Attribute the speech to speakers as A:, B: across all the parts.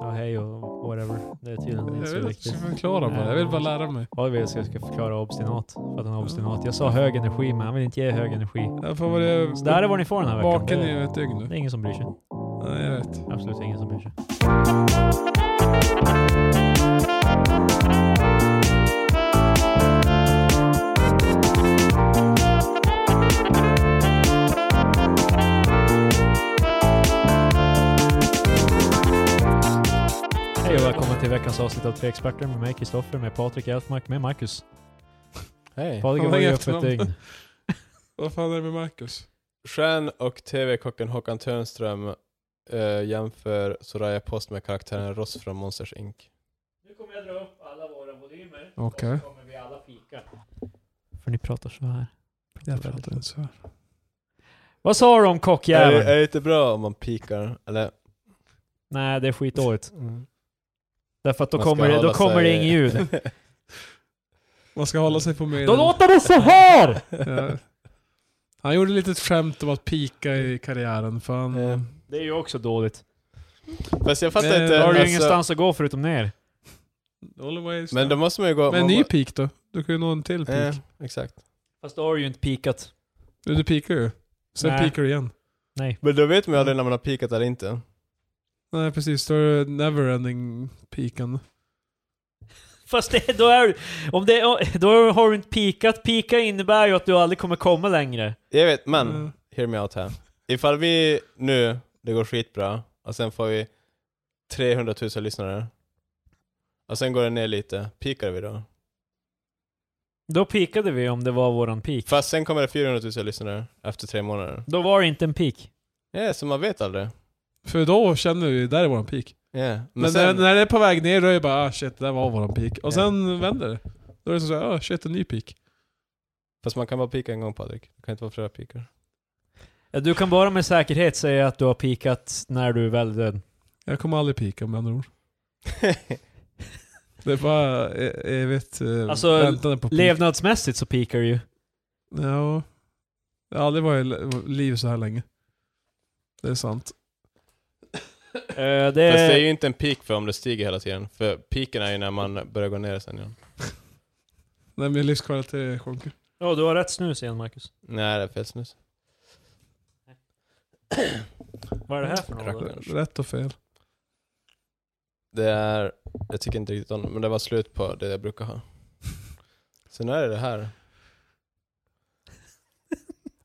A: Ja, hej och whatever. Det är tydligen
B: Jag
A: inte så
B: vet inte
A: viktigt.
B: hur jag förklara på det. Jag vill bara lära mig.
A: Vad vill jag ska jag ska förklara obstinat. För att han är obstinat. Jag sa hög energi, men han vill inte ge hög energi.
B: Jag får vara
A: Så där är vad ni får den här veckan.
B: vaken i
A: Det,
B: ett dygn
A: det
B: nu.
A: är ingen som bryr sig.
B: Nej, jag vet.
A: Absolut ingen som bryr sig. Hej och välkommen till veckans avsnitt av Tre Experter med mig Kristoffer, med Patrik Elfmark, med Marcus.
C: Hej.
A: Patrik har
B: Fan, vad
A: varit uppe
B: efternamn.
A: ett dygn.
B: Vad fan är det med Marcus?
C: Stjärn och TV-kocken Håkan Törnström eh, jämför Soraya Post med karaktären Ross från Monsters Inc.
A: Nu kommer jag dra upp alla våra volymer.
B: Okej.
A: Och så kommer vi alla fika. För ni pratar så här.
B: Jag pratar inte så här.
A: Vad sa du om
C: Är, det- är
A: kockjäveln?
C: det inte bra om man pikar? Eller?
A: Nej, det är skitdåligt.
B: Mm.
A: Därför att då
C: Man ska
A: kommer, det, då
C: hålla
A: kommer det
C: sig-
A: inget ljud.
B: Man ska hålla sig på medel.
A: Då låter det så här!
B: Ja. Han gjorde lite ett skämt om att pika i karriären. För han,
C: Eh,
A: Det är ju också dåligt.
C: Fast jag fattar
B: Men
C: inte.
A: Då har du ju
C: alltså,
A: ingenstans att gå förutom ner.
B: All the way
C: men då måste man ju gå...
B: men en
C: man
B: ny
C: bara-
B: peak då? Du kan ju nå en till peak.
C: Eh, exakt.
A: Fast då har du ju inte pikat.
B: Du, du peakar ju. Sen
A: Nej.
B: peakar du igen.
A: Nej.
C: Men då vet man ju aldrig när man har pikat eller inte.
B: Nej precis, då är det neverending peaken.
A: Fast det, då, är, om det, då har du inte pikat. Pika innebär ju att du aldrig kommer komma längre.
C: Jag vet, men
B: Mm.
C: hear me out här. Ifall vi nu, det går skitbra, och sen får vi 300 000 lyssnare. Och sen går det ner lite, pikar vi då?
A: Då pikade vi om det var våran peak.
C: Fast sen kommer det 400 000 lyssnare efter tre månader.
A: Då var det inte en peak.
C: Ja, så man vet aldrig.
B: För då känner vi, där är våran peak.
C: Ja,
B: Men,
C: Men, sen,
B: när, när det är på väg ner då är det bara ah shit, det där var våran peak. Och
C: Ja.
B: sen vänder det. Då är det som såhär, ah shit, en ny peak.
C: fast man kan bara pika en gång Patrik. Det kan inte vara flera pikar.
A: Ja, Du kan bara med säkerhet säga att du har pikat när du är väl död.
B: Jag kommer aldrig peaka med andra ord. Det är bara e- evigt eh,
A: Alltså,
B: väntande på peak.
A: Levnadsmässigt så pikar du ju.
B: Ja. Jag har aldrig varit i le- liv så här länge. Det är sant.
A: Eh,
C: Fast det är
A: det,
C: ju inte en pik för om det stiger hela tiden. För piken är ju när man börjar gå ner sen igen.
B: När min livskvalitet sjunker.
A: Ja, du har rätt snus igen Marcus.
C: Nej, det är fel snus.
A: Vad är det här för något? då?
C: Rackare.
B: Rätt och fel.
C: Det är, jag tycker inte riktigt om det, men det var slut på det jag brukar ha. Så nu är det det här.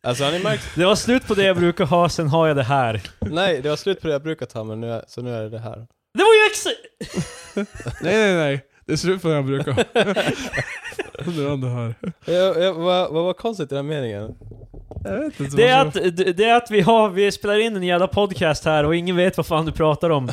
C: Alltså har ni märkt?
A: Det var slut på det jag brukar ha, sen har jag det här.
C: Nej, det var slut på det jag brukar ta, men nu är, så nu är det det här.
A: Det var ju ex-
B: Nej, nej, nej. Det är slut på det jag brukar ha. Nu är det här.
C: Jag, jag, vad, vad var konstigt i den här meningen?
B: Jag vet inte.
A: det är
B: vad
A: att, det är att vi, har, vi spelar in en jävla podcast här och ingen vet vad fan du pratar om.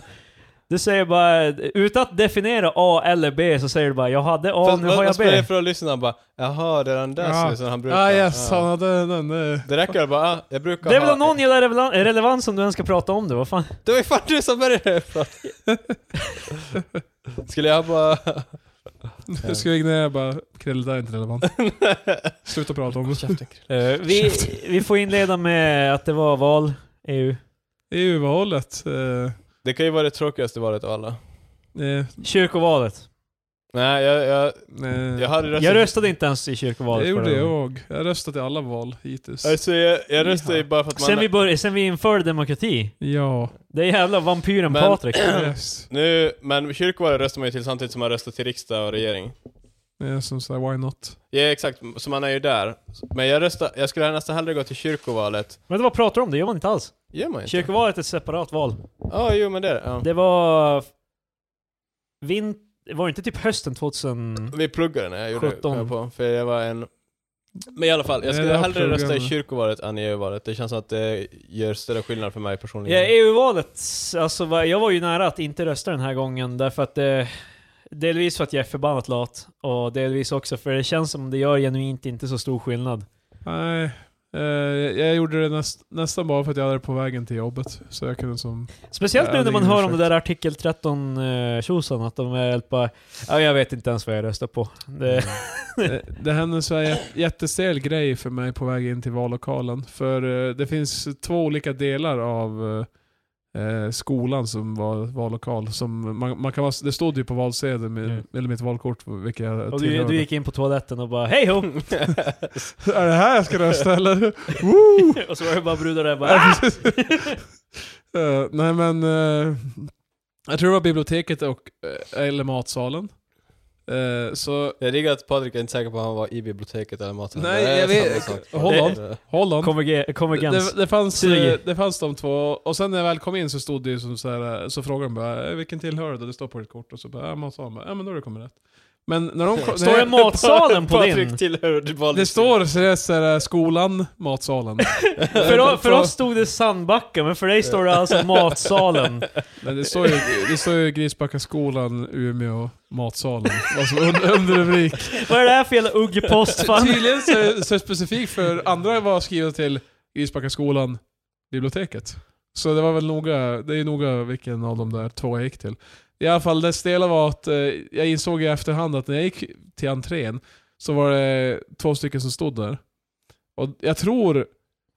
A: Du säger bara, utan att definiera A eller B, så säger du bara 'Jag hade A,
C: Fast
A: nu
C: vad-
A: har
C: vad
A: jag
C: spelar det
A: B'
C: för att lyssna? Han bara, jaha, det är den där
B: Ja.
C: snusen han brukar
B: Ja, Ah, yes,
C: Ja.
B: han hade den. eh,
C: Det räcker väl bara, ah, jag brukar
A: Det är
C: ha...
A: väl om någon jävla relevans- relevans som du ens ska prata om det, vad fan?
C: Det var ju fan du som började prata. Skulle jag bara...
B: Nu ska jag ignorera bara, Krille, det där är inte relevant. Sluta prata om det.
A: Eh, vi, vi får inleda med att det var val, E EU.
B: EU-valet. Eh,
C: Det kan ju vara det tråkigaste valet av alla.
B: eh,
A: Kyrkovalet.
C: Nej, jag, jag,
B: eh,
C: jag hade röstat...
A: Jag röstade inte ens i kyrkovalet
B: det gjorde
A: förra gången.
B: jag. Jag har röstat i alla val hittills.
C: Alltså jag, jag röstade ju bara för att man...
A: Sen vi, började, sen vi införde demokrati.
B: Ja.
A: Det är jävla vampyren
C: Men-
A: Patrik.
B: Yes.
C: Nu, men kyrkovalet röstar man ju till samtidigt som man röstar till riksdag och regering.
B: Eh, som sagt, why not?
C: Ja exakt, så man är ju där. Men jag röstar, jag skulle nästan hellre gå till kyrkovalet.
A: Men vad pratar du om? Det gör man inte alls.
C: Gör man inte?
A: Kyrkovalet är ett separat val.
C: Ja, jo men det är det. Ja.
A: Det var... Vint... Var det inte typ hösten 2000?
C: Vi pluggade när jag gjorde
A: 17.
C: kom jag på, för jag var en... Men i alla fall, jag
B: Nej,
C: skulle
B: det var
C: hellre rösta i
B: pluggande.
C: kyrkovalet än i EU-valet. Det känns som att det gör större skillnad för mig
A: Ja,
C: personligen.
A: EU-valet. Alltså, va- jag var ju nära att inte rösta den här gången därför att det... Delvis för att jag är förbannat lat och delvis också för det känns som det gör genuint inte så stor skillnad.
B: Nej. Eh, jag, jag gjorde det näst, nästan bara för att jag hade det på vägen till jobbet. Så jag kunde som...
A: Speciellt
B: Ja,
A: nu när
B: det är
A: man
B: ingen
A: hör om det
B: ursäkt.
A: där artikel 13 eh, tjosan att de är helt bara... Ja, jag vet inte ens vad jag röstar på. Det...
B: Eh, det hände en så här jät- jättestel grej för mig på väg in till vallokalen. För eh, det finns två olika delar av eh, eh, skolan som var vallokal. Som man, man kan vara, det stod ju på valsedeln, med,
A: Mm.
B: eller mitt valkort, vilket jag
A: Och du,
B: tillhörde.
A: du gick in på toaletten och bara hej ho!
B: Är det här jag ska rösta eller?
A: och så var det bara brudar där bara
B: Ja, precis. Ah! Eh, nej men, eh, jag tror det var biblioteket och, eh, eller matsalen. Eh, så,
C: Jag diggar att Patrik är inte säker på om han var i biblioteket eller maten.
B: Nej,
C: Det är
B: jag vet-
C: samma sak.
B: håll on.
C: Det-
B: håll on.
A: "Konverge-
B: Det,
A: konvergens.
B: det, fanns,
A: Synergi.
B: eh, det fanns de två, och sen när jag väl kom in så stod det ju som så här, eh, så frågade de bara "Eh, 'Vilken tillhör du?' Det står på ditt kort, och så bara "Ja, matsalen, bara, ja men då har du kommit rätt. Men när de kom,
A: Står det
B: när,
A: matsalen på din?
C: Patrik tillhör typ du valde
B: det står seriöst såhär, skolan, matsalen.
A: För, för oss stod det sandbacken, men för dig står det alltså matsalen.
B: Men det står ju, det står ju Grisbacka skolan, Umeå, matsalen. Alltså under, underrubrik.
A: Vad är det här för jävla uggpost fan?
B: Tydligen så, är- så är det specifikt för andra var skrivet till Grisbacka skolan, biblioteket. Så det var väl noga, det är noga vilken av de där två jag gick till. I alla fall det stela var att eh, jag insåg i efterhand att när jag gick till entrén så var det två stycken som stod där. Och jag tror,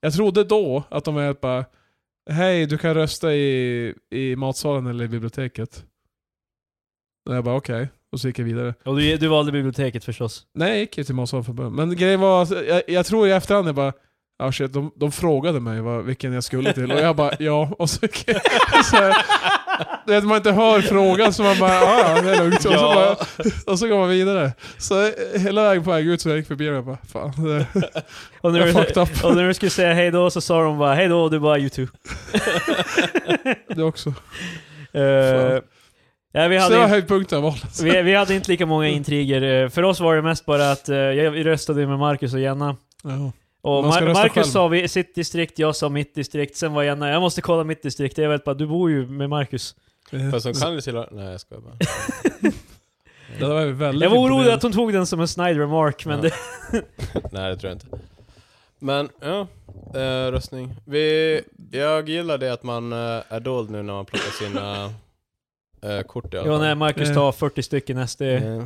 B: jag trodde då att de var bara Hej, du kan rösta i, i matsalen eller i biblioteket. Och jag bara okej, och så gick jag vidare.
A: Och du, du valde biblioteket förstås.
B: Nej, jag gick ju till Måns för början. Men grejen var, att jag, jag tror i efterhand jag bara Ja shit, de, de frågade mig vad, vilken jag skulle till och jag bara ja, och så, så här, du vet, man inte hör frågan så man bara ja, ja, det är lugnt. Och, så bara,
C: Ja.
B: och så går man vidare. Så eh, hela vägen på väg ut så jag gick förbi och jag bara fan, det,
A: Och när,
B: jag
A: du,
B: fucked up.
A: och när du skulle säga hej då så sa de bara hej då och du bara you too.
B: Det också.
A: Eh, ja, vi,
B: Så det var
A: hade,
B: höjdpunkten av valet.
A: vi, vi hade inte lika många intriger. Eh, För oss var det mest bara att eh, jag röstade med Marcus och Jenna.
B: Ja.
A: Och
B: Man ska
A: Mar-
B: rösta själv.
A: Marcus sa vi, sitt distrikt, jag sa mitt distrikt, sen var Jenna, jag måste kolla mitt distrikt. Jag vet bara, du bor ju med Marcus.
C: Fast de kan ju tillhöra... Nej, jag skojar bara.
B: Det var ju väldigt
A: Jag var orolig
B: imponerande.
A: att hon tog den som en snide remark, men
C: Ja.
A: det,
C: Nej, det tror jag inte. Men, ja. Eh, röstning. Vi, jag gillar det att man eh, är dold nu när man plockar sina eh, kort i alla
A: ja,
C: fall.
A: nej, Marcus
B: Eh.
A: tar 40 stycken SD.
C: Eh.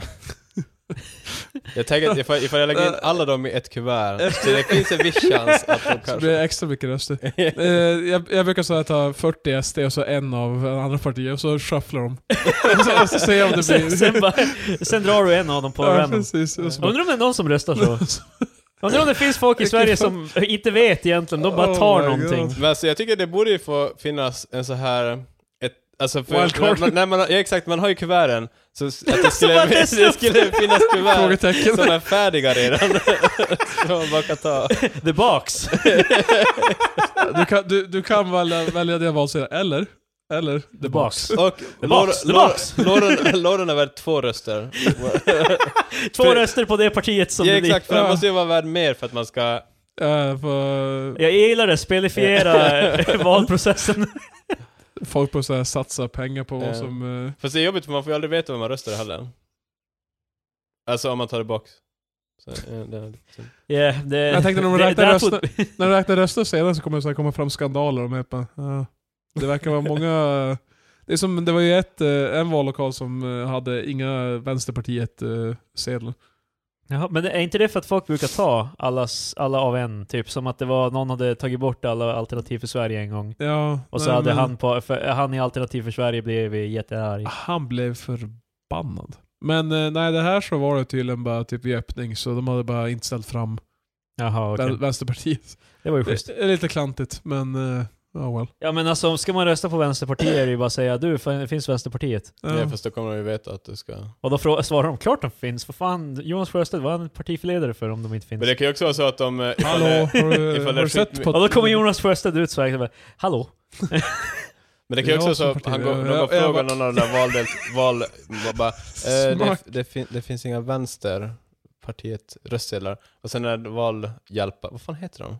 C: jag tänker att ifall, ifall jag lägger
B: Eh.
C: in alla dem i ett kuvert, så det finns en viss chans att de
B: Så blir det
C: kanske...
B: extra mycket röster. Eh, jag, jag brukar säga att ta 40 SD och så en av andra partier och så shufflar de. och så, och så ser jag om det
A: Sen,
B: blir...
A: sen, bara, sen drar du en av dem på
B: ja,
A: random.
B: precis. Och så bara,
A: Undrar om det är någon som röstar så? Undrar om det finns folk i Sverige som inte vet egentligen, de bara tar
B: Oh my
A: någonting.
B: God.
C: Men alltså, jag tycker det borde ju få finnas en så här... Ett, alltså för,
B: Wildcard.
C: när, när man, ja, exakt, man har ju kuverten. Så s- att det
A: bara
C: skulle,
A: dessa-
C: det skulle finnas kuvert
B: Frågetecken.
C: som är färdiga redan. som man bara kan ta.
A: The box.
B: Du kan, du, du kan välja, välja det valsedeln, eller? Eller?
A: The box.
C: Och
A: box,
C: Lor-
A: the
C: Lor-
A: box.
C: Lauren- Lauren är värd två röster.
A: Två röster på det partiet som
C: ja,
A: det
C: exakt, för den
B: Ja.
C: måste ju vara värd mer för att man ska...
B: Äh, för
A: Jag gillar det, spelifiera valprocessen.
B: folk på så här satsa pengar på
C: Ja.
B: vad som... eh,
C: Fast det är jobbigt för man får ju aldrig veta vad man röstar heller. Alltså om man tar det box. Så, ja, det, så.
A: Yeah, det,
B: Jag tänkte när de
A: det-
B: räknar
A: that would-
B: röster, när de räknar röster sedan så kommer det så här komma fram skandaler och de är bara, ja. Det verkar vara många... Det, är som, det var ju ett, eh, en vallokal som eh, hade inga eh, Vänsterpartiet-sedlar.
A: Jaha, men är inte det för att folk brukar ta allas, alla av en? Typ som att det var någon hade tagit bort alla alternativ för Sverige en gång.
B: Ja,
A: Och så
B: nej,
A: hade
B: men-
A: han, på, för, eh, han i alternativ för Sverige blivit jättearg.
B: Han blev förbannad. Men eh, nej, det här så var det tydligen bara typ vid öppning, så de hade bara inte ställt fram
A: Jaha, okej.
B: Vän- Vänsterpartiet.
A: Det var ju schysst.
B: Det är lite klantigt, men eh, ja well.
A: Ja men alltså, ska man rösta på Vänsterpartiet är det ju bara att säga du, fin- finns Vänsterpartiet?
B: Ja.
C: Ja, fast då kommer de ju veta att du ska...
A: Och då frå- svarar de, klart de finns, för fan, Jonas Sjöstedt, vad är han partiledare för om de inte finns?
C: Men det kan ju också vara så att de... eh, ifall
B: Hallå,
C: det-
B: har du,
C: ifall det
B: har du
C: är
B: sett
C: skit-
B: på...
A: Och då kommer Jonas Sjöstedt ut så här, och bara, hallå?
C: Men det kan ju
B: Jag
C: också vara
B: som
C: så att han går,
B: partiledare.
C: de
B: Jag-
C: går
B: jag
C: frågar någon av de där valdelt... Val... Bara, eh, det,
B: Smak.
C: det, fin, det finns inga vänsterpartiet röstsedlar. Och sen är det valhjälpa... Vad fan heter de?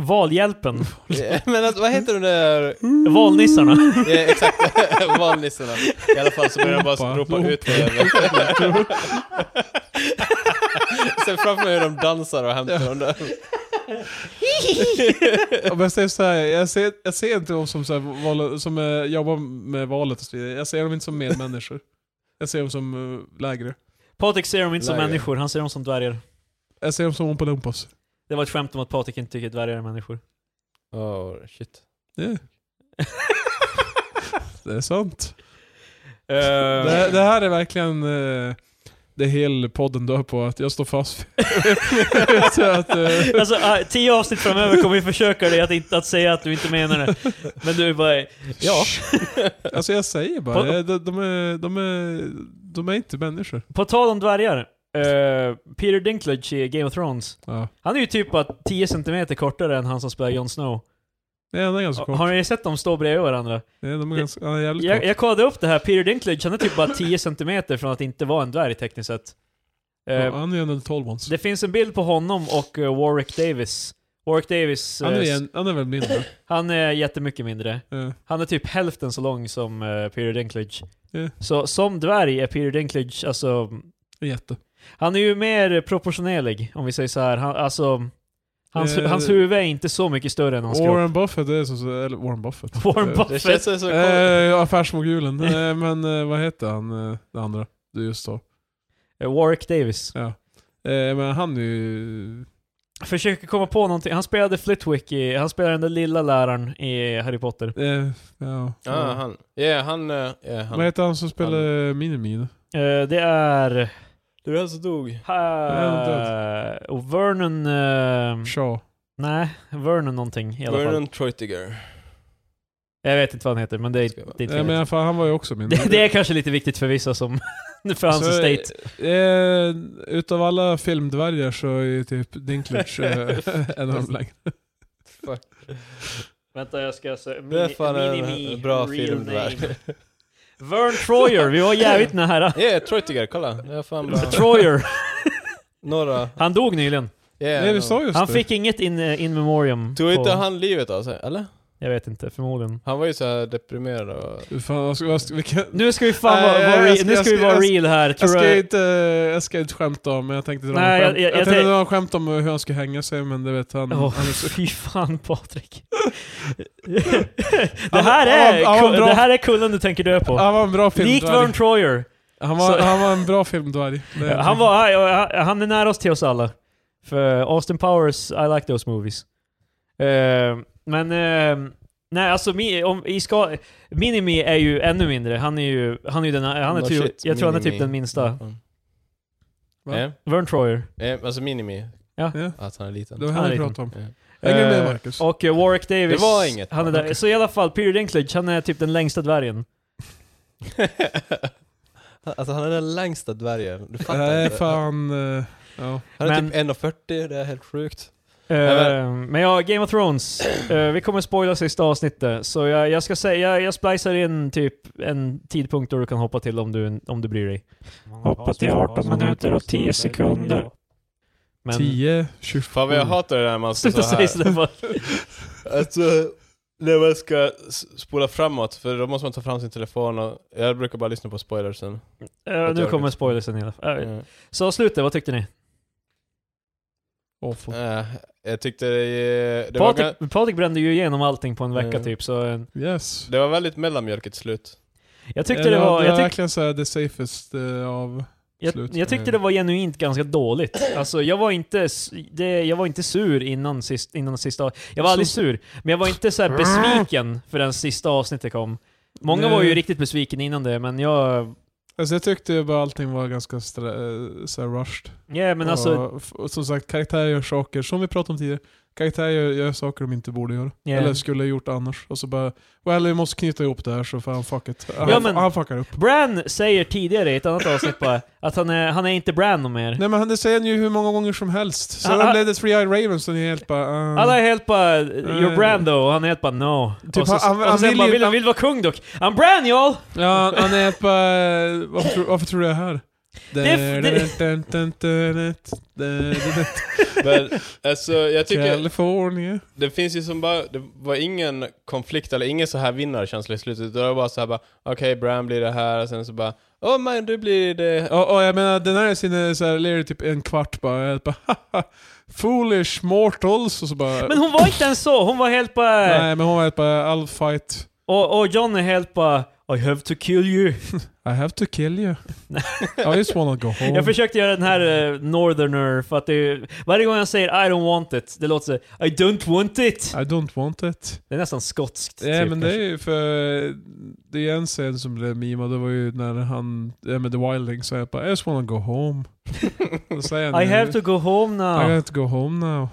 A: Valhjälpen,
C: Eh, Men alltså, vad heter de där...
A: valnissarna.
C: Ja, exakt, valnissarna. I alla fall så börjar de bara
B: Ropa,
C: ropa
B: ropa.
C: ut det. Sen framför mig hur de dansar och hämtar dem där.
B: Om jag, säger så här, jag, ser, jag ser inte dem som, så här, val, som eh, jobbar med valet och så vidare. Jag ser dem inte som medmänniskor. Jag ser dem som eh, lägre.
A: Patrik ser dem inte som
C: Lägre.
A: människor, han ser dem som dvärgar.
B: Jag ser dem som Ompalumpas.
A: Det var ett skämt om att Patrik inte tycker dvärgar är människor.
C: Oh, shit.
B: Yeah. det är sant.
A: Eh,
B: Det, det här är verkligen eh, det hela podden dör på, att jag står fast vid- så att, eh,
A: Alltså, eh, tio avsnitt framöver kommer vi försöka dig att, inte, att säga att du inte menar det. Men du är bara, ja.
B: Alltså jag säger bara,
A: På-
B: eh, de, de, är, de, är, de är inte människor.
A: På tal om dvärgar. eh, Peter Dinklage i Game of Thrones.
B: Ja.
A: Han är ju typ bara 10 cm kortare än han som spelar Jon Snow.
B: Nej, han är ganska kort.
A: Har ni sett dem stå bredvid varandra?
B: Nej, de är ganska, han är jävligt
A: Jag,
B: kort.
A: jag kollade upp det här, Peter Dinklage han är typ bara 10 cm från att inte vara en dvärg tekniskt sett. Eh,
B: Ja, han är ju en 12 ones.
A: Det finns en bild på honom och eh, Warwick Davis. Warwick Davis,
B: Han är,
A: eh,
B: en, han är väl mindre.
A: han är jättemycket mindre.
B: Eh,
A: Han är typ hälften så lång som eh, Peter Dinklage.
B: Ja.
A: Så som dvärg är Peter Dinklage, alltså,
B: en jätte.
A: han är ju mer proportionerlig om vi säger så här. Han, alltså, hans,
B: Eh,
A: hans huvud är inte så mycket större än hans kropp.
B: Warren Buffett är som, eller Warren Buffett.
A: Warren
B: Eh,
C: Det
A: Buffett.
C: känns så så
B: Eh, affärsmogulen. Eh, men eh, vad heter han, eh, det andra du just sa?
A: Eh, Warwick Davis.
B: Eh, men han är ju...
A: Försöker komma på någonting. Han spelade Flitwick i, han spelade den där lilla läraren i Harry Potter.
B: Eh, ja.
C: Ja, han. Ja, han. eh, Ja,
B: Vad
C: han.
B: heter han som spelar Minimin?
A: Eh, det är...
C: Det var han som dog.
B: är
A: Uh, och Vernon... eh,
B: Shaw.
A: nej, Vernon någonting i alla fall.
C: Vernon Treutiger.
A: Jag vet inte vad han heter, men det är,
C: Ska jag-
A: det är inte
B: Nej,
A: viktigt.
B: Eh, men fan, han var ju också min.
A: det, det är kanske lite viktigt för vissa som... för hans
B: Så,
A: estate.
B: Eh, utav alla filmdvärgar så är ju typ Dinklage eh, en av de längre.
A: Vänta, jag ska se.
C: Det är fan en en bra film det där.
A: Vern Troyer, vi var jävligt nära.
C: Ja, yeah, Treutiger, kolla. Det är fan bra.
A: Troyer,
C: Några.
A: han dog nyligen.
C: Yeah,
B: Nej, vi sa just
A: Han
B: det.
A: fick inget in, eh, in memoriam.
C: Tog
A: på-
C: inte han livet av sig? Eller?
A: Jag vet inte, förmodligen.
C: Han var ju så här deprimerad och...
B: Fan, vad ska, vad ska, vilken,
A: Nu ska vi fan
B: Nej,
A: vara,
B: jag-
A: vara,
B: jag
A: re-
B: ska-
A: nu
B: jag
A: ska vi
B: ska-
A: vara
B: jag ska-
A: real här.
B: jag,
A: Tror
B: ska
A: jag,
B: inte, jag ska inte skämta om, men jag tänkte dra
A: Nej,
B: Nej, skämt.
A: jag- jag-
B: Jag,
A: jag
B: tänkte
A: tänk-
B: dra en skämt om hur han skulle hänga sig, men det vet han.
A: Åh,
B: han är så,
A: fy fan Patrik. det, här är,
B: Ja, ja, bra.
A: det här är kullen du tänker dö på.
B: han var en bra
A: Likt Vern
B: filmdvärg.
A: Troyer.
B: Han var,
A: så-
B: han var en bra filmdvärg. Det-
A: Han, var, han- han är nära oss till oss alla. För Austin Powers, I like those movies. Eh, men, eh, nej alltså mi, om, i ska, Minimi är ju ännu mindre. Han är ju, han är ju den, han är
C: Oh,
A: typ,
C: shit,
A: jag tror han är typ
C: Minimi.
A: den minsta.
C: Mm.
B: Va?
C: Ja,
A: Vern Troyer.
C: ja, alltså minimi.
B: Ja,
C: Att han är liten.
B: det var han vi
A: liten.
B: pratade om.
C: Ja.
B: Hänger du med,
A: Eh,
B: Marcus?
A: Och eh, Warwick Davis.
C: Det var inget.
A: Han är där.
B: Okej.
A: Så i alla fall, Peter Dinklage, han är typ den längsta dvärgen.
C: alltså han är den längsta dvärgen. Du fattar
B: Nej,
C: inte.
B: fan. eh, Ja.
C: Han är
A: Men-
C: typ 1,40, det är helt sjukt.
A: Eh,
C: men-
A: men ja, Game of Thrones. Eh, vi kommer spoila sista avsnittet, så jag, jag ska säga, jag, jag splicar in typ en tidpunkt då du kan hoppa till om du, om du bryr dig.
D: Hoppa till 18 minuter och 10 sekunder.
A: Men,
B: 10, 25.
C: Fan vad jag hatar det där när man står
A: Sluta
C: så
A: säga
C: här.
A: sådär bara.
C: Alltså, när man ska s- spola framåt, för då måste man ta fram sin telefon och jag brukar bara lyssna på spoilersen.
A: Eh, nu kommer spoilersen i alla fall. Eh,
C: Mm.
A: Så slutet, vad tyckte ni?
B: Awful.
C: Eh, jag tyckte det, det, var, ga-
A: Patrik, Patrik brände ju igenom allting på en vecka
C: Mm.
A: typ, så eh,
B: Yes.
C: det var väldigt mellanmjölkigt slut.
A: jag tyckte det var...
B: Det
A: Jag,
B: var
A: tyck,
B: verkligen såhär the safest eh, av...
A: jag,
B: slut.
A: jag tyckte det var genuint ganska dåligt. Alltså jag var inte, s- det, jag var inte sur innan, sist, innan sista... Jag var aldrig sur, men jag var inte så här besviken förrän sista avsnittet kom. Många var ju
B: Nej.
A: riktigt besviken innan det, men jag...
B: Alltså jag tyckte ju bara allting var ganska stra- eh, så här rushed.
A: Ja, men alltså...
B: och, f- och som sagt, karaktärer gör saker, som vi pratade om tidigare, karaktärer gör, gör saker de inte borde göra.
A: ja.
B: Eller skulle ha gjort annars. Och så bara, well vi måste knyta ihop det här så fan fuck it. Han,
A: Ja, men-
B: han fuckar upp.
A: Bran säger tidigare i ett annat avsnitt bara att han är, han är inte Bran och mer.
B: Nej men han, det säger han ju hur många gånger som helst. Sen
A: Ah, ah.
B: blev det Three Eyed Ravens och ni är helt bara... ah.
A: Alla är helt bara 'You're
B: Eh.
A: Bran though' och han är helt bara 'No'
B: Typ,
A: och så,
B: han- han-
A: och
B: han
A: så sen
B: vill
A: bara
B: ju-
A: vill,
B: han-
A: vill vara kung dock' 'I'm Bran y'all!'
B: Ja, han är helt bara... Varför, tror- varför tror du jag är här?
A: Det är f-
C: Men, alltså, jag tycker...
B: California.
C: Det finns ju som bara, det var ingen konflikt eller ingen så här vinnarkänsla i slutet. Det var bara så här bara, okej Bran blir det här, och sen så bara, åh oh, man du blir det.
B: Ja, och jag menar den här scenen så här, ler typ en kvart bara. Jag är bara haha, Foolish mortals och så bara...
A: Men hon var inte ens så, hon var helt bara...
B: nej men hon var helt bara all fight.
A: Och, och John är helt bara I have to kill you.
B: I have to kill you. I just wanna go home.
A: Jag försökte göra den här eh, northerner för att det är, Varje gång jag säger I don't want it, det låter så I don't want it.
B: I don't want it.
A: Det är nästan skotskt.
B: Nej
A: typ,
B: men det är ju för... Det är en scen som blev mimad, det var ju när han... Ja men The Wilding sa jag bara I just wanna go home. Då säger han
A: kanske. I
B: ju,
A: have to go home now.
B: I have to go home now.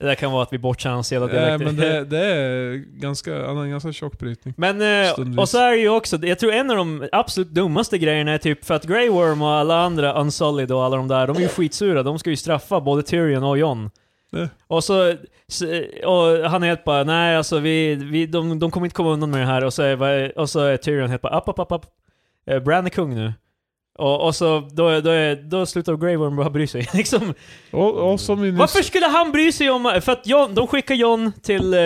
A: Det där kan vara att vi bortser hans hela
B: Ja,
A: dialekter.
B: men det, det är ganska... Han har en ganska tjock brytning.
A: Men, eh,
B: Stundvis.
A: och så är det ju också, jag tror en av de absolut dummaste grejerna är typ för att Grey Worm och alla andra, Unsullied och alla de där, de är ju skitsura. De ska ju straffa både Tyrion och Jon.
B: Ja.
A: Och så, s- och han är helt bara nej alltså vi, vi, de, de kommer inte komma undan med det här. Och så är, och så är Tyrion helt bara app, app, app, app. Eh, Bran är kung nu. Och, och så då, är- då, är, då slutar Grey Worm bara bry sig. liksom,
B: Och, och som vi nyss...
A: varför skulle han bry sig om... För att John, de skickar John till eh,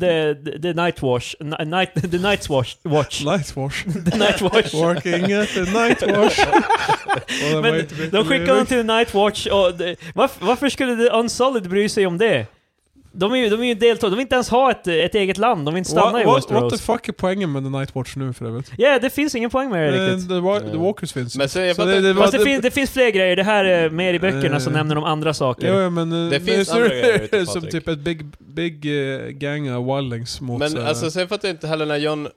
A: the, the, the Night Watch. Ni- Night, the Night's Watch. watch.
B: Nightwash.
A: The Night Watch.
B: Working at the nightwash. Och den var
A: Men
B: inte mycket
A: de skickar honom
B: lyrisk.
A: till The Night Watch och det, varför, varför skulle The Unsolid bry sig om det? De är ju, de är ju deltagare, de vill inte ens ha ett, ett eget land, de vill inte stanna
B: What-
A: i
B: what, what the
A: Westeros.
B: fuck är poängen med The Nightwatch nu för övrigt?
A: Ja, det finns ingen poäng med det
B: Eh,
A: riktigt.
B: The, wa- the Walkers finns.
C: Men sen, jag
B: Så
C: fattar
B: det
C: inte-
B: var-
A: Fast det, fin, det finns fler grejer, det här är mer i böckerna så
B: Eh.
A: nämner de andra saker.
B: Ja, ja, men, eh, men
C: finns
B: så är
C: andra grejer ute,
B: Som
C: Patrik.
B: typ ett big, big eh, gang av wildlings mot... eh,
C: Men
B: så här-
C: alltså sen fattar jag inte heller när John...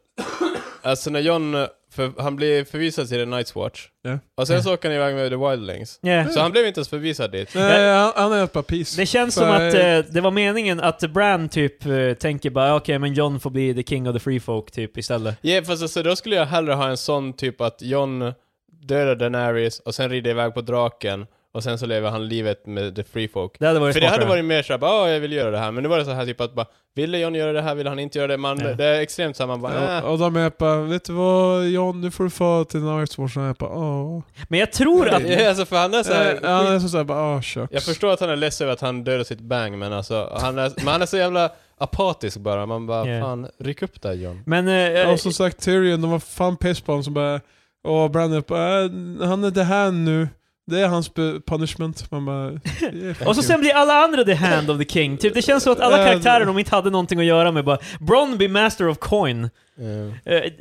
C: alltså när John... För, han blir förvisad till The Night's Watch.
B: Ja.
C: Och sen
A: Ja.
C: så åker han iväg med The Wildlings.
A: Ja.
C: Så han blev inte ens förvisad dit.
B: Nej, han, han är ett par peace.
A: Det känns
B: För-
A: som att eh, det var meningen att Bran typ eh, tänker bara okej, men John får bli the king of the free folk typ istället.
C: Ja, fast alltså, då skulle jag hellre ha en sån typ att John dödar Daenerys och sen rider iväg på draken och sen så lever han livet med the free folk.
A: Det hade varit
C: För det hade
A: smartare.
C: varit mer såhär, bara, "Ah, jag vill göra det här, men nu var det så här typ att bara, ville John göra det här, ville han inte göra det? Man,
A: Ja.
C: Det är extremt såhär, man bara,
B: Ja,
C: äh.
B: och de är bara, vet du vad John, nu får du få till Nightwatch. Och han är bara, åh.
A: Men jag tror att...
C: Ja, alltså, för han är så här,
B: Eh, Han är så såhär bara, åh shucks.
C: Jag förstår att han är ledsen över att han dödade sitt bang, men alltså, han är, men han är så jävla apatisk bara. Man bara,
A: Ja.
C: fan, ryck upp där John.
A: Men... Eh,
B: Och som sagt Tyrion, de var fan piss på honom som bara Och Brandon bara äh, han är det här nu. Det är hans be- punishment. Man bara, yeah, fuck
A: Och så
B: you.
A: sen blir alla andra the hand of the king. Typ, det känns som att alla
B: Eh,
A: karaktärer de inte hade någonting att göra med bara Bron be master of coin. Eh, det-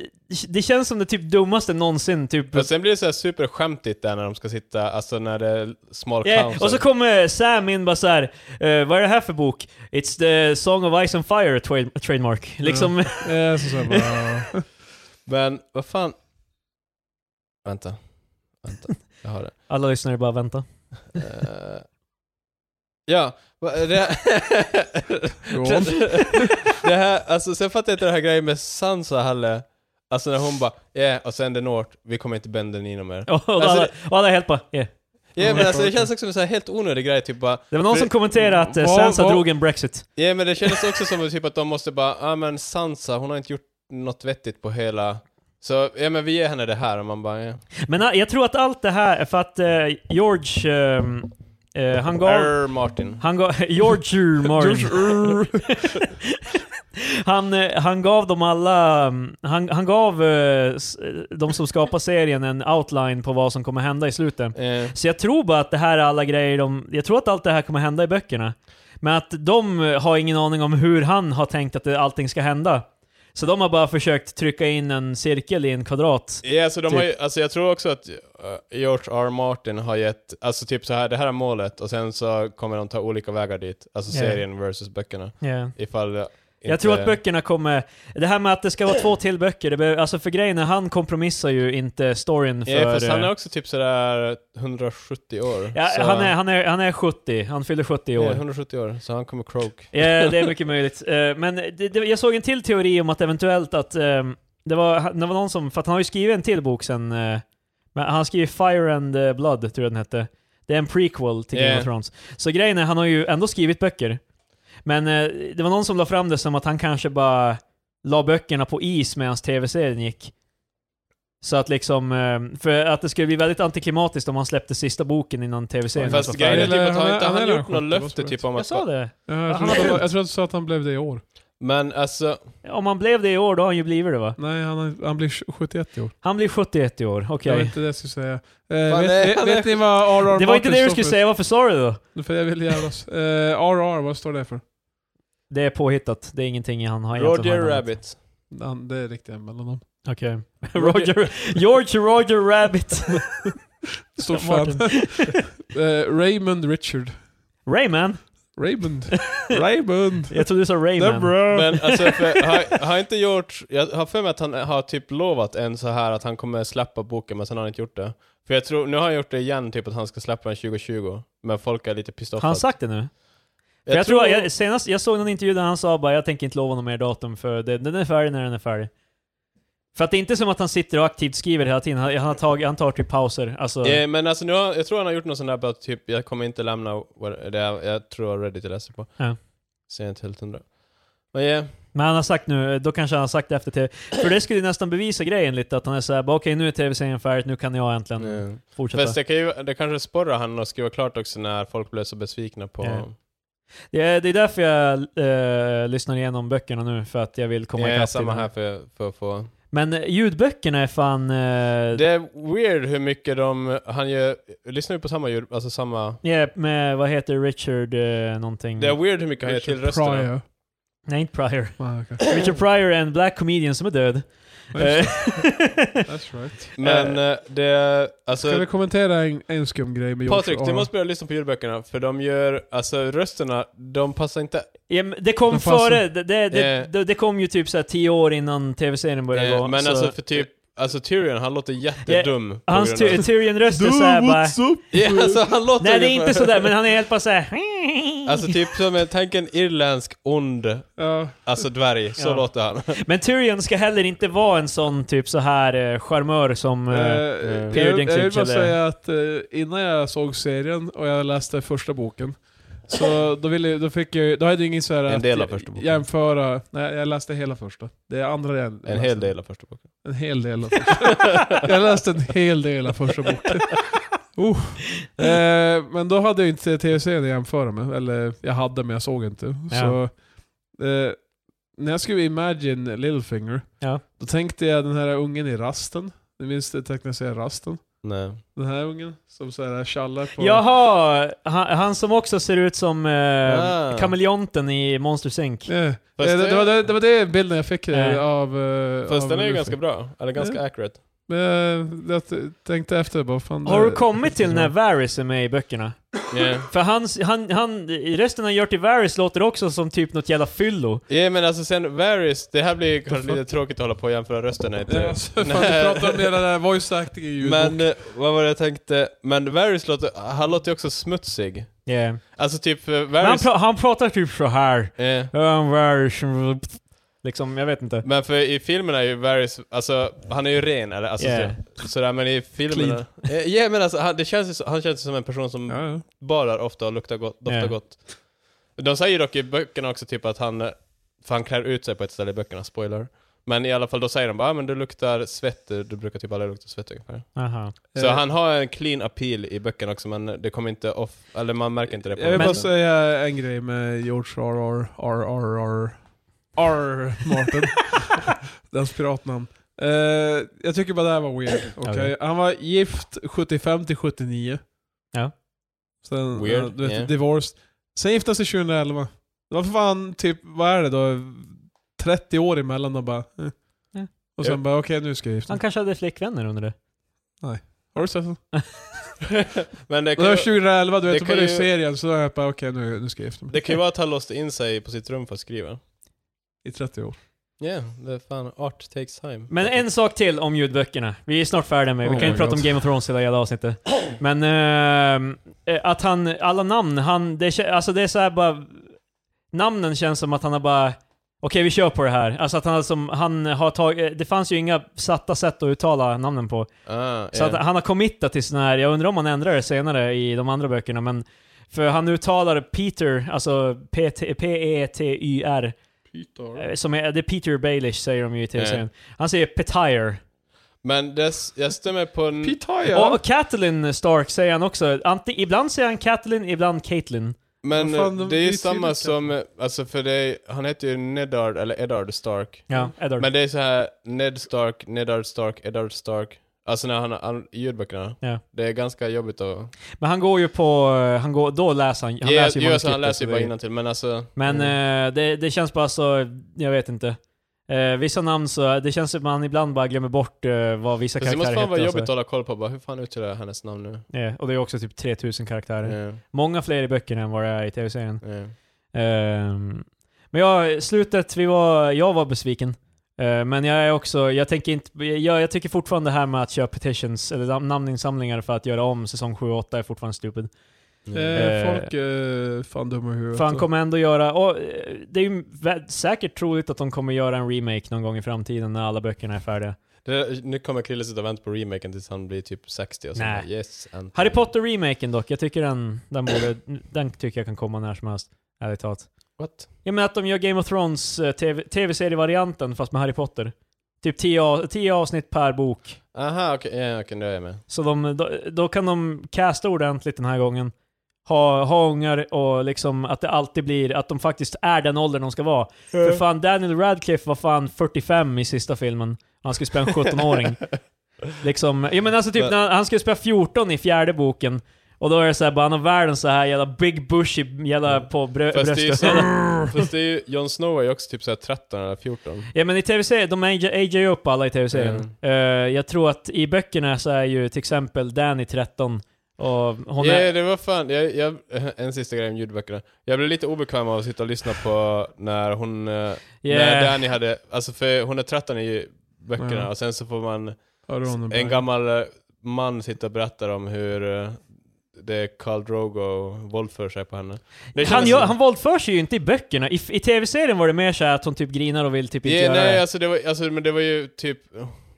A: Det känns som det typ dummaste någonsin, typ.
C: Och sen blir det så här superskämtigt där när de ska sitta, alltså när det är small
A: Yeah.
C: council.
A: Eh, Och så kommer Sam in bara såhär, eh, vad är det här för bok? It's the Song of Ice and Fire tra- trademark.
C: Mm.
A: Liksom,
B: Eh, så sen bara,
C: Men vad fan... Vänta. Vänta, jag har det.
A: alla lyssnare bara vänta.
C: Eh, ja, va- det,
B: Go on.
C: det, det här... Alltså sen fattar jag inte den här grejen med Sansa heller. Alltså när hon bara yeah, och sen the North, vi kommer inte bända den inom er.
A: Och, och,
C: Alltså,
A: alla, och alla är helt bara, yeah.
C: Ja men alltså det känns också som en så här helt onödig grej, typ bara
A: Det var någon
C: För-
A: som kommenterade att eh,
B: Vad-
A: Sansa
B: vad-
A: drog en Brexit.
C: Ja men det kändes också som typ att de måste bara, ja ah, men Sansa, hon har inte gjort något vettigt på hela... Så, ja men vi ger henne det här och man bara, ja.
A: Men eh, jag tror att allt det här, är för att eh, George, ehm, eh, han gav...
C: Err, Martin.
A: Han gav... George R. Martin. han, eh, han gav dem alla... mm, Han, han gav eh, s- eh, de som skapar serien en outline på vad som kommer hända i slutet.
C: Eh,
A: Så jag tror bara att det här är alla grejer de... Jag tror att allt det här kommer hända i böckerna. Men att de eh, har ingen aning om hur han har tänkt att det, allting ska hända. Så de har bara försökt trycka in en cirkel i en kvadrat.
C: Ja, så de
A: Typ.
C: har ju, alltså jag tror också att eh, George R. Martin har gett, alltså typ så här, det här är målet och sen så kommer de ta olika vägar dit. Alltså
A: Ja.
C: serien versus böckerna.
A: Yeah.
C: Ifall eh, inte...
A: Jag tror att böckerna kommer... Det här med att det ska vara två till böcker, det behöver, alltså för grejen är han kompromissar ju inte storyn för...
C: Ja, fast han
A: eh,
C: är också typ sådär 170 år.
A: Ja,
C: så,
A: han, är, han, är, han är 70, han fyller 70 i
C: Ja,
A: år.
C: 170 år, så han kommer croak.
A: Ja, det är mycket möjligt. Eh, Men det, det, jag såg en till teori om att eventuellt att ehm, det var, det var någon som, för att han har ju skrivit en till bok sen, eh, men han skriver Fire and eh, Blood, tror jag den hette. Det är en prequel till Game
C: Ja.
A: of Thrones. Så grejen är, han har ju ändå skrivit böcker. Men eh, det var någon som la fram det som att han kanske bara la böckerna på is medan tv-serien gick. Så att liksom, eh, för att det skulle bli väldigt antiklimatiskt om han släppte sista boken innan tv-serien
C: Fast
A: var
C: grejen är
A: färdig.
C: typ att
B: Han
C: har
B: är-
C: inte
B: han är
C: han
B: redan
C: gjort
B: 70,
C: något
B: vad
C: löfte
B: tror
C: typ
B: du?
C: om
A: Jag
C: att...
A: sa det.
B: ja, jag,
A: Han
B: tror att,
A: har-
B: han- jag tror att du sa att han blev det i år.
C: Men alltså,
A: Om han blev det i år, då har han ju blivit det va?
B: Nej, han, har- han blir 71 i år.
A: Han blir 71 i år, okej.
B: Jag vet inte det jag skulle säga. Eh,
C: Fan,
B: vet,
C: nej,
B: vet,
C: han
B: vet ni vad RR
A: Det var inte det du skulle säga, varför sa du det då?
B: För jag vill jävlas. Eh, RR, vad står det för?
A: Det är påhittat, det är ingenting han har egentligen
C: Roger
A: handlat.
C: Rabbit.
B: Han, det är riktiga mellannamn.
A: Okej. Roger, George Roger Rabbit.
B: Stort fan.
A: Martin.
B: Eh, Raymond Richard.
A: Rayman?
B: Raymond. Raymond.
A: Jag trodde du sa Rayman.
B: Debra.
C: Men alltså, för, har, har inte gjort... Jag har för mig att han har typ lovat en så här att han kommer släppa boken, men sen har han inte gjort det. För jag tror, nu har han gjort det igen, typ att han ska släppa den 2020. Men folk är lite pissed off.
A: Har han
C: att-
A: sagt det nu? Jag, jag, tror, jag, senast, jag såg någon intervju där han sa bara jag tänker inte lova något mer datum för det, den är färdig när den är färdig. För att det är inte som att han sitter och aktivt skriver hela tiden, han, han, har tag, han tar typ pauser. Alltså,
C: Eh, men alltså nu har, jag tror han har gjort någon sån där bara typ, jag kommer inte lämna what, det jag, jag tror jag Reddit jag läser på.
A: Ja.
C: Så jag är inte helt hundra. Men yeah,
A: Men han har sagt nu, eh, då kanske han har sagt det efter TV. För det skulle ju nästan bevisa grejen lite, att han är såhär bara okej nu är tv-serien färdig, nu kan jag äntligen
C: eh,
A: fortsätta.
C: fast det, kan ju, det kanske sporrar han att skriva klart också när folk blev så besvikna på...
A: Ja. Det är, det är därför jag eh, lyssnar igenom böckerna nu, för att jag vill komma
C: Eh,
A: ikapp till
C: samma
A: dem.
C: här för, för att få...
A: Men eh, ljudböckerna är fan... Eh,
C: Det är weird hur mycket de, han gör, lyssnar ju på samma ljud, alltså samma...
A: ja, med, vad heter Richard eh, någonting?
C: Det är weird hur mycket han gör till rösterna.
B: Pryor.
A: Nej, inte Pryor.
B: Ah, okay.
A: Richard Pryor är en black comedian som är död.
B: That's-
A: Eh,
B: That's right.
C: Men eh, det,
B: Ska
C: alltså...
B: vi kommentera en, en skum grej med Ah. George
C: Patrik, du
B: Orwell?
C: måste börja lyssna på ljudböckerna, för de gör, alltså rösterna, de passar inte
A: ja, men det kom
B: Men fan,
A: före, det, det,
C: Eh.
A: det, det, det kom ju typ såhär tio år innan tv-serien började
C: Eh,
A: gå.
C: men
A: så-
C: alltså för typ, alltså Tyrion han låter jättedum. på
A: Hans
C: grund av-
A: Ty- Tyrion-röst är
B: Du,
A: såhär bara...
B: what's up?
C: Ja, alltså, han låter
A: Nej det är
C: ungefär-
A: inte sådär, men han är helt bara såhär...
C: Alltså typ som en, tänk en irländsk ond,
B: Ja, eh,
C: alltså dvärg, så
A: Ja.
C: låter han.
A: Men Tyrion ska heller inte vara en sån typ så här eh, charmör som...
B: eh,
A: Eh,
B: jag,
A: Peter
B: jag vill
A: Dinklage
B: bara
A: eller-
B: säga att eh, innan jag såg serien och jag läste första boken, så då, ville, då fick jag då hade jag ingen så här
C: En del
B: att
C: av första boken.
B: jämföra, nej jag läste hela första. Det är andra jag läste.
C: En hel del av första boken.
B: En hel del av första. jag läste en hel del av första boken. Uh. Eh, men då hade jag inte tv-serien att jämföra med. Eller jag hade men jag såg inte. Så, eh, när jag skrev Imagine Littlefinger,
A: Ja.
B: då tänkte jag den här ungen i rasten. Ni minns det tecknade serien Rasten?
C: Nej.
B: Den här ungen som så här tjallar på...
A: jaha! Han, han som också ser ut som
C: Ah.
A: eh, kameleonten i Monster Inc.
B: Eh,
C: Fast
B: eh, det, det, var,
C: det-
B: det, det var det bilden jag fick eh,
A: Eh.
B: av... Eh,
C: Fast
B: av
C: den är
B: Littlefinger.
C: ju ganska bra, eller ganska
B: Ja.
C: accurate.
B: Men jag tänkte efter bara, fan,
A: Har du
B: det-
A: kommit till när Varys är med i böckerna?
C: Yeah.
A: För han, han, han, i resten han gör till Varys låter också som typ något jävla fyllo.
C: Ja, men alltså sen Varys, det här blir ju kanske lite tråkigt att hålla på och jämföra rösterna. inte?
B: Ja, alltså, fan,
C: Nej.
B: du pratar om hela den här voice acting i ljudbok.
C: Men eh, vad var det jag tänkte, men Varys låter, han låter ju också smutsig.
A: Yeah.
C: Alltså typ eh,
A: Men han,
C: Varys...
A: pra, han pratar typ så här.
C: eh.
A: "I'm Varys." Liksom, jag vet inte.
C: Men för i filmen är ju Varys, alltså han är ju ren eller alltså
A: Yeah.
C: så, sådär men i filmen... Ja men alltså han, det känns ju, så- han känns ju som en person som
B: ja, ja.
C: badar ofta och luktar gott, doftar
A: Yeah.
C: gott. De säger ju dock i böckerna också typ att han, eh, för han klär ut sig på ett ställe i böckerna, spoiler. Men i alla fall då säger de bara ah, men du luktar svett, du du brukar typ aldrig lukta svett ungefär.
A: Aha.
C: Så
B: Eh,
C: han har en clean appeal i böckerna också men det kommer inte off, eller man märker inte det på
B: Jag vill
A: Men-
B: bara säga en grej med George R.R. R.R.R. R. Martin. Dens piratnamn. Eh, jag tycker bara det här var weird. Okej.
A: Okej.
B: Han var gift 75 till 79.
A: Ja.
B: Sen,
C: Weird,
B: eh, du vet,
C: yeah.
B: divorced. Sen gifte han sig 2011. Det var för fan typ, vad är det då? 30 år emellan och bara... Eh.
A: Ja.
B: Och sen
C: Ja.
B: bara okej nu ska jag gifta
A: Han
B: mig.
A: kanske hade flickvänner under det.
B: Har du sett den?
C: men det
B: Det
C: kan,
B: var
C: ju,
B: 2011, du
C: det
B: vet, då
C: kan
B: började
C: ju-
B: serien så då är jag bara okej nu, nu ska jag gifta mig.
C: det kan ju vara att han låste in sig på sitt rum för att skriva.
B: I 30 år.
C: Ja, det är fan art takes time.
A: Men en sak till om ljudböckerna. Vi är snart färdiga med, vi
B: Oh
A: kan
B: my
A: inte prata om
B: God.
A: Game of Thrones hela jävla avsnittet. Men ehm, eh, att han, alla namn, han, det, kä- alltså det är så här bara... Namnen känns som att han har bara, okej vi kör på det här. Alltså att han, har som, han har tagit, det fanns ju inga satta sätt att uttala namnen på.
C: Ah,
A: Så
C: ja.
B: Eh.
A: att han har committat till sån här, jag undrar om han ändrar det senare i de andra böckerna, men... För han uttalar Peter, alltså P-T- P-E-T-Y-R, eh, som är, det är Peter Baelish säger de ju i tv-serien.
B: Eh.
A: Han säger Petire.
C: Men det, jag stämmer på... en-
A: Och,
B: Pitaya!
A: och Catelyn Stark säger han också. Anti, ibland säger han Catelyn, ibland Caitlyn.
C: Men
B: Vad fan, de-
C: det
B: det
C: är
B: är
C: ju
B: ju
C: samma
B: tydligt
C: som, alltså för det, är- han heter ju Nedard, eller Eddard Stark.
A: Ja, Eddard.
C: Men det är så här Ned Stark, Nedard Stark, Eddard Stark. Alltså när han, han i ljudböckerna.
A: Ja.
C: Det är ganska jobbigt att...
A: Men han går ju på... eh, Han går, då läser han, han
C: Ja,
A: läser ju
C: jo, alltså, Mm.
A: manuskriptet,
C: han läser ju
A: så
C: bara
A: det-
C: innantill, men alltså...
A: Men
C: mm.
A: eh, det, det känns bara så, jag vet inte. Eh, vissa namn så, det känns som man ibland bara glömmer bort eh, vad vissa
C: Fast det
A: karaktärer
C: måste fan vara
A: hette
C: jobbigt att
A: alltså.
C: hålla koll på. Bara, hur fan uttalar jag hennes namn nu?
A: Eh, Och det är också typ 3000 karaktärer.
C: Ja,
A: Många fler i böckerna än vad det är i tv-serien.
C: ja.
A: Ehm, men ja, slutet, vi var, jag var besviken. Eh, men jag är också, jag tänker inte, jag, jag tycker fortfarande det här med att köra petitions, eller nam- namninsamlingar för att göra om säsong 7 och 8 är fortfarande stupid.
C: Mm.
B: Eh,
A: Eh,
B: folk är fan dumma i huvudet.
A: För han kommer ändå göra, och eh, det är ju vä- säkert troligt att de kommer göra en remake någon gång i framtiden när alla böckerna är färdiga.
C: Det, nu kommer Krille sitta och vänta på remaken tills han blir typ 60 och så
A: Nej.
C: bara, yes, Anthony.
A: Harry Potter-remaken dock, jag tycker den, den borde, den tycker jag kan komma när som helst. Ärligt talat.
C: What?
A: Ja men att de gör Game of Thrones eh, TV- tv-serievarianten fast med Harry Potter. Typ 10 a- 10 avsnitt per bok.
C: Aha, okej, ja, okej, nu är jag med.
A: Så de, då, då kan de casta ordentligt den här gången. Ha, ha ungar och liksom att det alltid blir att de faktiskt är den åldern de ska vara. För fan, Daniel Radcliffe var fan 45 i sista filmen. Han skulle spela en 17-åring. liksom, ja men alltså typ,
C: Men-
A: när han, han skulle spela 14 i fjärde boken. Och då är det såhär, bara han har världens så här jävla big bushy jävla på brö-
C: Mm. Fast det är ju
A: bröstet.
C: så- Fast det är ju, Jon Snow är ju också typ såhär 13 eller 14.
A: Ja men i tv-serien, de AJ, AJ upp alla i tv-serien.
C: Mm.
A: Eh, jag tror att i böckerna så är ju till exempel Danny 13 och hon
C: Ja,
A: är...
C: det var fan, jag, jag, en sista grej om ljudböckerna. Jag blev lite obekväm av att sitta och lyssna på när hon, eh, när
A: Yeah.
C: Danny hade, alltså för hon är 13 i böckerna
B: Ja.
C: och sen så får man
B: Hör du honom?
C: en gammal eh, man sitta och berätta om hur eh, det är Khal Drogo våldför sig på henne. Det
A: han,
C: kändes-
A: gör, han våldför sig ju inte i böckerna. I, i tv-serien var det mer så här att hon typ grinar och vill typ inte
C: Ja,
A: göra
C: nej,
A: det.
C: alltså det var, alltså, men det var ju typ...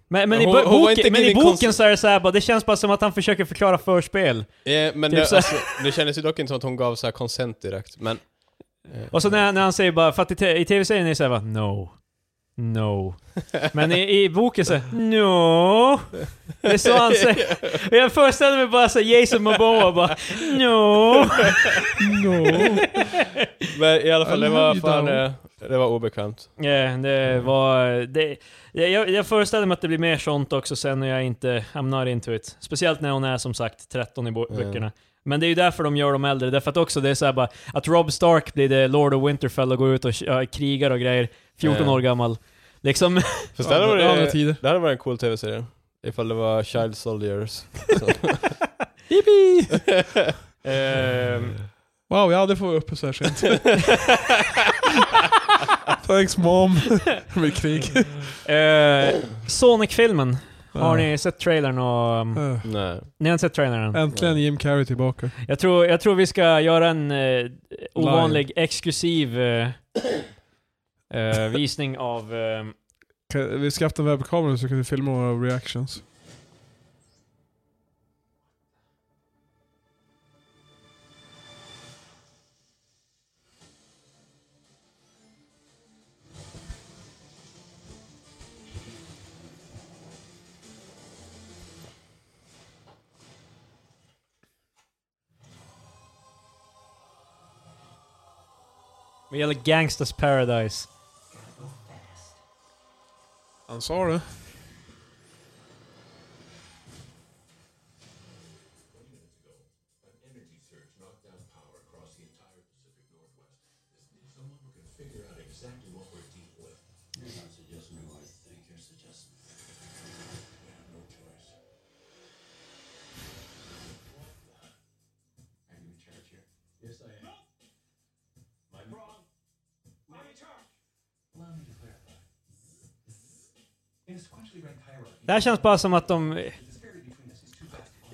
A: Men, men, i,
C: Hon-
A: bo-
C: hon var
A: boken,
C: inte
A: men i
C: riktigt
A: boken
C: konst-
A: så är det så här, bara, det känns bara som att han försöker förklara förspel.
C: Ja, men
A: Typ
C: det,
A: så-
C: alltså, det kändes ju dock inte som att hon gav så här consent direkt, men... eh,
A: Och så när, när han säger bara, för att i, te- i tv-serien är det så här bara, no. No. Men i, i boken så, no. Det är så han säger. Och Jag föreställer mig bara så här, Jason Momoa bara, no.
B: No.
C: Men i alla fall,
B: I
C: det var
B: love you,
C: fan...
B: Dao.
C: eh, Det var obekvämt.
A: Ja, Eh, det var... Det, jag, jag föreställer mig att det blir mer sånt också sen när jag inte... I'm not into it. Speciellt när hon är som sagt 13 i bo-
C: Mm.
A: böckerna. Men det är ju därför de gör dem äldre, därför att också det är såhär bara... Att Rob Stark blir det Lord of Winterfell och går ut och ja, krigar och grejer, 14
C: Ja.
A: år gammal. Liksom...
C: Fast där var
B: Andra
C: det,
B: tider.
C: det hade varit en cool tv-serie. Ifall det var Child Soldiers.
A: ehm,
B: Wow, jag hade fått uppe så här sent. Thanks mom. Det blir krig.
A: eh, Sonic-filmen. Har ni sett trailern och... Um,
B: Eh,
C: Nej.
A: ni har inte sett trailern än?
B: Äntligen Jim Carrey tillbaka.
A: Jag tror, jag tror vi ska göra en eh, ovanlig exklusiv eh, eh, visning av... Eh,
B: Kan- Vi ska haft en webbkamera så kan vi filma våra reactions.
A: vad gäller Gangsters Paradise.
B: Han sa det.
A: Det här känns bara som att de...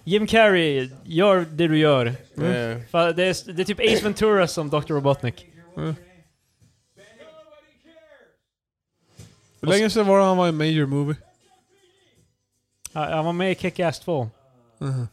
A: Jim Carrey, gör det du gör.
C: Eh,
A: Fan, Det är, det är typ Ace Ventura som Dr. Robotnik.
B: Hur länge sedan var det han var i en major movie?
A: Ja, Han var med i Kick-Ass 2.
C: Uh-huh.
B: Mhm.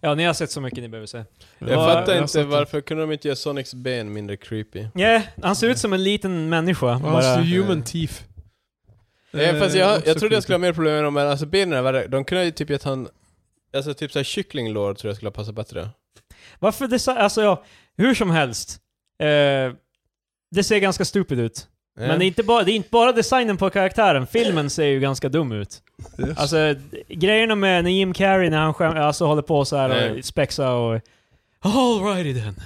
A: Ja, ni har sett så mycket ni behöver se.
C: jag fattar
B: har
C: inte
B: sett
C: varför kunde de inte göra Sonics ben mindre
B: Eh,
C: creepy?
A: Yeah, han ser ut som en liten människa.
B: det. Hans
A: Bara.
B: human teeth.
C: Eh, fast jag,
B: också
C: jag trodde jag skulle
B: creepy.
C: ha mer problem med dem, men alltså benen är värre. De kunde ju typ gett han... Alltså typ såhär kycklinglår tror jag skulle ha passat bättre.
A: Varför det... Alltså ja, hur som helst. Eh, det ser ganska stupid ut. Men det är, inte bara, det är inte bara designen på karaktären, filmen ser ju ganska dum ut.
B: Yes.
A: Alltså d- grejerna med när Jim Carrey när han skäm, alltså, håller på så här
C: Nej.
A: och spexar och... Alrighty then.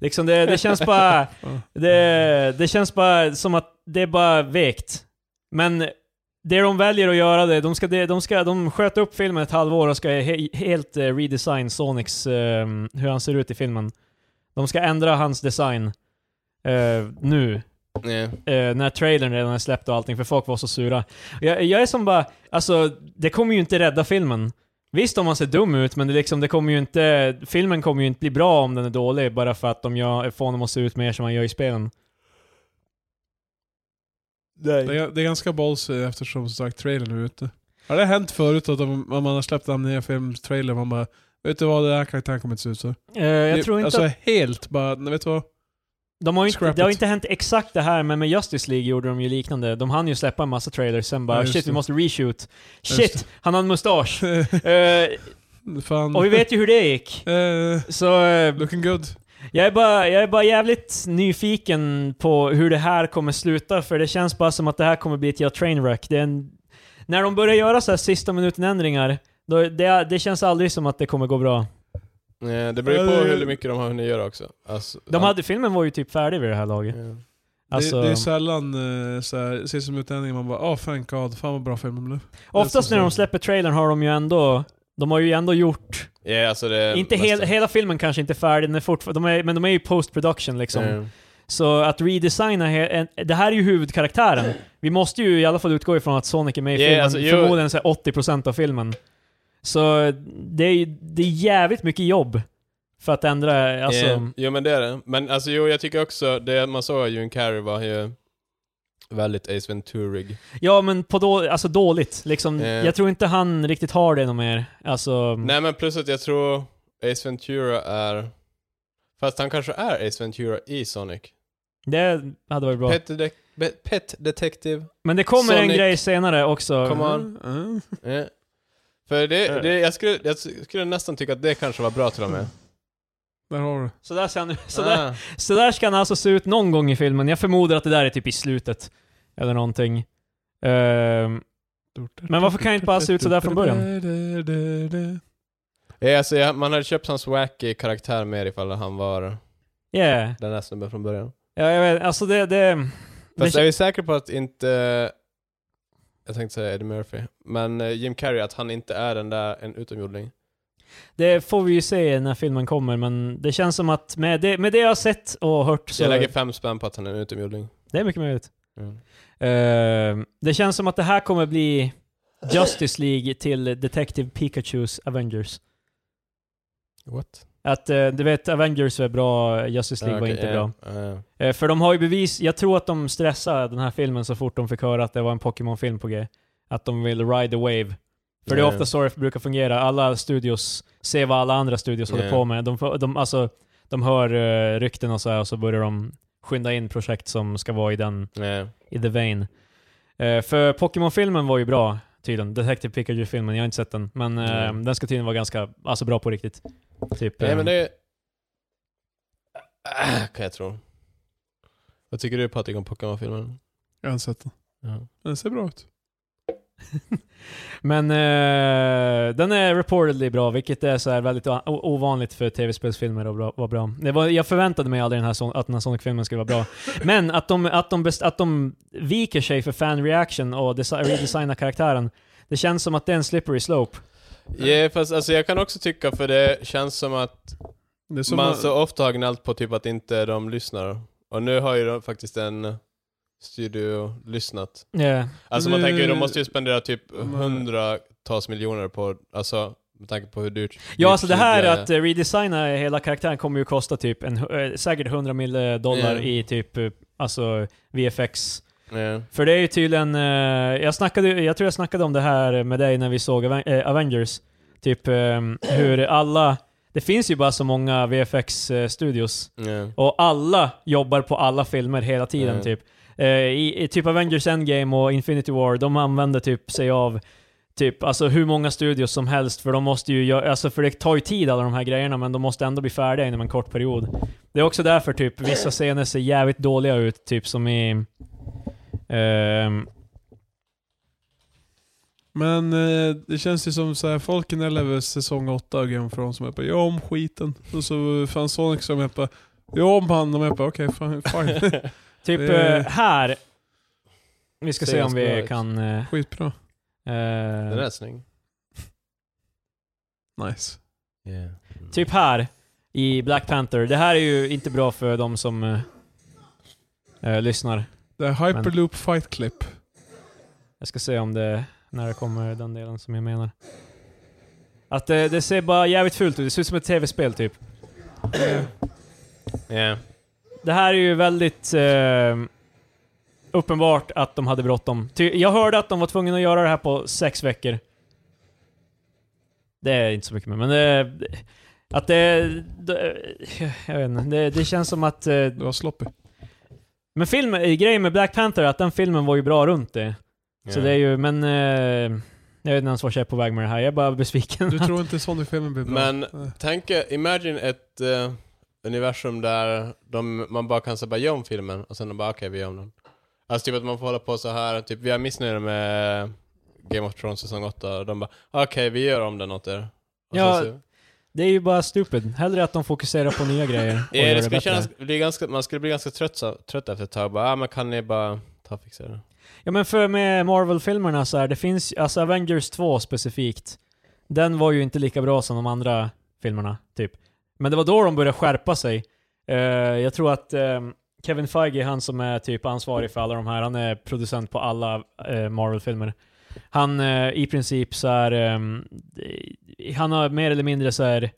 A: Liksom det, det känns bara... det, det känns bara som att det är bara vekt. Men det de väljer att göra det, de ska, de, de ska de sköt upp filmen ett halvår och ska he, helt eh, redesign Sonics, eh, hur han ser ut i filmen. De ska ändra hans design eh, nu
C: Nej.
A: eh, när trailern redan är släppt och allting, för folk var så sura. Jag, jag är som bara, alltså det kommer ju inte rädda filmen. Visst om man ser dum ut, men det, liksom, det kommer ju inte, filmen kommer ju inte bli bra om den är dålig, bara för att de gör, får honom att se ut mer som han gör i spelen.
B: Det är, det är ganska ballsy eftersom som sagt trailern är ute. Har det hänt förut att om om man har släppt den nya filmens trailer man bara Vet du vad, den här karaktären kommer inte se ut så.
A: Eh, jag
B: Det-
A: tror inte
B: alltså
A: att,
B: helt bara, nej, vet du vad?
A: de har ju inte,
B: scrap
A: det har
B: it.
A: inte hänt exakt det här, men med Justice League gjorde de ju liknande. De hann ju släppa en massa trailers, sen bara
B: Ja, just
A: shit vi
B: det.
A: måste reshoot.
B: just
A: Shit, han har en mustasch. Eh,
B: Fan.
A: och vi vet ju hur det gick.
B: Eh,
A: Så eh,
B: looking good.
A: Jag är, bara, jag är bara jävligt nyfiken på hur det här kommer sluta, för det känns bara som att det här kommer bli ett jävla trainwreck. Det är en, när de börjar göra så här sista minuten-ändringar, då, det, det känns aldrig som att det kommer gå bra.
C: Nej, det beror ju på hur mycket de har hunnit göra också. Alltså,
A: De hade, filmen var ju typ färdig vid det här laget.
C: Ja.
A: Alltså,
B: Det, det är sällan eh, så här, ses som utlänning man bara oh thank god, fan vad bra filmen blev.
A: oftast
B: så-
A: när de släpper trailern har de ju ändå de har ju ändå gjort,
C: Ja, alltså det är
A: inte hel,
C: mesta.
A: hela filmen kanske inte är färdig, den är fortfar- de är, men de är ju post production liksom.
C: Ja.
A: Så att redesigna, he- en- det här är ju huvudkaraktären. Vi måste ju i alla fall utgå ifrån att Sonic är med i
C: Yeah,
A: filmen,
C: alltså, jag-
A: förmodligen så här 80% av filmen. Så det är, ju- det är jävligt mycket jobb för att ändra, alltså...
C: Eh, Jo men det är det. Men alltså jo, jag tycker också, det man såg av June Carrey var ju väldigt Ace Venturig.
A: Ja men på då, alltså dåligt, liksom.
C: Eh.
A: Jag tror inte han riktigt har det något mer. Alltså...
C: Nej men plus att jag tror Ace Ventura är... Fast han kanske är Ace Ventura i Sonic.
A: Det hade varit bra.
C: Pet, de- Be- pet Detective.
A: men det kommer en
C: Sonic-
A: grej senare också.
C: Come on.
B: Mm.
C: Eh. För det, det jag, skulle, jag skulle nästan tycka att det kanske var bra till och med.
B: Där har du.
A: Så där, ser han, så, där,
C: Ah.
A: så där ska han alltså se ut någon gång i filmen. Jag förmodar att det där är typ i slutet. Eller någonting. Ehm, Men varför kan jag inte bara se ut sådär från början?
C: Ja, alltså, jag, man hade köpt hans wacky karaktär mer ifall han var
A: Yeah.
C: den där snubben från början.
A: Ja, jag vet. Alltså det... det,
C: Fast
A: det
C: är vi säkra på att inte... Jag tänkte säga Eddie Murphy. Men eh, Jim Carrey, att han inte är den där en utomjording.
A: det får vi ju se när filmen kommer, men det känns som att med det, med det jag har sett och hört
C: Så
A: så...
C: jag lägger fem spänn på att han är en utomjording.
A: Det är mycket möjligt.
C: Mm.
A: Eh, det känns som att det här kommer bli Justice League till Detective Pikachu's Avengers.
C: What? Ah,
A: Att eh, du vet, Avengers är bra, Justice League var inte bra. Eh, för de har ju bevis, jag tror att de stressade den här filmen så fort de fick höra att det var en Pokémon-film på G. Att de vill ride the wave. För det är ofta så det brukar fungera. Alla studios ser vad alla andra studios håller
C: Ja.
A: på med. De, får- de, alltså, de hör eh, rykten och så här och så börjar de skynda in projekt som ska vara i den,
C: Nej.
A: i the vein. Eh, för Pokémon-filmen var ju bra tydligen. Detective Pikachu-filmen, jag har inte sett den. Men eh,
C: Mm.
A: den ska tydligen vara ganska, alltså bra på riktigt. Typ,
C: Nej
A: eh,
C: men det... Ah, Kan jag tro. Vad tycker du Patrik om Pokémon-filmen?
B: Jag har inte sett den.
C: Ja.
B: Den ser bra ut.
A: Men eh, den är reportedly bra, vilket är så här väldigt o- ovanligt för tv-spelsfilmer att bra- vara bra. Det var, jag förväntade mig aldrig den här, Son- att den här Sonic-filmen skulle vara bra. Men att de, att, de best, att de viker sig för fan-reaction och desi- redesignar karaktären, det känns som att det är en slippery slope.
C: Ja, fast alltså, jag kan också tycka för det känns som att
B: Det är som
C: man
A: alltså-
B: att-
C: så ofta har gnällt på typ att inte de lyssnar. Och nu har ju de faktiskt en studio lyssnat.
A: Yeah.
C: Alltså man tänker ju, de
B: Nu-
C: måste ju spendera typ
B: Men-
C: hundratals miljoner på, alltså med tanke på hur dyrt.
A: Ja, alltså det här
C: dyrt
A: att eh, redesigna hela karaktären kommer ju kosta typ en, hu- eh, säkert 100 mille dollar
C: Ja.
A: i typ eh, alltså VFX.
C: Ja.
A: För det är ju tydligen, eh, jag, snackade, jag tror jag snackade om det här med dig när vi såg Aven- eh, Avengers. Typ eh, hur alla, det finns ju bara så många eh, VFX-studios.
C: Ja.
A: Och alla jobbar på alla filmer hela tiden
C: Mm.
A: typ. Eh, i, I typ Avengers Endgame och Infinity War, de använder typ sig av typ alltså hur många studios som helst för de måste ju göra, alltså för det tar ju tid alla de här grejerna men de måste ändå bli färdiga inom en kort period. Det är också därför typ vissa scener ser jävligt dåliga ut, typ som i Ehm,
B: Men eh, det känns ju som så här, folk gnäller över säsong 8 av Game of Thrones som är på ja om skiten. Och så fan Sonic som är på ja om han. De är på okej fine, fine.
A: typ
B: Det-
A: eh, här. Vi ska
C: Ser
A: se om
C: ganska bra
A: vi
C: ut.
A: kan... eh,
B: Skitbra.
A: eh,
C: Den är snygg.
B: Nice.
A: Typ här i Black Panther. Det här är ju inte bra för de som eh, eh, lyssnar.
B: Det är hyperloop fight clip.
A: Jag ska se om det, när det kommer den delen som jag menar. Att det, det ser bara jävligt fult ut. Det ser ut som ett tv-spel typ.
C: Yeah.
A: Det här är ju väldigt eh, uppenbart att de hade bråttom. Ty- Jag hörde att de var tvungna att göra det här på sex veckor. Det är inte så mycket med, men det... Att det... det jag vet inte. Det, det känns som att... eh,
B: Det var sloppy.
A: Men film, eh, grejen med Black Panther är att den filmen var ju bra runt det. Så det är ju, men... Eh, jag vet inte ens vart jag är på väg med det här. Jag är bara besviken.
B: Du tror inte Sonic-filmen blir bra?
C: Men-
B: Nej.
C: Tänk, eh, imagine ett eh, universum där de, man bara kan säga bara gör om filmen och sen de bara okej vi gör om den. Alltså typ att man får hålla på så här, typ vi är missnöjda med Game of Thrones säsong 8 och de bara okej vi gör om den åt er. Och
A: Ja,
C: sen så,
A: Det är ju bara stupid. Hellre att de fokuserar på nya grejer och
C: ja,
A: gör
C: det
A: det
C: skulle kännas,
A: bättre.
C: bli ganska, man skulle bli ganska trött, så- trött efter ett tag. Bara, ah, men kan ni bara ta och fixa det?
A: Ja men för med Marvel-filmerna så här, det finns, alltså Avengers 2 specifikt, den var ju inte lika bra som de andra filmerna, typ. Men det var då de började skärpa sig. Eh, jag tror att eh, Kevin Feige, han som är typ ansvarig för alla de här, han är producent på alla eh, Marvel-filmer. Han eh, i princip så här, ehm, han har mer eller mindre så här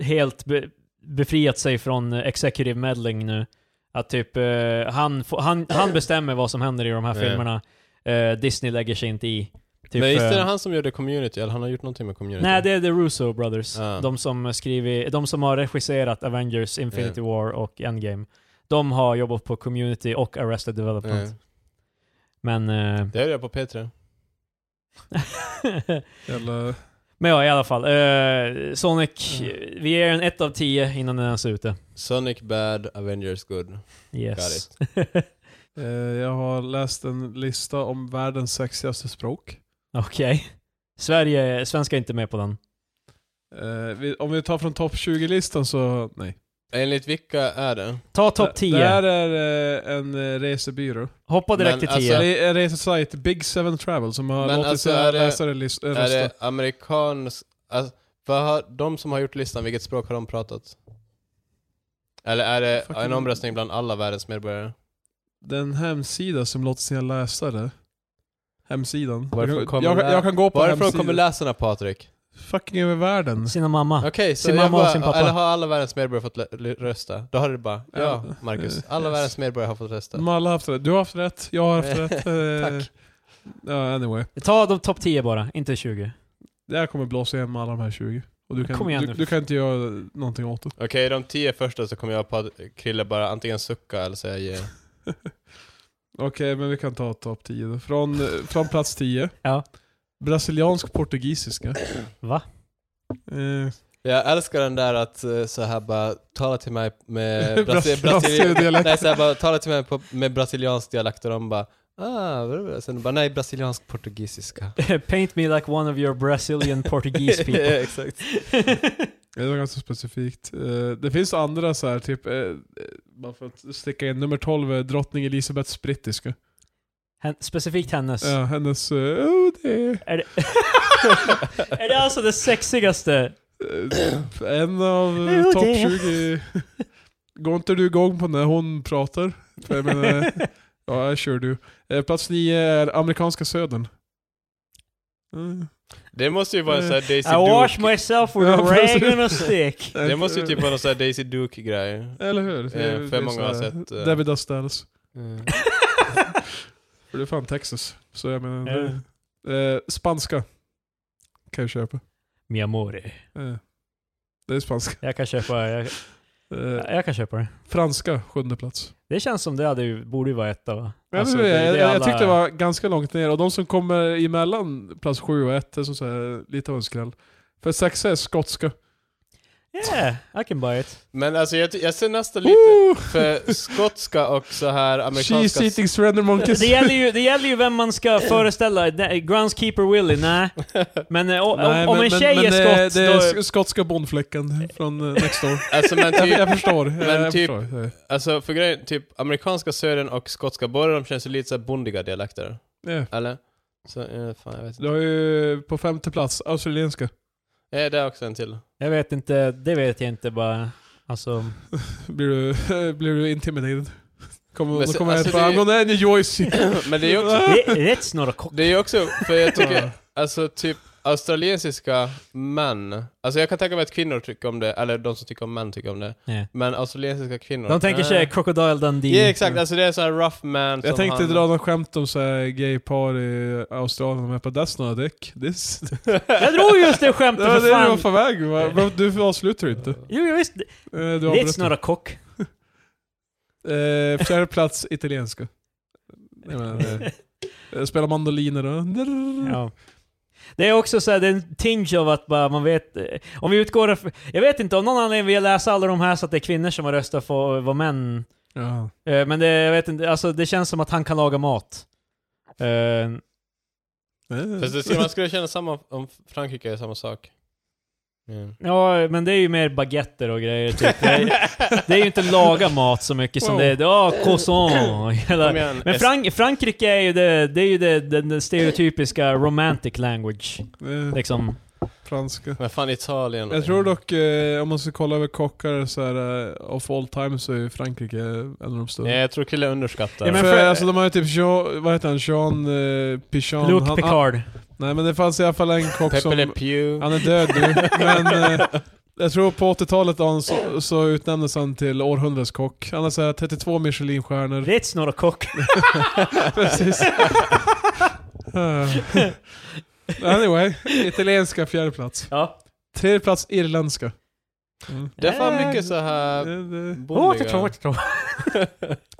A: helt be- befriat sig från executive meddling nu. Att typ, eh, han, får- han, han bestämmer vad som händer i de här
C: Ja.
A: filmerna. Eh, Disney lägger sig inte i. Typ,
C: men visst är
A: eh,
C: det han som gjorde Community? Eller han har gjort någonting med Community?
A: Nej, det är The Russo Brothers.
C: Ah.
A: De, som skrivit, de som har regisserat Avengers, Infinity War och Endgame. De har jobbat på Community och Arrested Development.
C: Ja.
A: Men, eh,
C: Det är det på P3.
B: Eller,
A: men ja, i alla fall. Eh, Sonic, eh, vi ger en 1 av 10 innan den ens är ute.
C: Sonic bad, Avengers good.
A: Yes.
B: eh, jag har läst en lista om världens sexigaste språk.
A: Okej. Sverige, svenska är inte med på den.
B: Eh, vi, om vi tar från topp 20-listan så, nej.
C: Enligt vilka är det?
A: Ta topp
B: Det- Det
A: 10.
B: här är eh, en eh, resebyrå.
A: Hoppa direkt
C: Men
A: till
C: alltså,
A: 10.
B: Det är en resesajt, Big Seven Travel, som har
C: Men
B: låtit
C: alltså,
B: sina
C: är det-
B: läsare lis- äh,
C: Är
B: rösta.
C: det amerikansk... Alltså, vad har, de som har gjort listan, vilket språk har de pratat? Eller är det
B: Fucking-
C: en omröstning bland alla världens medborgare?
B: Den hemsida som låter sina läsare... Hemsidan.
C: Varifrån
B: jag, kan,
C: kommer
B: jag,
C: det här?
B: kan- jag kan gå på
C: Varifrån
B: hemsidan.
C: kommer läsarna Patrik?
B: Fucking över världen.
A: Sina mamma.
C: Okej, så
A: sin
C: jag
A: mamma och Ah, sin
C: bara,
A: pappa.
C: eller har alla världens medborgare fått lö- lö- rösta? Då har du bara, ja
B: Ja. Mm.
C: Marcus,
B: Eh,
C: alla
B: yes.
C: världens medborgare har fått rösta.
B: De har alla haft rätt. Du har haft rätt, jag har haft rätt. eh,
C: Tack.
B: Ja, anyway.
A: Ta de topp 10 bara, inte 20.
B: Det här kommer blåsa igen med alla de här 20. Och du kan,
A: Kom igen
B: du,
A: nu.
B: du kan inte göra någonting åt det.
C: Okej, de tio första så kommer jag och Pat- Krille bara antingen sucka eller säga yeah.
B: Okej, men vi kan ta topp 10 då. Från, eh, från plats 10.
A: Ja.
B: Brasiliansk portugisiska.
A: Va?
B: Eh,
C: Jag älskar den där att eh, så här bara, tala till mig med
B: Brasil-
C: brasi- brasili-
B: dialekt.
C: Nej, så här bara, tala till mig på, med brasiliansk dialekt och de bara, ah, vad är det?" sen de bara, nej, brasiliansk portugisiska.
A: Paint me like one of your Brazilian Portuguese
C: Ja,
A: people.
C: Exakt.
B: Ja, Det var ganska specifikt. Eh, Det finns andra så här, typ, eh, eh, bara för att sticka in, nummer 12 är drottning Elisabeths brittiska.
A: Hen- specifikt hennes.
B: Ja, hennes, eh, oh, det är
A: Är, det är det alltså det sexigaste?
B: eh, en av
C: Oh,
A: Jo,
B: topp
A: det.
B: 20. Går inte du igång på när hon pratar? För jag menar, ja, I sure do. Eh, Plats 9 är amerikanska södern. Mm.
C: Det måste ju vara en sån här Daisy
A: I wash
C: Duke.
A: myself with
B: Ja, precis.
A: oregano stick.
C: Det måste ju typ vara någon sån här Daisy Duke-grej.
B: Eller hur? Det är-
C: Eh, för
B: det är
C: många
B: så
C: har
B: här,
C: sett, eh,
B: David Does Dallas.
C: Mm.
B: För det är fan Texas. Så jag menar,
A: Ja.
B: det- eh, spanska. Kan jag köpa.
A: Mi amore.
B: Eh, Det är spanska.
A: Jag kan köpa, jag,
B: Eh,
A: jag kan köpa det.
B: franska, sjunde plats.
A: Det känns som det hade ju, borde ju vara etta va?
B: Men
A: Alltså,
B: jag,
A: det- det är
B: jag, jag
A: alla-
B: tyckte det var ganska långt ner, och de som kommer emellan plats sju och ett är som så här, lite av en skräll. För sexa är skotska.
A: Yeah, I can buy it.
C: Men alltså jag, ty- jag ser nästan lite för skotska och så här
B: She's
C: amerikanska...
B: eating surrender monkeys.
A: Det gäller ju, det gäller ju vem man ska föreställa. Nej, Groundskeeper Willie, nej. Men eh, o- om,
B: Nej,
A: om
B: men-
A: en
B: men-
A: tjej
B: men
A: är
B: det-
A: skott,
B: Det
A: då...
B: är sk- skotska bondfläcken från eh, Next Door.
C: alltså men
B: jag,
C: typ,
B: jag förstår. Jag,
C: Men
B: jag
C: typ-
B: förstår. Eh,
C: alltså för grejen, typ amerikanska södern och skotska båda de känns ju lite såhär bondiga dialekter.
B: ja.
C: Eller? Så, eh, fan jag vet
B: Du
C: inte.
B: har ju på femte plats australienska.
C: Ja, Eh, det är också en till.
A: Jag vet inte, det vet jag inte bara. Alltså,
B: Blir du, blir du intimidated? Kommer,
C: Men
B: då
C: så-
B: kommer
C: alltså
B: jag fram
C: det-
B: och det är New Joyce.
C: Men det är ju också...
A: det, det är ett snarare kock.
C: Det är ju också, för jag tycker, alltså typ australiensiska män, alltså jag kan tänka mig att kvinnor tycker om det, eller de som tycker om män tycker om det.
A: Ja.
C: Men australiensiska kvinnor... Eh,
A: De tänker sig Crocodile Dundee.
C: Ja exakt, alltså det är så här rough man som
B: Jag tänkte
C: han...
B: dra något skämt om så här gaypar i Australien, men jag bara 'That's not a dick' This...
A: Jag drog just det
B: Det
A: skämtet
B: var
A: för
B: det du var
A: fan.
B: på väg va? Men Du avslutar ju inte. Eh,
A: Jo, jag visste.
B: Du
A: Det är ett
B: avbröt.
A: snarare kock.
B: Eh, Fjärde plats, italienska. Jag menar, eh, Spela mandoliner och...
A: Ja. Det är också så här, det är en tinge av att bara, man vet... eh, Om vi utgår ifrån- Jag vet inte, av någon anledning vill jag läsa alla de här så att det är kvinnor som har röstat för att vara män.
B: Ja.
A: Eh, Men det, jag vet inte, alltså det känns som att han kan laga mat. Eh,
B: Eh.
C: Fast det skulle, man skulle känna samma om Frankrike är samma sak. Mm.
A: Ja, men det är ju mer baguetter och grejer typ. Det är, det är ju inte laga mat så mycket som det är, ja, croissant och hela...
C: Kom igen,
A: Men Frank Frankrike är ju det, det är ju det, den, den stereotypiska romantic language.
B: Eh,
A: Liksom.
B: Franska.
C: Men fan Italien.
B: Jag tror dock, eh, om man ska kolla över kockar så här, eh, of all time så är Frankrike en av de större.
C: Nej, jag tror killar underskattar.
A: Ja, men-
B: för,
A: för-
B: alltså, de har ju typ Jean, vad heter han, Jean eh, Pichon.
A: Luke
B: han, Han,
A: Picard.
B: nej men det fanns i alla fall en kock
C: Pepe Le
B: som,
C: Pew.
B: han är död nu, men eh, jag tror på 80-talet han så, så utnämndes han till århundradets kock. Han har så här 32 Michelinstjärnor.
A: Rätt snarare kock.
B: Precis. Eh, anyway, italienska fjärde plats.
A: Ja.
B: Tredje plats irländska. Mm.
C: Det är fan
A: Eh,
C: mycket så här
B: Det- det-
A: Åh,
C: bondiga.
A: det tror, det tror.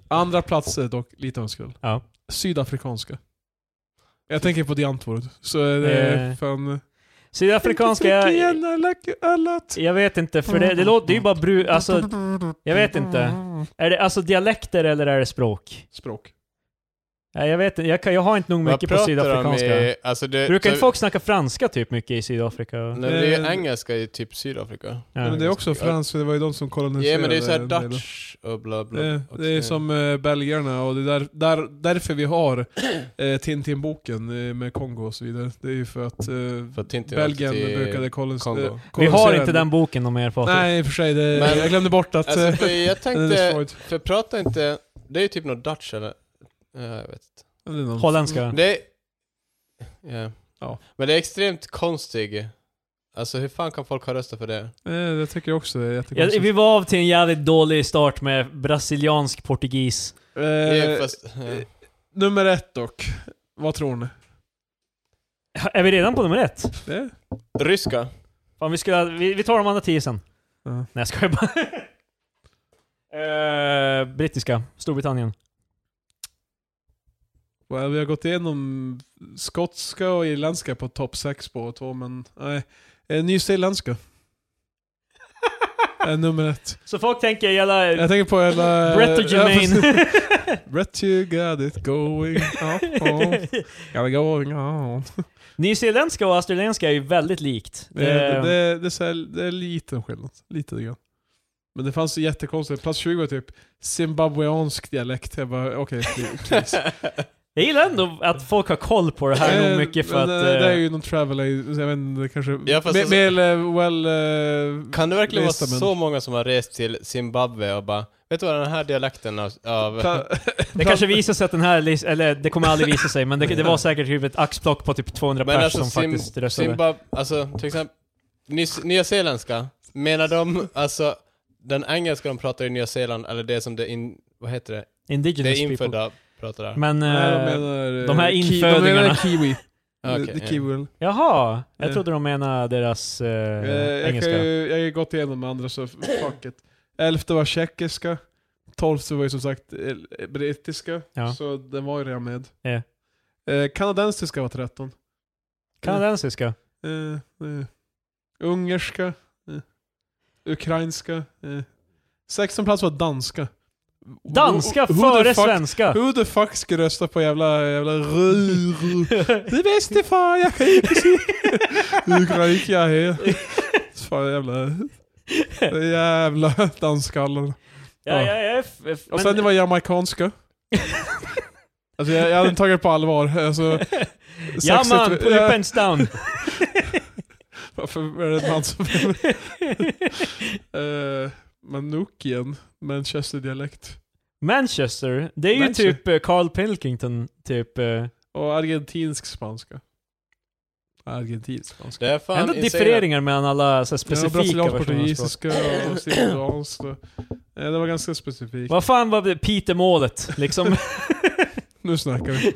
B: Andra plats är dock lite önskull.
A: Ja.
B: Sydafrikanska. Jag tänker på Diantwoord, så det är
A: Eh,
B: fan...
A: Sydafrikanska,
B: Jag fick
A: jag,
B: igen alla, alla t-
A: jag vet inte, för det, det låter det är ju bara
B: Mm.
A: bru... Alltså, jag vet inte. Är det alltså dialekter eller är det språk?
B: Språk.
A: Nej, jag vet inte, jag, kan, jag har inte nog mycket på sydafrikanska.
C: i- Alltså det,
A: Brukar
C: så-
A: inte folk snacka franska typ mycket i Sydafrika?
C: Nej, det är
B: Eh,
C: engelska i typ Sydafrika.
B: Ja, men det är också
C: ganska-
B: franskt, för det var ju de som
C: Ja
B: koloniserade.
C: men det är såhär
B: en del.
C: Dutch och bla bla.
B: Det,
C: också.
B: det är som eh, belgarna och det är där, där, därför vi har eh, Tintin-boken eh, med Kongo och så vidare. Det är ju för att eh,
C: För att Tintin
B: Belgien
C: åkte till-
B: brukade kolon-
C: Kongo.
B: eh,
A: Vi har
B: kolonisera-
A: inte den boken om er Patrik.
B: Nej, i och för sig. Det,
C: Men-
B: jag glömde bort att...
C: Alltså
B: eh,
C: för jag
B: den är
C: tänkte,
B: destroyed.
C: för prata inte, det är ju typ något Dutch eller? Ja, jag vet inte.
B: Det är någon-
A: Holländska.
C: Det är, ja.
B: Ja.
C: Men det är extremt konstig. Alltså hur fan kan folk ha röstat för det?
B: Eh, Det tycker jag också är
A: Ja,
B: jättekonstigt.
A: vi var av till en jävligt dålig start med brasiliansk portugis.
C: det
B: Eh,
C: är fast, ja.
B: Nummer ett dock. Vad tror ni?
A: Är vi redan på nummer ett?
B: Det?
C: Ryska?
A: Fan, vi, ska, vi, vi tar de andra tio sen.
B: Ja.
A: Nej jag skojar bara. Eh, brittiska, Storbritannien.
B: Well, vi har gått igenom skotska och irländska på topp 6 på två, men nej. Eh, Nyzeeländska är nummer ett.
A: Så folk tänker jävla...
B: Jag tänker på hela...
A: Eh, Brett och Jermaine.
B: Brett you got it going on. Got it going on.
A: Nyzeeländska och australienska är ju väldigt likt. Eh,
B: Det, det, det, det, är så här, det är liten skillnad. Lite grann. Men det fanns jättekonstigt. Plats 20 var typ zimbabweansk dialekt. Jag bara, okej, please.
A: jag gillar ändå att folk har koll på det här
B: Eh,
A: nog mycket för
B: men,
A: att...
B: eh, Det är
A: eh,
B: ju någon travel aid, så jag vet inte, det kanske...
C: Ja, fast
B: me-
C: alltså-
B: mer, eh, well... eh,
C: Kan det verkligen vara
B: lista, men-
C: så många som har rest till Zimbabwe och bara Vet du vad den här dialekten av... av
B: pla-
A: eh, Det kanske visar sig att den här, lis- eller det kommer aldrig visa sig, men det, det var säkert typ ett axplock på typ 200
C: men
A: personer
C: alltså
A: som
C: Zim,
A: faktiskt röstade.
C: Zimbabwe, alltså till exempel Nys- Nya Zeeländska, menar de alltså den engelska de pratar i Nya Zeeland eller det som det in... Vad heter det? Det
A: Indigenous
C: är
A: people.
C: infödda pratar där?
A: Men...
B: Nej,
A: eh,
B: de menar, eh,
A: de här
B: ki- De
A: infödingarna.
B: menar kiwi.
C: Ah, okej,
B: Det- det
C: ja.
B: kiwi.
A: jaha!
B: Eh.
A: Jag trodde de menade deras eh,
B: Eh, jag, kan
A: engelska.
B: ju, jag har ju gått igenom med andra så fuck it. Elfte var tjeckiska. Tolfte var ju som sagt eh, brittiska.
A: Ja.
B: Så den var ju redan med.
A: Ja.
B: Eh, kanadensiska var 13.
A: Kanadensiska.
B: Eh, eh. Ungerska. Eh. ukrainska. Eh. 16 plats var danska.
A: Danska
B: Who- who the
A: före
B: fuck-
A: svenska!
B: Who the fuck ska rösta på jävla, jävla rur? Det bäste fan jag kan ju precis. Ukraina jag är. Fan jävla... Jävla danskallar.
A: ja, ja, ja, f- f-
B: Och
A: men-
B: sen det var jamaicanska. Alltså jag, jag hade inte tagit det på allvar. Alltså,
A: Ja man, put your pants down!
B: Varför är det en man som... uh, Manukien, Manchester-dialekt.
A: Manchester, det är ju
B: Manchester.
A: typ eh, Carl Pilkington, typ... eh,
B: Och argentinsk spanska. Argentinsk spanska.
C: Det är fan
A: Ändå
C: insane.
A: differeringar mellan alla så här,
B: Ja,
A: specifika
B: brasiliansk,
A: versioner av språk.
B: portugisiska och sicilianska. Eh, Det var ganska specifikt.
A: Vad fan var det Peter-målet, liksom?
B: Nu snackar vi.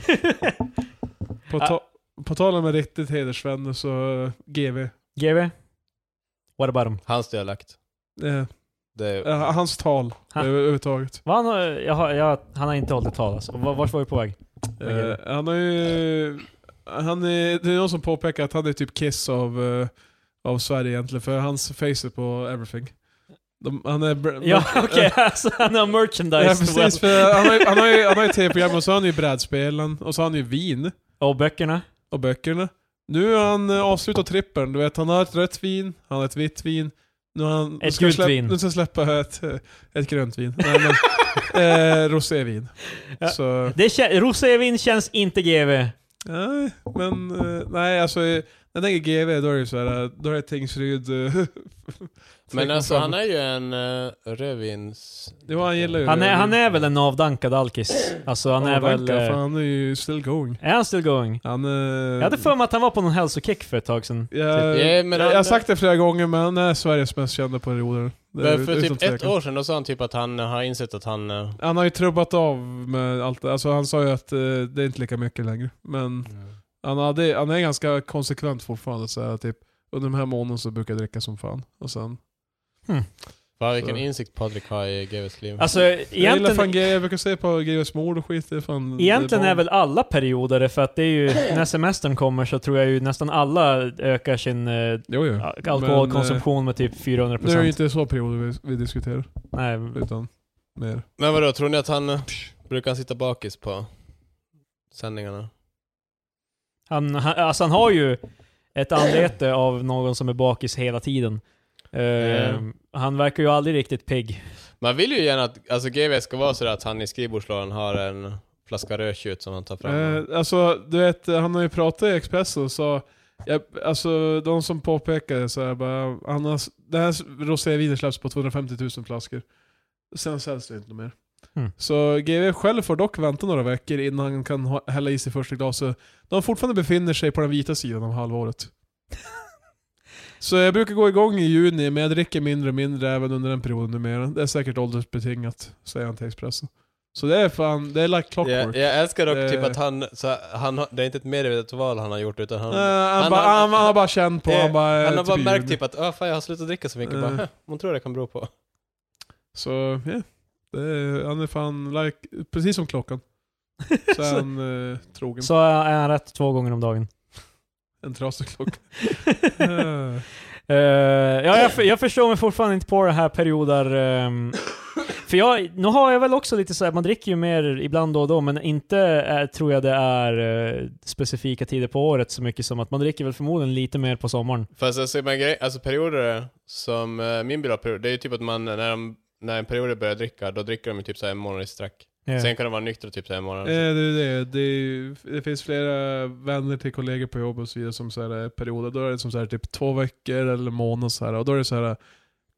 B: På, ta- på tal om en riktigt hedersvän så, eh, GV.
A: GV? What about him?
C: Hans dialekt.
B: Eh,
C: Det är,
B: eh, hans tal
A: Ha.
B: över- överhuvudtaget.
A: Vad han, har- jag, har- jag, han har inte hållit ett tal alltså. Var- Vart var vi på väg?
B: Eh, han har ju... Han är, det är någon som påpekar att han är typ Kiss av, eh, av Sverige egentligen, för hans face är på everything. De, han är... br-
A: Ja
B: br-
A: okej, alltså han har
B: Ja,
A: merchandise.
B: precis, för han har ju- han har ju- han har ju tv-program och så har han ju brädspelen och så har han ju vin.
A: Och böckerna.
B: och böckerna. Nu har han eh, avslutat trippeln. Du vet, han har ett rött vin, han har ett vitt vin. Nu har han, nu
A: Ett
B: ska jag
A: gult
B: släpp-
A: vin.
B: Nu ska jag släppa ett, eh, ett grönt vin. Nej, men, eh, rosévin.
A: Ja.
B: Så,
A: Det kän- Rosévin känns inte GV.
B: nej, men eh, nej alltså. eh, När jag tänker GV då är det ju såhär, då är det Tingsryd. eh,
C: men alltså han är ju en uh, rödvins...
B: Det var han gillar ju.
A: Han är, han är väl en avdankad alkis. Alltså han är väl...
B: Avanka, för
A: eh,
B: han är ju still going.
A: Är han still going?
B: Han, eh,
A: Jag hade för mig att han var på någon hälsokick för ett tag sedan.
B: jag,
C: Ja, men
B: jag, jag
C: han-
B: har sagt det flera gånger men han är Sveriges mest kända perioder.
C: Men för typ ett år sedan då sa han typ att han eh, har insett att han... eh,
B: Han har ju trubbat av med allt det. Alltså han sa ju att eh, det är inte lika mycket längre. Men han, hade, han är ganska konsekvent fortfarande. Så här, typ, under de här månaderna så brukar jag dricka som fan. Och sen,
C: Fan vilken
B: Så.
C: insikt Patrik har i GWs liv.
A: Alltså
B: jag gillar fan
A: egentligen...
B: grejer, jag brukar se på GVs mord och skit. Det är fan,
A: Egentligen
B: det
A: är
B: bomb.
A: väl alla perioder för att det är ju, när semestern kommer så tror jag ju nästan alla ökar sin eh,
B: Jo, jo.
A: alkoholkonsumtion med typ 400%.
B: eh, Nu är det ju inte så perioder vi, vi diskuterar.
A: Nej,
B: Utan mer.
C: Men vadå, tror ni att han... eh, Brukar han sitta bakis på sändningarna?
A: han, han, alltså han har ju ett anlete av någon som är bakis hela tiden. Eh,
C: Ja.
A: Han verkar ju aldrig riktigt pigg.
C: Man vill ju gärna att alltså, GW ska vara sådär att han i skrivbordslådan har en flaska rödtjut som han tar fram.
B: Eh, alltså du vet, han har ju pratat i Expressen och sa jag, alltså de som påpekade så här bara, han har, det här rosévinet släpps på 250 000 flaskor. Sen säljs det inte mer.
A: Mm.
B: Så GV själv får dock vänta några veckor innan han kan ha, hälla i sig första glaset. De fortfarande befinner sig på den vita sidan av halvåret. så jag brukar gå igång i juni, men jag dricker mindre och mindre även under den perioden numera. Det är säkert åldersbetingat, säger han till Expressen. Så det är fan, det är like clockwork.
C: jag, jag älskar dock
B: Eh.
C: typ att han, så, här- han, har- det är inte ett medvetet val han har gjort utan han...
B: Nej, Eh, han,
C: Han
B: bara,
C: har-
B: han, han har bara känt på,
C: Eh,
B: han bara... eh,
C: han har bara
B: typ
C: märkt
B: jul.
C: typ att "Ah, fan, jag har slutat dricka så mycket,
B: Eh.
C: bara, "Huh, hon tror det kan bero på.
B: Så, ja. Det är, han är fan, like, precis som klockan. Så är
A: så,
B: han eh, trogen.
A: så är han rätt två gånger om dagen.
B: En trasig klocka. Eh,
A: Eh, ja, jag, för- jag förstår mig fortfarande inte på det här perioder. ehm, för jag, nu har jag väl också lite så här, man dricker ju mer ibland då och då, men inte eh, tror jag det är eh, specifika tider på året så mycket som att man dricker väl förmodligen lite mer på sommaren.
C: Fast alltså, man grej, alltså perioder som eh, min bil har period, det är ju typ att man, när, de, när en period börjar dricka, då dricker de ju typ så här en månad i sträck.
A: Eh,
C: Sen kan de vara nyktra typ så här en månad.
B: eh, det, är ju det, det, är ju- det finns flera vänner till kollegor på jobbet och så vidare som så här, eh, perioder. Då är det som så här, typ två veckor eller en månad så här, och då är det så här eh,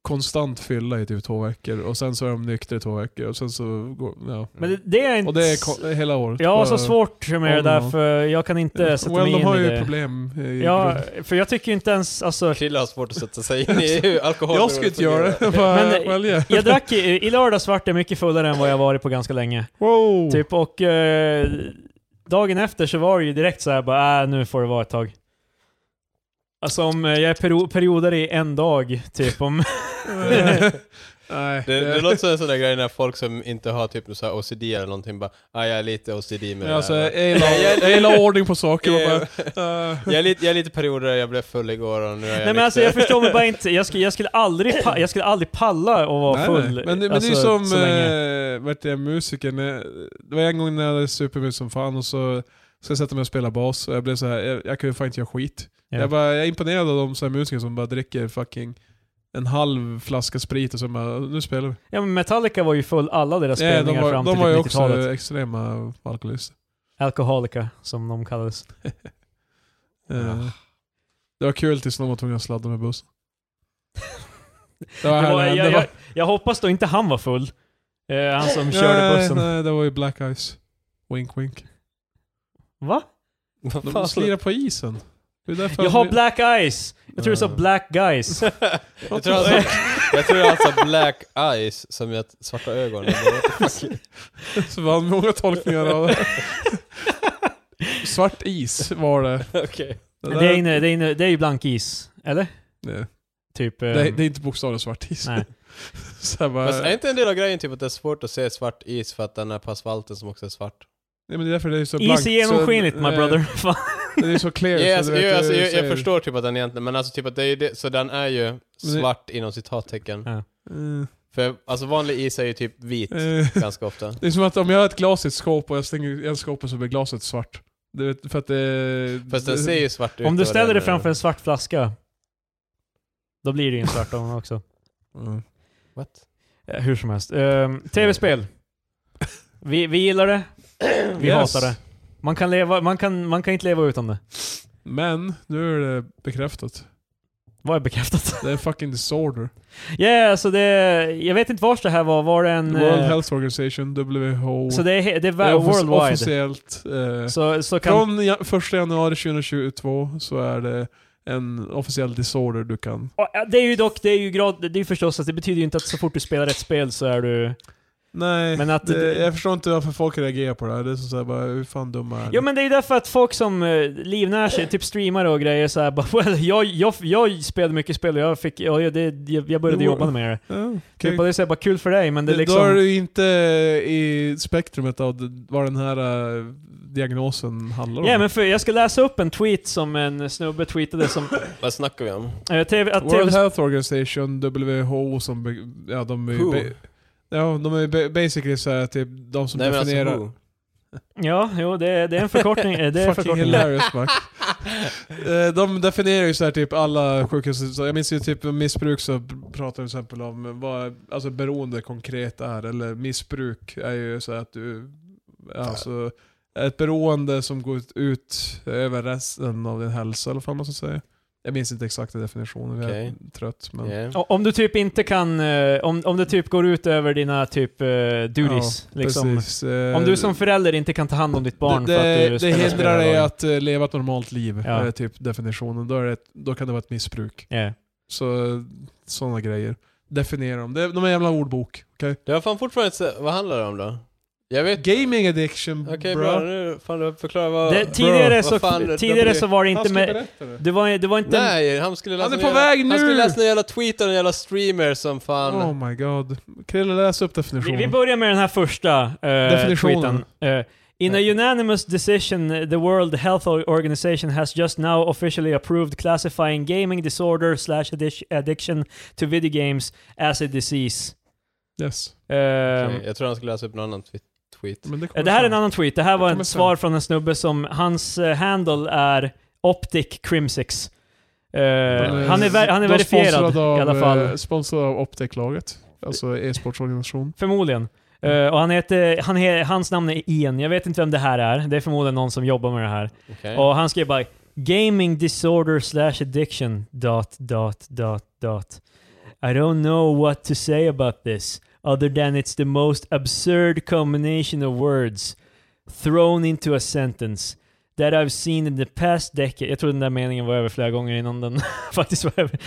B: konstant fylla i typ två veckor och sen så är de nyktra i två veckor och sen så går, ja.
A: Men det, det är inte...
B: Och det är ko- hela året.
A: jag har så
B: Bara-
A: svårt med det där för jag kan inte
B: Ja.
A: sätta
B: well,
A: mig in
B: de har
A: i
B: ju
A: det.
B: problem. I
A: Ja,
B: grunden.
A: för jag tycker ju inte ens, alltså,
C: Krille har svårt att sätta sig in i hur alkohol
B: jag ska inte göra det. Bara,
A: Men-
B: well, yeah.
A: jag drack i, i lördags vart jag mycket fullare än vad jag varit på ganska länge.
B: Wow.
A: Typ och eh, dagen efter så var det ju direkt så här bara äh, nu får det vara ett tag. Alltså om eh, jag är perio- perioder i en dag, typ om...
B: Nej.
C: Det, det låter som en sån där grej när folk som inte har typ så här OCD eller någonting bara ah, jag är lite OCD med det
B: Ja, alltså,
C: här.
B: jag gillar- jag gillar ordning på saker. och bara, eh,
C: jag, är lite, jag är lite perioder där jag blev full igår och nu är jag
A: Nej men alltså jag förstår mig bara inte. Jag skulle, jag skulle, aldrig, pa- jag skulle aldrig palla att vara
B: nej,
A: full.
B: nej. Men, men
A: alltså,
B: det är ju som,
A: så länge.
B: eh, vad heter det, musikern. eh, Det var en gång när jag hade supermycket som fan och så, så jag satte mig och spelade bas och jag blev så här, jag, jag kan ju fan inte göra skit.
A: Ja.
B: Jag, bara, jag är imponerad av de så här musiker som bara dricker fucking en halv flaska sprit och så bara, nu spelar vi.
A: Ja men Metallica var ju full alla deras
B: Nej,
A: spelningar
B: de var,
A: fram
B: de
A: till
B: var ju
A: typ
B: också
A: 90-talet.
B: extrema alkoholister.
A: Alkoholica, som de kallades.
B: Eh,
A: Ah.
C: Ja.
B: Det var kul tills någon var tvungen att sladda med bussen. Det
A: Det
B: var,
A: var,
B: här,
A: jag,
B: det
A: jag, jag hoppas då inte han var full. Eh, han som körde
B: nej,
A: bussen.
B: Nej, det var ju Black Eyes. Wink wink.
A: Va?
C: Vad
B: De
C: fan?
B: slirar på isen. Det är därför
A: Jag har
B: vi-
A: black eyes! Jag tror du sa
B: Ja.
A: black guys.
C: jag tror han sa- jag tror han sa black eyes som är ett svarta ögon.
B: Så var det många tolkningar av det. Svart is var det.
C: Okej.
A: Men Det är, inne, det, är inne, det är ju blank is, eller?
B: nej,
A: Typ... eh,
B: det, är- det är inte bokstavligen svart is.
A: nej.
B: Så här bara,
C: Fast är inte en del av grejen typ att det är svårt att se svart is för att den är på asfalten som också är svart?
B: nej, men det är därför det är så blankt.
A: Is är
B: så-
A: genomskinligt my
B: nej,
A: brother. Fan.
B: Det är så clear.
C: Ja,
B: så
C: alltså,
B: du vet,
C: jo, alltså,
B: det
C: jag, jag
B: säger-
C: förstår typ att den egentligen, men alltså typ att det är ju det, så den är ju svart inom citattecken.
A: Ja.
B: Mm.
C: För alltså vanlig is är ju typ vit
B: Eh,
C: ganska ofta.
B: Det är som att om jag har ett glas i ett skåp och jag stänger igen skåpet så blir glaset svart. Du vet, för att det...
C: Fast den
B: det-
C: ser ju svart ut.
A: Om du
C: och
A: ställer
C: den
A: dig
C: är-
A: framför en svart flaska, då blir det ju en svart av dem också.
B: Mm.
C: What?
A: Eh, Hur som helst. Ehm, Tv-spel. Vi, vi gillar det, vi
B: Yes.
A: hatar det. Man kan, leva, man, kan, man kan inte leva utan det.
B: Men, nu är det bekräftat.
A: Vad är bekräftat?
B: Det är fucking disorder.
A: Ja, yeah, alltså det... Jag vet inte vars det här var. Var det en... eh,
B: World Health Organization, WHO.
A: Så det är, he- det är
B: Det
A: va-
B: är offic-
A: worldwide.
B: Officiellt. Eh,
A: Så, så kan...
B: Från ja- 1 januari 2022 så är det en officiell disorder du kan...
A: Och, ja, Det är ju dock, det är ju grad, det är ju förstås att det betyder ju inte att så fort du spelar ett spel så är du...
B: Nej,
A: Men att-
B: det, jag förstår inte varför folk reagerar på det här. Det är som såhär bara, hur fan dumma är ni?
A: Ja men det är ju därför att folk som eh, livnär sig, typ streamare och grejer så här, bara well, jag, jag, jag spelade mycket spel och jag fick, ja, jag, det, jag, jag började
B: Jo.
A: jobba med det.
B: Ja, okej.
A: Typ, och det är så här, bara kul för dig men det är
B: Då är
A: liksom...
B: du ju inte i spektrumet av d- vad den här eh, diagnosen handlar
A: Ja
B: om.
A: men för, jag ska läsa upp en tweet som en snubbe tweetade som...
C: Vad snackar vi om?
A: eh, TV, att TV,
B: World Health Organization, WHO som... be- Ja, de är ju...
C: Who?
B: ba- Ja, de är ju ba- basically såhär typ de som
C: Nej men alltså
B: definierar...
C: who?
A: ja, jo det, är- det är en förkortning. eh, Det är en
B: Fucking
A: förkortning.
B: hilarious Mac. Eh, De definierar ju så här typ alla sjukhus, så jag minns ju typ om missbruk så pratar de till exempel om vad alltså beroende konkret är, eller missbruk är ju så här att du, alltså ett beroende som går ut över resten av din hälsa eller vad man ska säga. Jag minns inte exakta definitionen, jag är
C: Okej.
B: trött men...
C: Yeah.
A: O- Om du typ inte kan, eh, om, om det typ går ut över dina typ eh, duties. liksom.
B: Precis, eh,
A: Om du som förälder inte kan ta hand om ditt barn
B: det,
A: för att du
B: det,
A: spelar
B: det hindrar dig
A: spelbolag.
B: att eh, leva ett normalt liv,
A: Ja.
B: är typ definitionen. Då, är det, då kan det vara ett missbruk.
A: Ja.
B: Så sådana grejer. Definiera dem. Det- De är en jävla ordbok. okej?
C: Det var fan fortfarande inte, se- vad handlar det om då? Jag vet
B: Gaming addiction
C: Okej
B: bro.
C: bra, nu fan du förklarar vad...
A: Det, tidigare
C: vad
A: så,
C: fan, det-
A: tidigare
C: det-
A: så var det
B: Han
A: inte
B: ska
A: med...
B: berätta det.
A: Det var, det var inte...
C: Nej, han skulle läsa
B: Han är
C: någon
B: på
C: jävla,
B: väg
C: Han
B: nu!
C: skulle läsa en jävla tweet av en jävla streamer som fan...
B: Oh my god. Krille läs upp
A: Vi,
B: definitionen.
A: vi börjar med den här första uh,
B: Definitionen.
A: tweeten. Eh, in a unanimous decision, the World Health Organization has just now officially approved classifying gaming disorder slash addic- addiction to video games as a disease.
B: yes.
A: Ehm,
B: eh.
C: Okej, jag tror han skulle läsa upp någon annan twi- tweet.
B: Men det, kommer
A: Eh, Det här är en
B: sen.
A: annan tweet. Det här var
B: Det kommer
A: ett
B: sen.
A: svar från en snubbe som, hans eh, handle är Optic Crimsix. Eh, han är, ver- han är
B: De
A: verifierad
B: sponsrad av,
A: i alla fall.
B: eh, Sponsrad av Optec-laget. Alltså e-sportsorganisation.
A: Förmodligen. Eh, och han heter, han he, hans namn är Ian. Jag vet inte vem det här är. Det är förmodligen någon som jobbar med det här.
C: Okej.
A: Och han skrev bara Gaming disorder slash addiction dot dot dot dot. I don't know what to say about this other than it's the most absurd combination of words thrown into a sentence that I've seen in the past decade. Jag tror den där meningen var över flera gånger innan den faktiskt var över.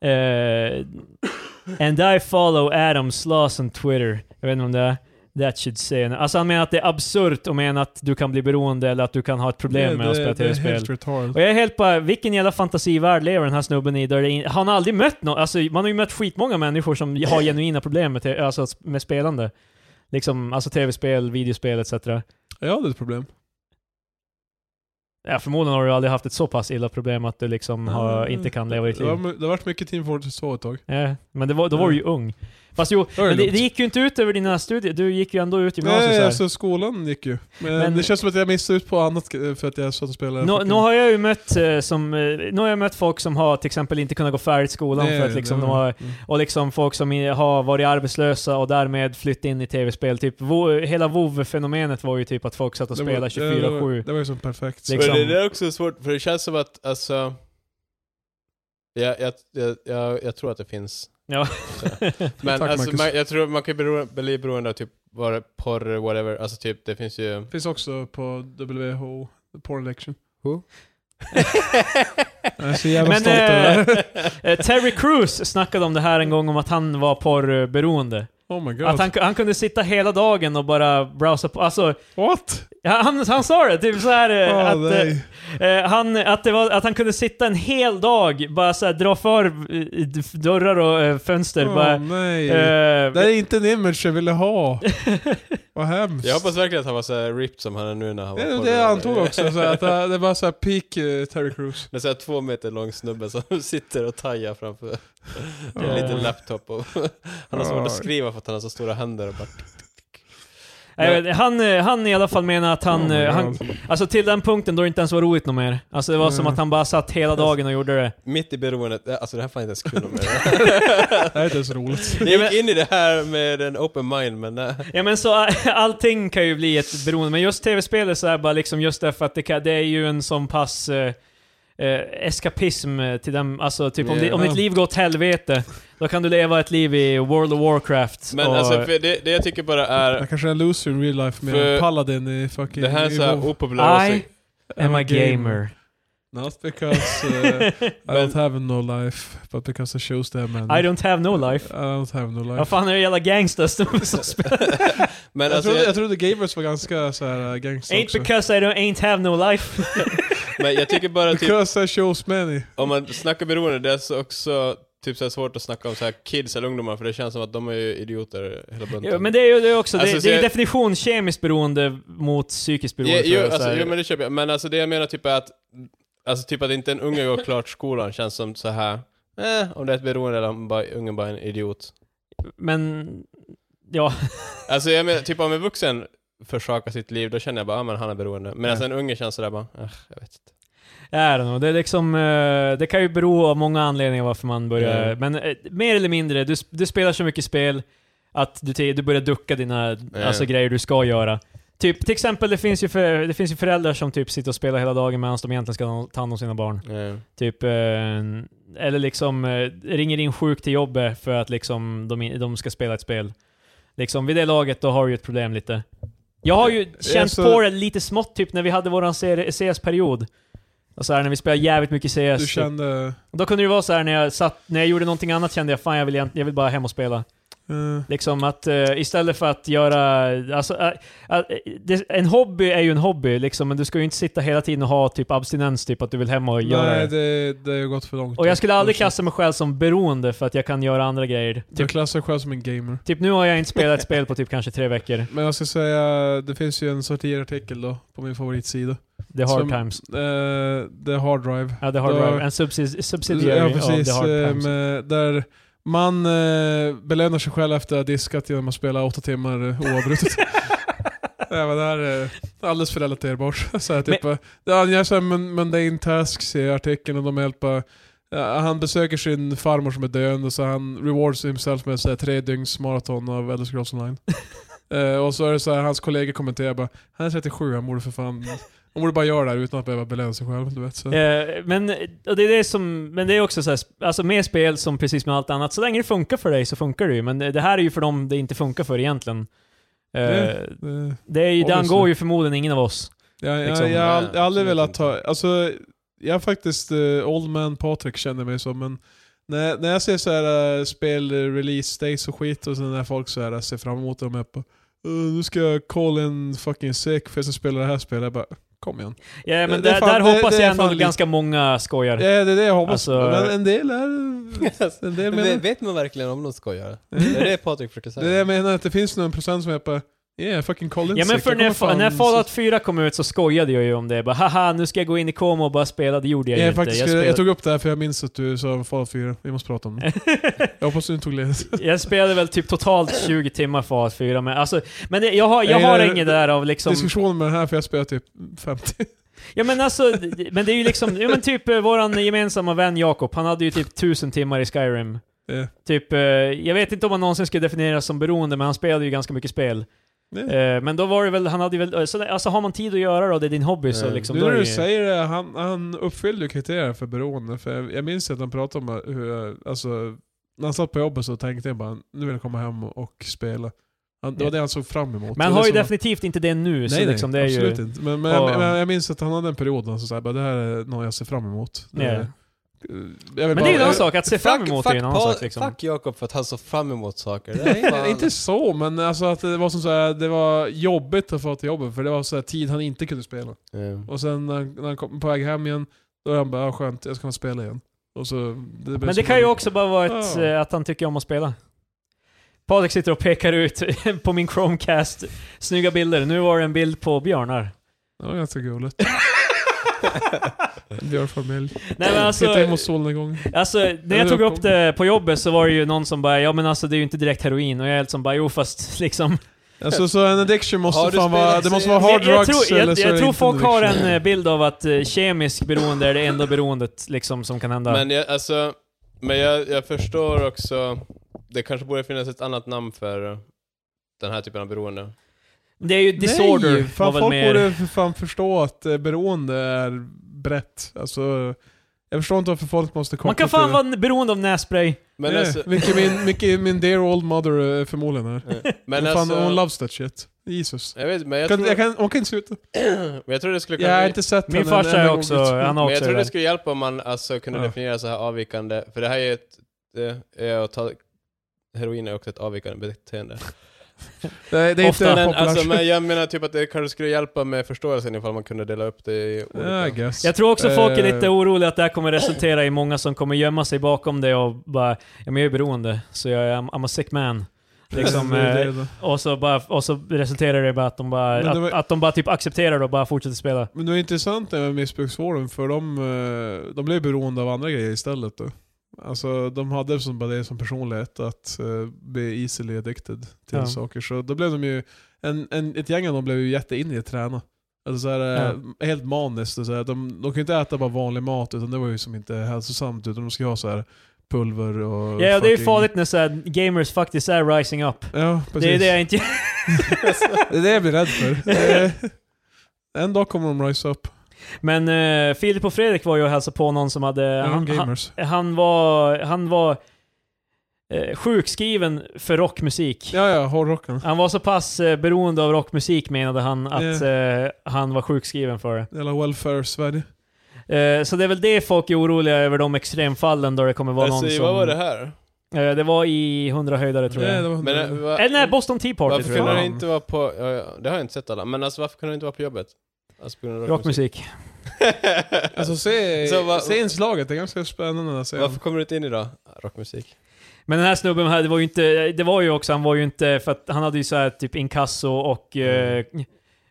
A: Eh, and I follow Adam Sloss on Twitter. Jag vet inte om det är. That should say enough. Alltså han menar att det är absurt och menar att du kan bli beroende eller att du kan ha ett problem med att spela
B: det är
A: tv-spel.
B: helt retard.
A: Och jag är helt bara, vilken jävla fantasivärld lever den här snubben i? Där det in, han har aldrig mött någon, alltså man har ju mött skitmånga människor som har genuina problem med, te- alltså, med spelande. Liksom, alltså tv-spel, videospel etc.
B: Jag hade ett problem.
A: Ja, förmodligen har du aldrig haft ett så pass illa problem att du liksom har, inte kan leva ditt
B: Det
A: liv.
B: har, det har varit mycket Team Fortress 2 ett tag.
A: Ja, men det var, då var du ju ung. Fast jo,
B: Då är det
A: men det,
B: lugnt.
A: det gick ju inte ut över dina studier, du gick ju ändå ut gymnasiet
B: Nej,
A: så här.
B: alltså skolan gick ju. Men,
A: Men-
B: det känns som att jag missade ut på annat eh, för att jag satt och spelade.
A: Nå,
B: fucking-
A: nå har jag ju mött, eh, som, eh, nå har jag mött folk som har till exempel inte kunnat gå färdigt skolan
B: Nej,
A: för att liksom,
B: det
A: de
B: var-
A: har,
B: mm.
A: och liksom folk som i- har varit arbetslösa och därmed flytt in i tv-spel. Typ, Wo- hela WoW-fenomenet var ju typ att folk satt och
B: Det var-
A: spelade
B: ja, Det var,
A: 24-7.
B: det var ju som perfekt.
A: Liksom-
C: Men det, det är också svårt, för det känns som att alltså... Jag, jag, jag, jag, jag tror att det finns.
A: Ja.
C: Men
B: Tack,
C: alltså,
B: Marcus.
C: man, jag tror man kan bero, bli beroende av typ bara porr, whatever. Alltså typ, det finns ju...
B: Det finns också på WHO, Porn Election. Jag är så jävla
A: Men
B: stolt över det här.
A: eh, eh, Terry Crews snackade om det här en gång, om att han var porrberoende.
B: Oh my god.
A: Att han, han kunde sitta hela dagen och bara browsa på. Alltså,
B: What?
A: han, han sa det, typ så här eh,
B: Åh,
A: att... eh,
B: nej.
A: Eh, han, att, det var, att han kunde sitta en hel dag, bara såhär dra för eh, d- dörrar och eh, fönster.
B: Åh,
A: bara,
B: nej.
A: eh,
B: det här är inte en image jag ville ha. Vad hemskt.
C: Jag hoppas verkligen att han var så här ripped som han är nu när han
B: det
C: var
B: är det
C: porr.
B: jag antog också, så här, att det det var såhär peak eh, Terry Crews.
C: Det är såhär två meter lång snubbe som sitter och tajar framför en
A: Ja.
C: liten laptop. Och han har svårt
B: Ja.
C: att skriva för att han har så stora händer. Och bara,
A: jag vet inte, han, eh, han i alla fall menar att han,
B: Oh my
A: eh, han...
B: God.
A: Alltså till den punkten då det inte ens var roligt något mer. Alltså det var som
B: Mm.
A: att han bara satt hela dagen och gjorde det.
C: mitt i beroendet, eh, alltså det här är fan inte ens kul om
B: Det här är inte ens roligt.
C: Jag gick in i det här med en open mind, men nej.
A: Ja men så eh, allting kan ju bli ett beroende, men just tv-spel är så här bara liksom just därför att det, kan, det är ju en sån pass eh, eh, eskapism eh, till dem, alltså typ om,
C: Ja.
A: di, om ditt liv går åt helvete, då kan du leva ett liv i World of Warcraft.
C: Men
A: och,
C: alltså, för det, det jag tycker bara
B: Jag
C: är...
B: kanske är en loser in real life med
C: För-
B: en paladin i fucking...
C: Det här är
B: i
C: så här
B: WoW.
C: opopulär
A: I-
C: åsikt.
A: Am I
B: I'm a
A: gamer?
B: Not because uh, I don't have no life, but because I chose them and...
A: I don't have no life.
B: I don't have no life.
A: Vad fan är det jävla gangsters som som spelar?
C: Men
B: jag,
C: alltså,
B: trodde, jag
C: jag,
B: trodde gamers var ganska såhär uh, gangster
A: Ain't
B: också.
A: because I don't ain't have no life.
C: men jag tycker bara typ,
B: Because I chose many.
C: om man snackar beroende, det är så också typ så här svårt att snacka om så här kids eller ungdomar, för det känns som att de är ju idioter hela bunten.
A: Ja, men det är ju det är också,
C: Alltså,
A: det,
C: så
A: det är ju
C: jag-
A: definition kemiskt beroende mot psykiskt beroende. tror
C: jo,
A: jag, så
C: alltså,
A: här.
C: jo, men det köper jag. Men alltså det jag menar typ är att, alltså typ att inte en unge går klart skolan känns som så här. Eh, om det är ett beroende eller om bara, ungen bara är en idiot.
A: men ja.
C: Alltså jag menar, typ om en vuxen försakar sitt liv, då känner jag bara, ah, men han är beroende. Men alltså en unge känns sådär bara, eh, jag vet inte.
A: I don't know. Det, är liksom, eh, det kan ju bero av många anledningar varför man börjar...
C: Mm.
A: Men eh, mer eller mindre, du, sp- du spelar så mycket spel att du, te- du börjar ducka dina alltså, grejer du ska göra. Typ, till exempel, det finns, ju för, det finns ju föräldrar som typ sitter och spelar hela dagen medan de egentligen ska ta hand om sina barn.
C: Eh.
A: Typ, eh, eller liksom eh, ringer in sjuk till jobbet för att liksom de, in- de ska spela ett spel. Liksom, vid det laget då har du ju ett problem lite. Jag har ju känt
B: Alltså-
A: på det lite smått typ när vi hade våran serie- CS-period. Och så här, när vi spelade jävligt mycket CS.
B: Du
A: typ.
B: kände...
A: Då kunde det ju vara så här när jag satt, när jag gjorde någonting annat kände jag fan jag vill, egent- jag vill bara hem och spela.
B: Uh,
A: Liksom att eh, istället för att göra... Alltså, eh, eh, det, en hobby är ju en hobby liksom, men du ska ju inte sitta hela tiden och ha typ abstinens, typ att du vill hem och göra
B: nej, det, det har ju gått för långt.
A: och jag skulle aldrig
B: Kanske.
A: klassa mig själv som beroende för att jag kan göra andra grejer.
B: Jag
A: Typ,
B: klassar mig själv som en gamer.
A: typ nu har jag inte spelat ett spel på typ kanske tre veckor.
B: Men jag ska säga, det finns ju en sorterartikel då, på min favoritsida.
A: The Hard
B: Som-
A: Times.
B: Uh, the Hard Drive.
A: Ja, The Hard
B: då-
A: Drive. En subsidi- subsidiary
B: Ja,
A: av The
B: precis.
A: Hard
B: eh,
A: Times.
B: Med, där man eh, belönar sig själv efter att ha diskat genom att spela åtta timmar eh, oavbrutet. Nej, men det här är alldeles för relaterbart. Så här, typ, eh, det anges en mun- mundane tasks i artikeln och de hjälper Ja, han besöker sin farmor som är döende och så han rewards himself med så här, tre dygns maraton av Elder Scrolls Online. Eh, och så är det så här, hans kollegor kommenterar bara Han är 37, han borde för fan... Han borde bara göra det här utan att behöva belöna sig själv, du vet. Så.
A: Eh, men, och det är det som, men det är också så här, sp- alltså med spel som precis med allt annat, så länge det funkar för dig så funkar det ju. Men det det här är ju för dem det inte funkar för egentligen. Eh,
B: Det- Eh,
A: det är ju, det
B: obviously.
A: angår ju förmodligen ingen av oss.
B: Ja,
A: Liksom,
B: jag, jag, har ald-
C: nej,
B: jag har aldrig
C: absolut
B: velat
C: inte.
B: ta... Alltså, jag är faktiskt eh, old man Patrik känner mig som, men när, när jag ser så här eh, spel eh, release days och skit och sen när folk så här ser fram emot dem uppe. "Eh, nu ska jag call in fucking sick för jag ska spela det här spelet. Jag bara, kom igen.
A: Ja, men
B: Det är
A: där,
B: fan-
A: där
B: det-
A: hoppas
B: det är
A: jag ändå
B: fan lite-
A: ganska många skojar.
B: Ja, det är det jag hoppas.
A: Alltså-
B: men en del är...
C: Alltså,
B: En del menar...
C: Men vet man verkligen om de skojar? Det är det Patrik försöker
B: Det är det jag
C: säga.
B: menar, att det finns nog en procent som är på Yeah, fucking call
A: Ja
B: in
A: men
B: sick.
A: för
B: Jag
A: när,
B: kommer
A: fa-
B: fan-
A: när Fallout 4 kom ut så skojade jag ju om det. Bara haha, nu ska jag gå in i koma och bara spela. Det gjorde jag
B: jag,
A: ju
B: jag,
A: inte.
B: faktiskt,
A: jag,
B: jag,
A: spelade...
B: tog upp det här för jag minns att du sa Fallout 4. Vi måste prata om det. Jag hoppas du inte tog ledigt.
A: jag spelade väl typ totalt 20 timmar Fallout 4. Men, alltså, men det- jag har, jag har
B: Jag-
A: inget där av liksom...
B: Diskussionen med den här, för jag spelar typ 50.
A: Ja men alltså, d- d- men det är ju liksom... Ja, men typ eh, våran gemensamma vän Jakob, han hade ju typ 1000 timmar i Skyrim.
B: Ja.
A: Typ, eh, jag vet inte om han någonsin skulle definieras som beroende, men han spelade ju ganska mycket spel.
B: Nej.
A: Eh, Men då var det väl, han hade ju väl, eh, så där- alltså har man tid att göra det och det är din hobby så
C: Mm.
A: liksom...
B: Nu
A: då är
B: när
A: det
B: du
A: ju-
B: säger det, han, han uppfyllde ju kriterierna för beroende. För jag, jag minns att han pratade om hur, jag- alltså, när han satt på jobbet så tänkte jag bara, nu vill jag komma hem och, och spela. Han, det var
A: Ja.
B: det han såg fram emot.
A: Men han
B: Det var
A: har ju
B: som han-
A: definitivt inte det nu, så liksom det är ju...
B: absolut inte. Men, men,
A: Ja.
B: jag, men jag minns att han hade en period där han sa såhär, det här är något jag ser fram emot. Det,
A: Ja.
B: är- jag vill
A: Men det är ju
B: bara-
A: en annan
B: jag-
A: sak, att se fram emot är ju en annan
C: Paul-
A: sak liksom.
C: Fuck Jakob för att han såg fram emot saker. Det är
B: Nej,
C: fan-
B: inte så, men alltså att det var som så här, det var jobbigt att få till jobbet för det var så här tid han inte kunde spela.
C: Mm.
B: Och sen när han, när han kom på väg hem igen, då är han bara ah, skönt, jag ska få spela igen. Och så, det blir
A: Men det
B: som
A: kan
B: en-
A: ju också bara vara ett,
B: Ja.
A: eh, att han tycker om att spela. Patrik sitter och pekar ut på min Chromecast, snygga bilder. Nu var det en bild på björnar.
B: Det var ganska gulligt. En björnfamilj.
A: Nej men alltså,
B: Titta in mot solnedgången.
A: alltså, när jag tog upp det på jobbet så var det ju någon som bara ja men alltså det är ju inte direkt heroin och jag är helt som bara jo fast liksom.
B: Alltså så en addiction
C: Har
B: måste
C: du
B: fan vara,
C: spelat
B: det måste vara hard
A: Jag,
B: drugs
A: jag tror,
B: eller
A: jag,
B: så är
A: jag
B: det
A: tror
B: inte
A: folk har
B: addiction.
A: en eh, bild av att eh, kemisk beroende är det enda beroendet liksom som kan hända.
C: Men jag, alltså, men jag, jag förstår också, det kanske borde finnas ett annat namn för den här typen av beroende.
A: det är ju disorder.
B: Nej,
A: var
B: fan,
A: väl
B: folk
A: mer-
B: borde för fan förstå att eh, beroende är brett. Alltså, jag förstår inte varför folk måste koppla
A: Man kan fan
B: till...
A: vara Eh, beroende av nässpray.
C: Men
B: Nej,
C: alltså,
B: Vilket min, mycket min dear old mother eh, förmodligen är.
C: men
B: hon, fan, hon
C: alltså
B: loves that shit. Jesus.
C: jag vet, men jag,
B: Jag kan,
C: tror,
B: jag kan, hon kan inte sluta.
C: men jag tror det skulle
B: Jag har
C: kunna...
B: inte sett
A: Min
B: henne en
A: farsa är
B: enda gång.
A: också, han har
C: Men
A: också
C: jag tror
A: det där.
C: det skulle hjälpa om man alltså kunde
B: Ja.
C: definiera så här avvikande, för det här är ju ett, det är att ta, heroin är också ett avvikande beteende.
B: Nej, det är
A: Ofta.
B: inte
C: Men,
B: populärt.
C: alltså, men jag menar typ att det kanske skulle hjälpa med förståelsen ifall man kunde dela upp det i
B: Ja, I
C: olika...
B: guess.
A: Jag tror också folk är
B: Eh,
A: lite oroliga att det här kommer resultera i många som kommer gömma sig bakom det och bara ja, men jag är beroende, så jag är, I'm a sick man. Liksom,
B: det är
A: eh,
B: det.
A: och, så bara, och så resulterar det i bara att de bara,
B: Men det var-
A: att, att de bara typ accepterar det och bara fortsätter spela.
B: Men det är intressant det med missbruksvården, för de, eh, de blev beroende av andra grejer istället. Då. Alltså de hade som bara det som personlighet, att eh, bli easily addicted till
A: Ja.
B: saker. Så då blev de ju, en, en, ett gäng av dem blev ju jätteinne i att träna. Alltså så här, eh, helt maniskt. och Så här, de, de kunde inte äta bara vanlig mat, utan det var ju som inte hälsosamt, utan de skulle ha så här pulver och...
A: Ja, och det är ju
B: fucking-
A: farligt när så här, gamers faktiskt är rising up.
B: Ja, precis.
A: Det är det jag inte...
B: Det är det jag blir rädd för. Eh, en dag kommer de rise up.
A: Men eh, Filip och Fredrik var ju och hälsade på någon som hade...
B: Är de
A: han, han,
B: gamers?
A: han var, han var eh, sjukskriven för rockmusik.
B: Ja, ja, hårdrockarna.
A: Han var så pass eh, beroende av rockmusik menade han att
B: Ja.
A: eh, han var sjukskriven för det.
B: Hela welfare-Sverige.
A: Eh, så det är väl det folk är oroliga över, de extremfallen då det kommer vara
C: Alltså,
A: någon som...
C: vad var det här?
A: Eh, det var i 100 höjdare tror
B: Nej,
A: jag.
B: det var
C: Men, eh, va-
A: Eller nej, Boston Tea Party
C: Varför
A: tror
C: kunde
A: jag.
B: Fan.
C: det inte vara på... Ja, ja, det har jag inte sett alla. Men alltså varför kunde det inte vara på jobbet? Alltså på grund av rockmusik.
A: Rockmusik.
B: Alltså se,
C: Så va-
B: se inslaget, det är ganska spännande att se.
C: varför kommer du inte in idag? Rockmusik.
A: Men den här snubben här, det var ju inte, det var ju också, han var ju inte, för att han hade ju så här typ inkasso och eh,
C: Mm.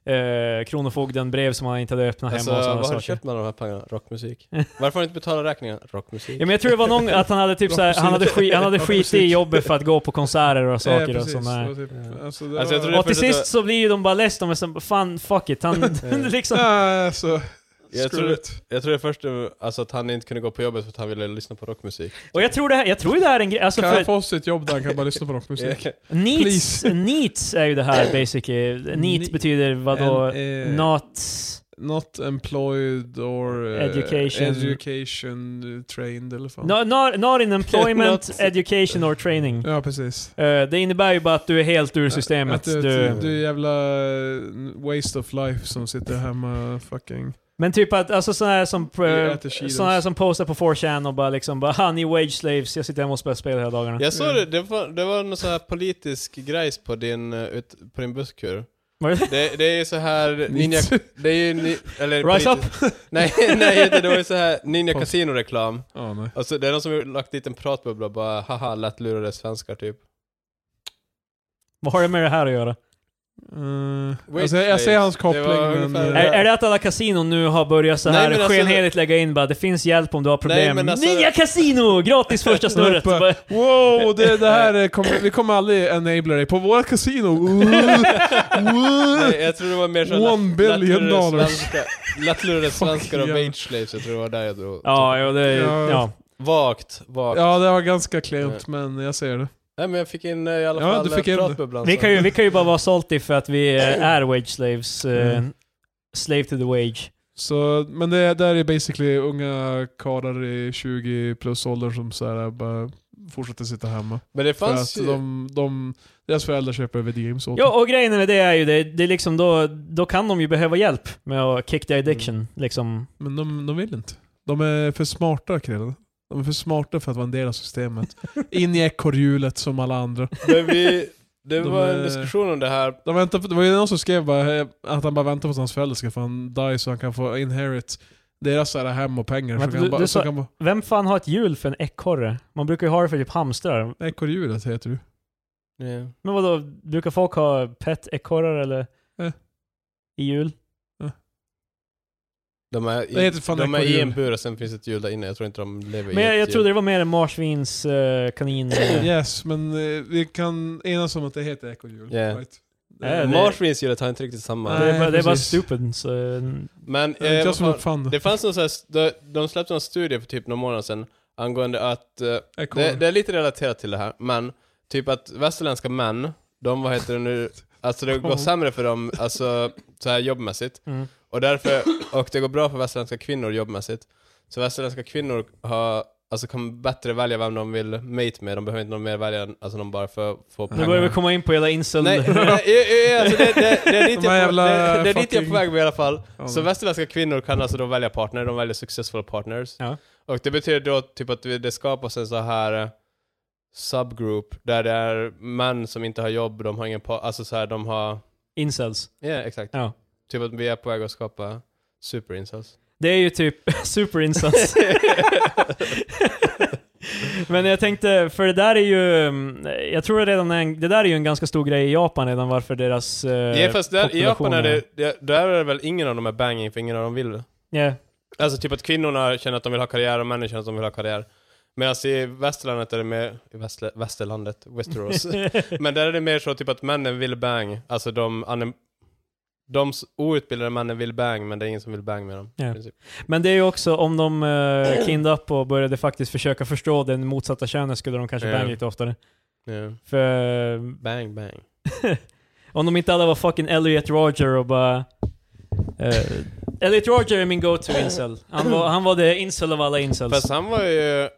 A: eh, Kronofogden brev som han inte hade öppnat
C: Alltså
A: hemma och sådana
C: vad har du
A: saker.
C: köpt med alla de här pengarna? Rockmusik. Varför har du inte betalat räkningen? Rockmusik.
A: Ja, men jag tror det var någon, att han hade typ så här, han hade, skit, han hade skit i jobbet för att gå på konserter och
B: Ja,
A: saker och
B: precis.
A: sådana här.
B: Det var typ- Alltså, det
C: Alltså, jag
B: var-
C: tror
A: Och till
C: för att
A: sist så blir ju de bara less, de är som fan fuck it, han liksom...
B: Nej, alltså...
C: Jag
B: screw
C: tror-
B: it.
C: Jag tror det först eh, alltså, att han inte kunde gå på jobbet för att han ville lyssna på rockmusik.
A: Och jag tror det här, jag tror det här är en grej, alltså
B: Kan jag
A: för
B: få oss ett jobb där han kan bara lyssna på rockmusik?
A: needs,
B: Please.
A: needs är ju det här basically, needs
B: Ni-
A: betyder vadå?
B: And, eh,
A: Not...
B: Not employed or... eh,
A: Education.
B: Education eh, trained eller fan.
A: No, not, not in employment,
C: Not-
A: education or training.
B: Ja, precis.
A: Eh, det innebär ju bara att du är helt ur systemet.
B: Att typ- du,
A: Du,
B: du är jävla eh, waste of life som sitter hemma fucking...
A: Men typ att, alltså sådana här som,
B: Vi
A: eh,
B: äter Cheetos.
A: såna här som postar på 4chan och bara liksom bara "Ha, ni är wage slaves, jag sitter hemma och spelar spel hela dagarna.
C: Jag såg det, det var, det var någon sån här politisk grejs på din, eh, ut, på din busskur.
A: Var det-
C: Det, det är ju så här Ninja... Det är ju... Ni, eller
A: Rise up!
C: politisk- Nej, nej inte, det var ju så här Ninja
B: Post.
C: Casino-reklam.
B: Ja, nej.
C: Alltså, det är någon som har lagt dit en pratbubbla och bara haha, lätt lurade svenskar typ.
A: Vad har det med det här att göra?
B: Mm.
C: Wait,
B: alltså, jag, jag ser hans
C: det
B: koppling,
C: var
B: men... eh,
C: ungefär-
A: Är, är det att alla kasinon nu har börjat så
C: Nej,
A: här
C: men alltså-
A: skenheligt lägga in bara det finns hjälp om du har problem.
C: men alltså-
A: Nya kasino! Gratis första snurret!
B: Uppe.
A: Bara-
B: Wow, det, det här är- kommer, vi kommer aldrig enabla dig på våra kasino.
C: Nej, jag tror det var mer så
B: One
C: lätt-
B: billion
C: lättlurade
B: dollars.
C: svenskar- Lättlurade svenskar och
B: yeah.
C: wage slaves, jag tror det var där jag drog.
A: Ja, jo, det,
B: Ja.
A: ja.
C: Vagt, vagt.
B: ja, det var ganska klent, men jag ser det.
C: Nej men jag fick in eh, i alla
B: Ja,
C: fall
B: du fick
C: eh,
B: in det.
C: pratbubblan.
A: Vi
C: så-
A: kan ju, vi kan ju bara vara salty för att vi eh,
C: Mm.
A: är wage slaves. eh, Slave to the wage.
B: Så, men det där är basically unga karlar i 20 plus ålder som så här, bara fortsätter sitta hemma.
C: Men det
B: För
C: fanns
B: att
C: ju...
B: de, de, deras föräldrar köper videogames åt
A: Ja,
B: dem.
A: och grejen med det är ju det, det är liksom då, då kan de ju behöva hjälp med att kick the addiction.
C: Mm.
A: Liksom.
B: Men de, de vill inte. De är för smarta killarna. De är för smarta för att vara en del av systemet. In i ekorrhjulet som alla andra.
C: Men vi, det
B: De
C: var en
B: är-
C: diskussion om det här.
B: De väntar på, det var ju någon som skrev bara, eh, att han bara väntar på att hans föräldrar ska få en die så han kan få inherit deras så här hem och pengar.
A: Vänta,
B: så kan
A: du-
B: han bara,
A: du
B: så
A: sa-
B: kan han
A: Vem fan har ett hjul för en ekorre? Man brukar ju ha det för typ hamstrar.
B: bara, ekorrhjulet heter du.
C: Ja.
A: Men vadå, brukar folk ha pet-ekorrar eller?
B: Eh.
A: I jul?
C: De är,
B: Det
C: i,
B: heter fan
C: de är i
B: ekorrhjul.
C: en bur och sen finns ett hjul där inne. Jag tror inte de lever
A: Men
C: i
A: jag,
C: ett
A: jag
C: hjul.
A: trodde det var mer en marsvins, eh, kanin... eh.
B: Yes, men eh, vi kan enas om att det heter ekorrhjul.
C: Yeah.
B: Right?
A: Eh, det-
C: Marsvinshjulet har inte riktigt samma.
A: Det är bara, det är bara
B: precis.
A: stupid. Så, mm.
C: Men
B: Det är inte
C: eh,
B: jag
C: vad
B: som
C: fan,
B: uppfann det.
C: det fanns någon sån här, de, de släppte en studie för typ några månader sedan angående att, eh,
B: Ekorre.
C: det, det är lite relaterat till det här, men typ att västerländska män, de vad heter det nu, alltså det går
B: Kom.
C: sämre för dem, alltså så här jobbmässigt.
A: Mm.
C: Och därför, och det går bra för västerländska kvinnor jobbmässigt. Så västerländska kvinnor har, alltså kan bättre välja vem de vill mate med, de behöver inte någon mer välja, alltså de bara för få
A: Nu börjar vi komma in på hela incel...
C: Nej, nej, nej, alltså det, det, det är dit
B: De här
C: jag, är på-
B: jävla
C: det, det är dit jag är på
B: fucking-
C: väg med i alla fall.
B: Ja,
C: Så
B: men-
C: västerländska kvinnor kan alltså då välja partner, de väljer successful partners.
A: Ja.
C: Och det betyder då typ att vi- det skapas en så här eh, subgroup där det är män som inte har jobb, de har ingen par, alltså så här de har,
A: Incels.
C: ja exakt.
A: Ja.
C: Typ att vi är på väg att skapa superinsats.
A: Det är ju typ superinsats. Men jag tänkte, för det där är ju, mm, jag tror det redan är en, det där är ju en ganska stor grej i Japan redan varför deras... eh,
C: Ja fast där, i Japan är
A: populationen-
C: det, det- där är det väl ingen av dem är banging för ingen av dem vill det.
A: Ja.
C: Alltså typ att kvinnorna känner att de vill ha karriär och männen känner att de vill ha karriär. Medan i västerlandet är det mer, i västle, västerlandet, Westeros. Men där är det mer så typ att männen vill bang. Alltså de, anem- de s- outbildade männen vill bang men det är ingen som vill bang med dem. i
A: Ja.
C: princip.
A: Men det är ju också, om de uh, kindade upp och började faktiskt försöka förstå den motsatta könet skulle de kanske
C: Ja.
A: banga lite oftare.
C: Ja.
A: För
C: Bang bang.
A: om de inte alla var fucking Elliot Roger och bara... eh, Elliot Roger är min go-to incel. Han var, han var det incel av alla incels.
C: Fast han var ju,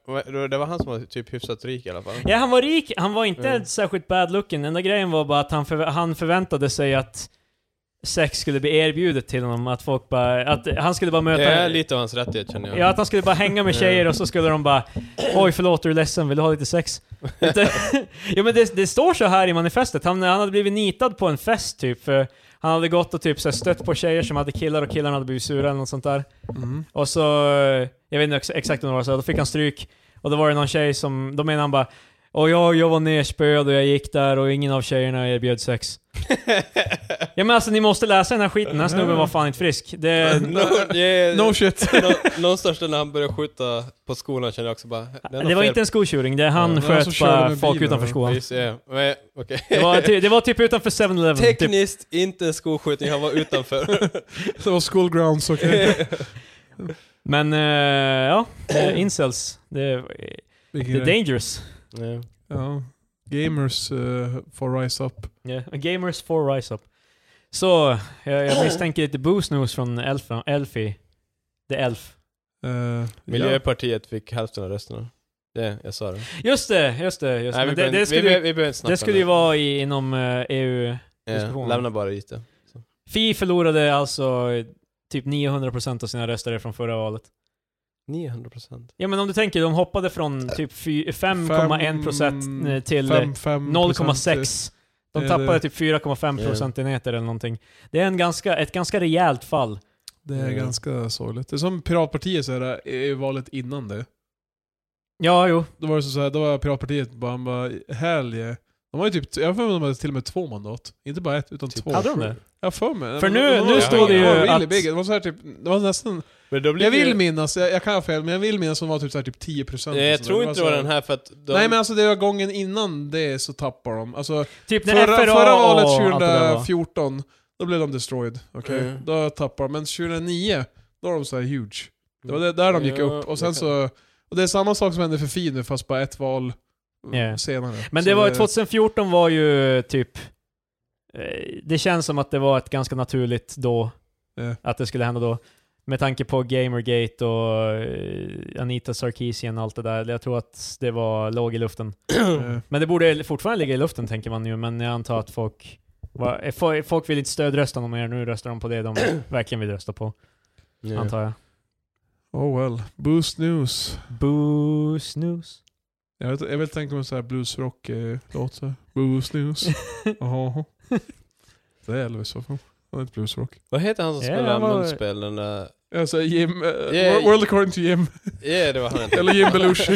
C: det var han som var typ hyfsat rik i alla fall.
A: Ja, han var rik. Han var inte
C: Mm.
A: särskilt bad looking. Enda grejen var bara att han, förvä- han förväntade sig att sex skulle bli erbjudet till honom. Att folk bara... Att han skulle bara möta...
C: Det är lite av hans rättighet känner jag.
A: Ja, att han skulle bara hänga med tjejer och så skulle de bara Oj förlåt, är du ledsen? Vill du ha lite sex? Inte- ja men det, det står så här i manifestet, han, han hade blivit nitad på en fest typ. För han hade gått och typ så här, stött på tjejer som hade killar och killarna hade blivit sura eller något sånt där.
B: Mm.
A: Och så, eh, jag vet inte ex- exakt hur det var, så då fick han stryk. Och då var det någon tjej som, då menar han bara och jag, jag var nerspöad och jag gick där och ingen av tjejerna erbjöd sex. ja men alltså ni måste läsa den här skiten, den här snubben var fan inte frisk. Det,
C: No, Eh, yeah,
B: No shit.
C: Nå- någonstans när han började skjuta på skolan kände jag också bara... Det, är något
A: det var
C: fel
A: inte en skotjuring, det är han
B: Ja, men han som
A: sköt
B: körde
A: bara
B: med
A: folk
B: bilen,
A: utanför
B: va?
A: skolan.
C: Just, yeah. Men, okej.
A: Det var, ty- det var typ utanför 7-Eleven. Typ.
C: Tekniskt inte en skoskjutning, han var utanför.
B: Det var school grounds, okej.
A: Men eh, ja, eh, incels. Det är, det
B: Vilken
A: är
B: grej.
A: dangerous.
C: ja.
B: Ja. Gamers uh, for rise up.
A: Yeah. Gamers for rise up. Så, jag, jag misstänker lite booze news från Elf, Elfie. The Elf.
B: Eh, ja.
C: Miljöpartiet fick hälften av rösterna. Det, jag sa det.
A: Just det, just det. Just det. Men det,
C: vi behöver
A: det
C: inte- vi
A: skulle,
C: behöver-
A: ju-
C: vi behöver inte snacka
A: det
C: om
A: skulle ju vara i, inom eh, EU.
C: Ja,
A: diskussionen.
C: Lämna bara dit det.
A: Fi förlorade alltså typ 900% av sina röster är från förra valet.
C: 900 procent.
A: Ja men om du tänker, de hoppade
B: Eh,
A: från typ fy- 5,1% till eh, 0,6. De
B: Eller-
A: tappade typ 4,5 procentenheter eller någonting. Det är en ganska, ett ganska rejält fall.
B: Det är
C: Mm.
B: ganska sorgligt. Det är som Piratpartiet så är det EU-valet innan det.
A: Ja, jo.
B: Då var det så här, då var Piratpartiet bara, han bara helge. De har ju typ, jag har för mig att de hade till och med två mandat. Inte bara ett, utan
C: Typ.
B: två.
A: Hade de det?
B: Jag har för mig.
A: För
B: De-
A: nu-
B: de,
A: nu
C: står det ju
B: att...
A: att-
B: Det var så här typ, det var nästan...
C: Men då blir
B: Jag vill
C: det,
B: minnas, jag, jag kan ha fel, men jag vill minnas att de var typ så här typ 10% och
C: jag, jag
B: sådär.
C: tror inte det
B: så
C: var
B: här-
C: den här för att de,
B: Nej men alltså det var gången innan det så tappar de. Alltså
A: Typ när
B: förra,
A: FRA
B: förra
A: och
B: valet
A: allt det där var.
B: 2014, då blev de destroyed. Okej?
C: Mm.
B: Då tappar de. Men 2009, då var de så här huge. Det var det, där de gick
C: Ja,
B: upp. Och
C: det
B: sen
C: kan-
B: så... Och det är samma sak som hände för Fi nu fast bara ett val eh,
A: Ja.
B: senare.
A: Men
B: Så
A: det var, 2014 var ju typ... eh, Det känns som att det var ett ganska naturligt då,
B: Ja.
A: att det skulle hända då. Med tanke på Gamergate och eh, Anita Sarkeesian och allt det där. Jag tror att det var låg i luften.
B: eh,
A: Men det borde fortfarande ligga i luften tänker man ju, men jag antar att folk... va- eh, fo- Folk vill inte stödrösta någon mer, nu röstar de på det de verkligen vill rösta på,
C: Ja.
A: antar jag.
B: Oh well. Boost News.
A: Boo snooze.
B: Jag vet, jag vet tänka mig en sån här bluesrock-låt såhär. Boost News. Jaha. Det är Elvis i så fall. Han är inte bluesrock.
C: Vad heter han som
A: Ja,
C: spelade
A: han var-
C: munspel? Den där...
B: Alltså Jim... eh,
C: Yeah.
B: World according to Jim.
C: Ja, det var han inte.
B: Eller Jim Belushi.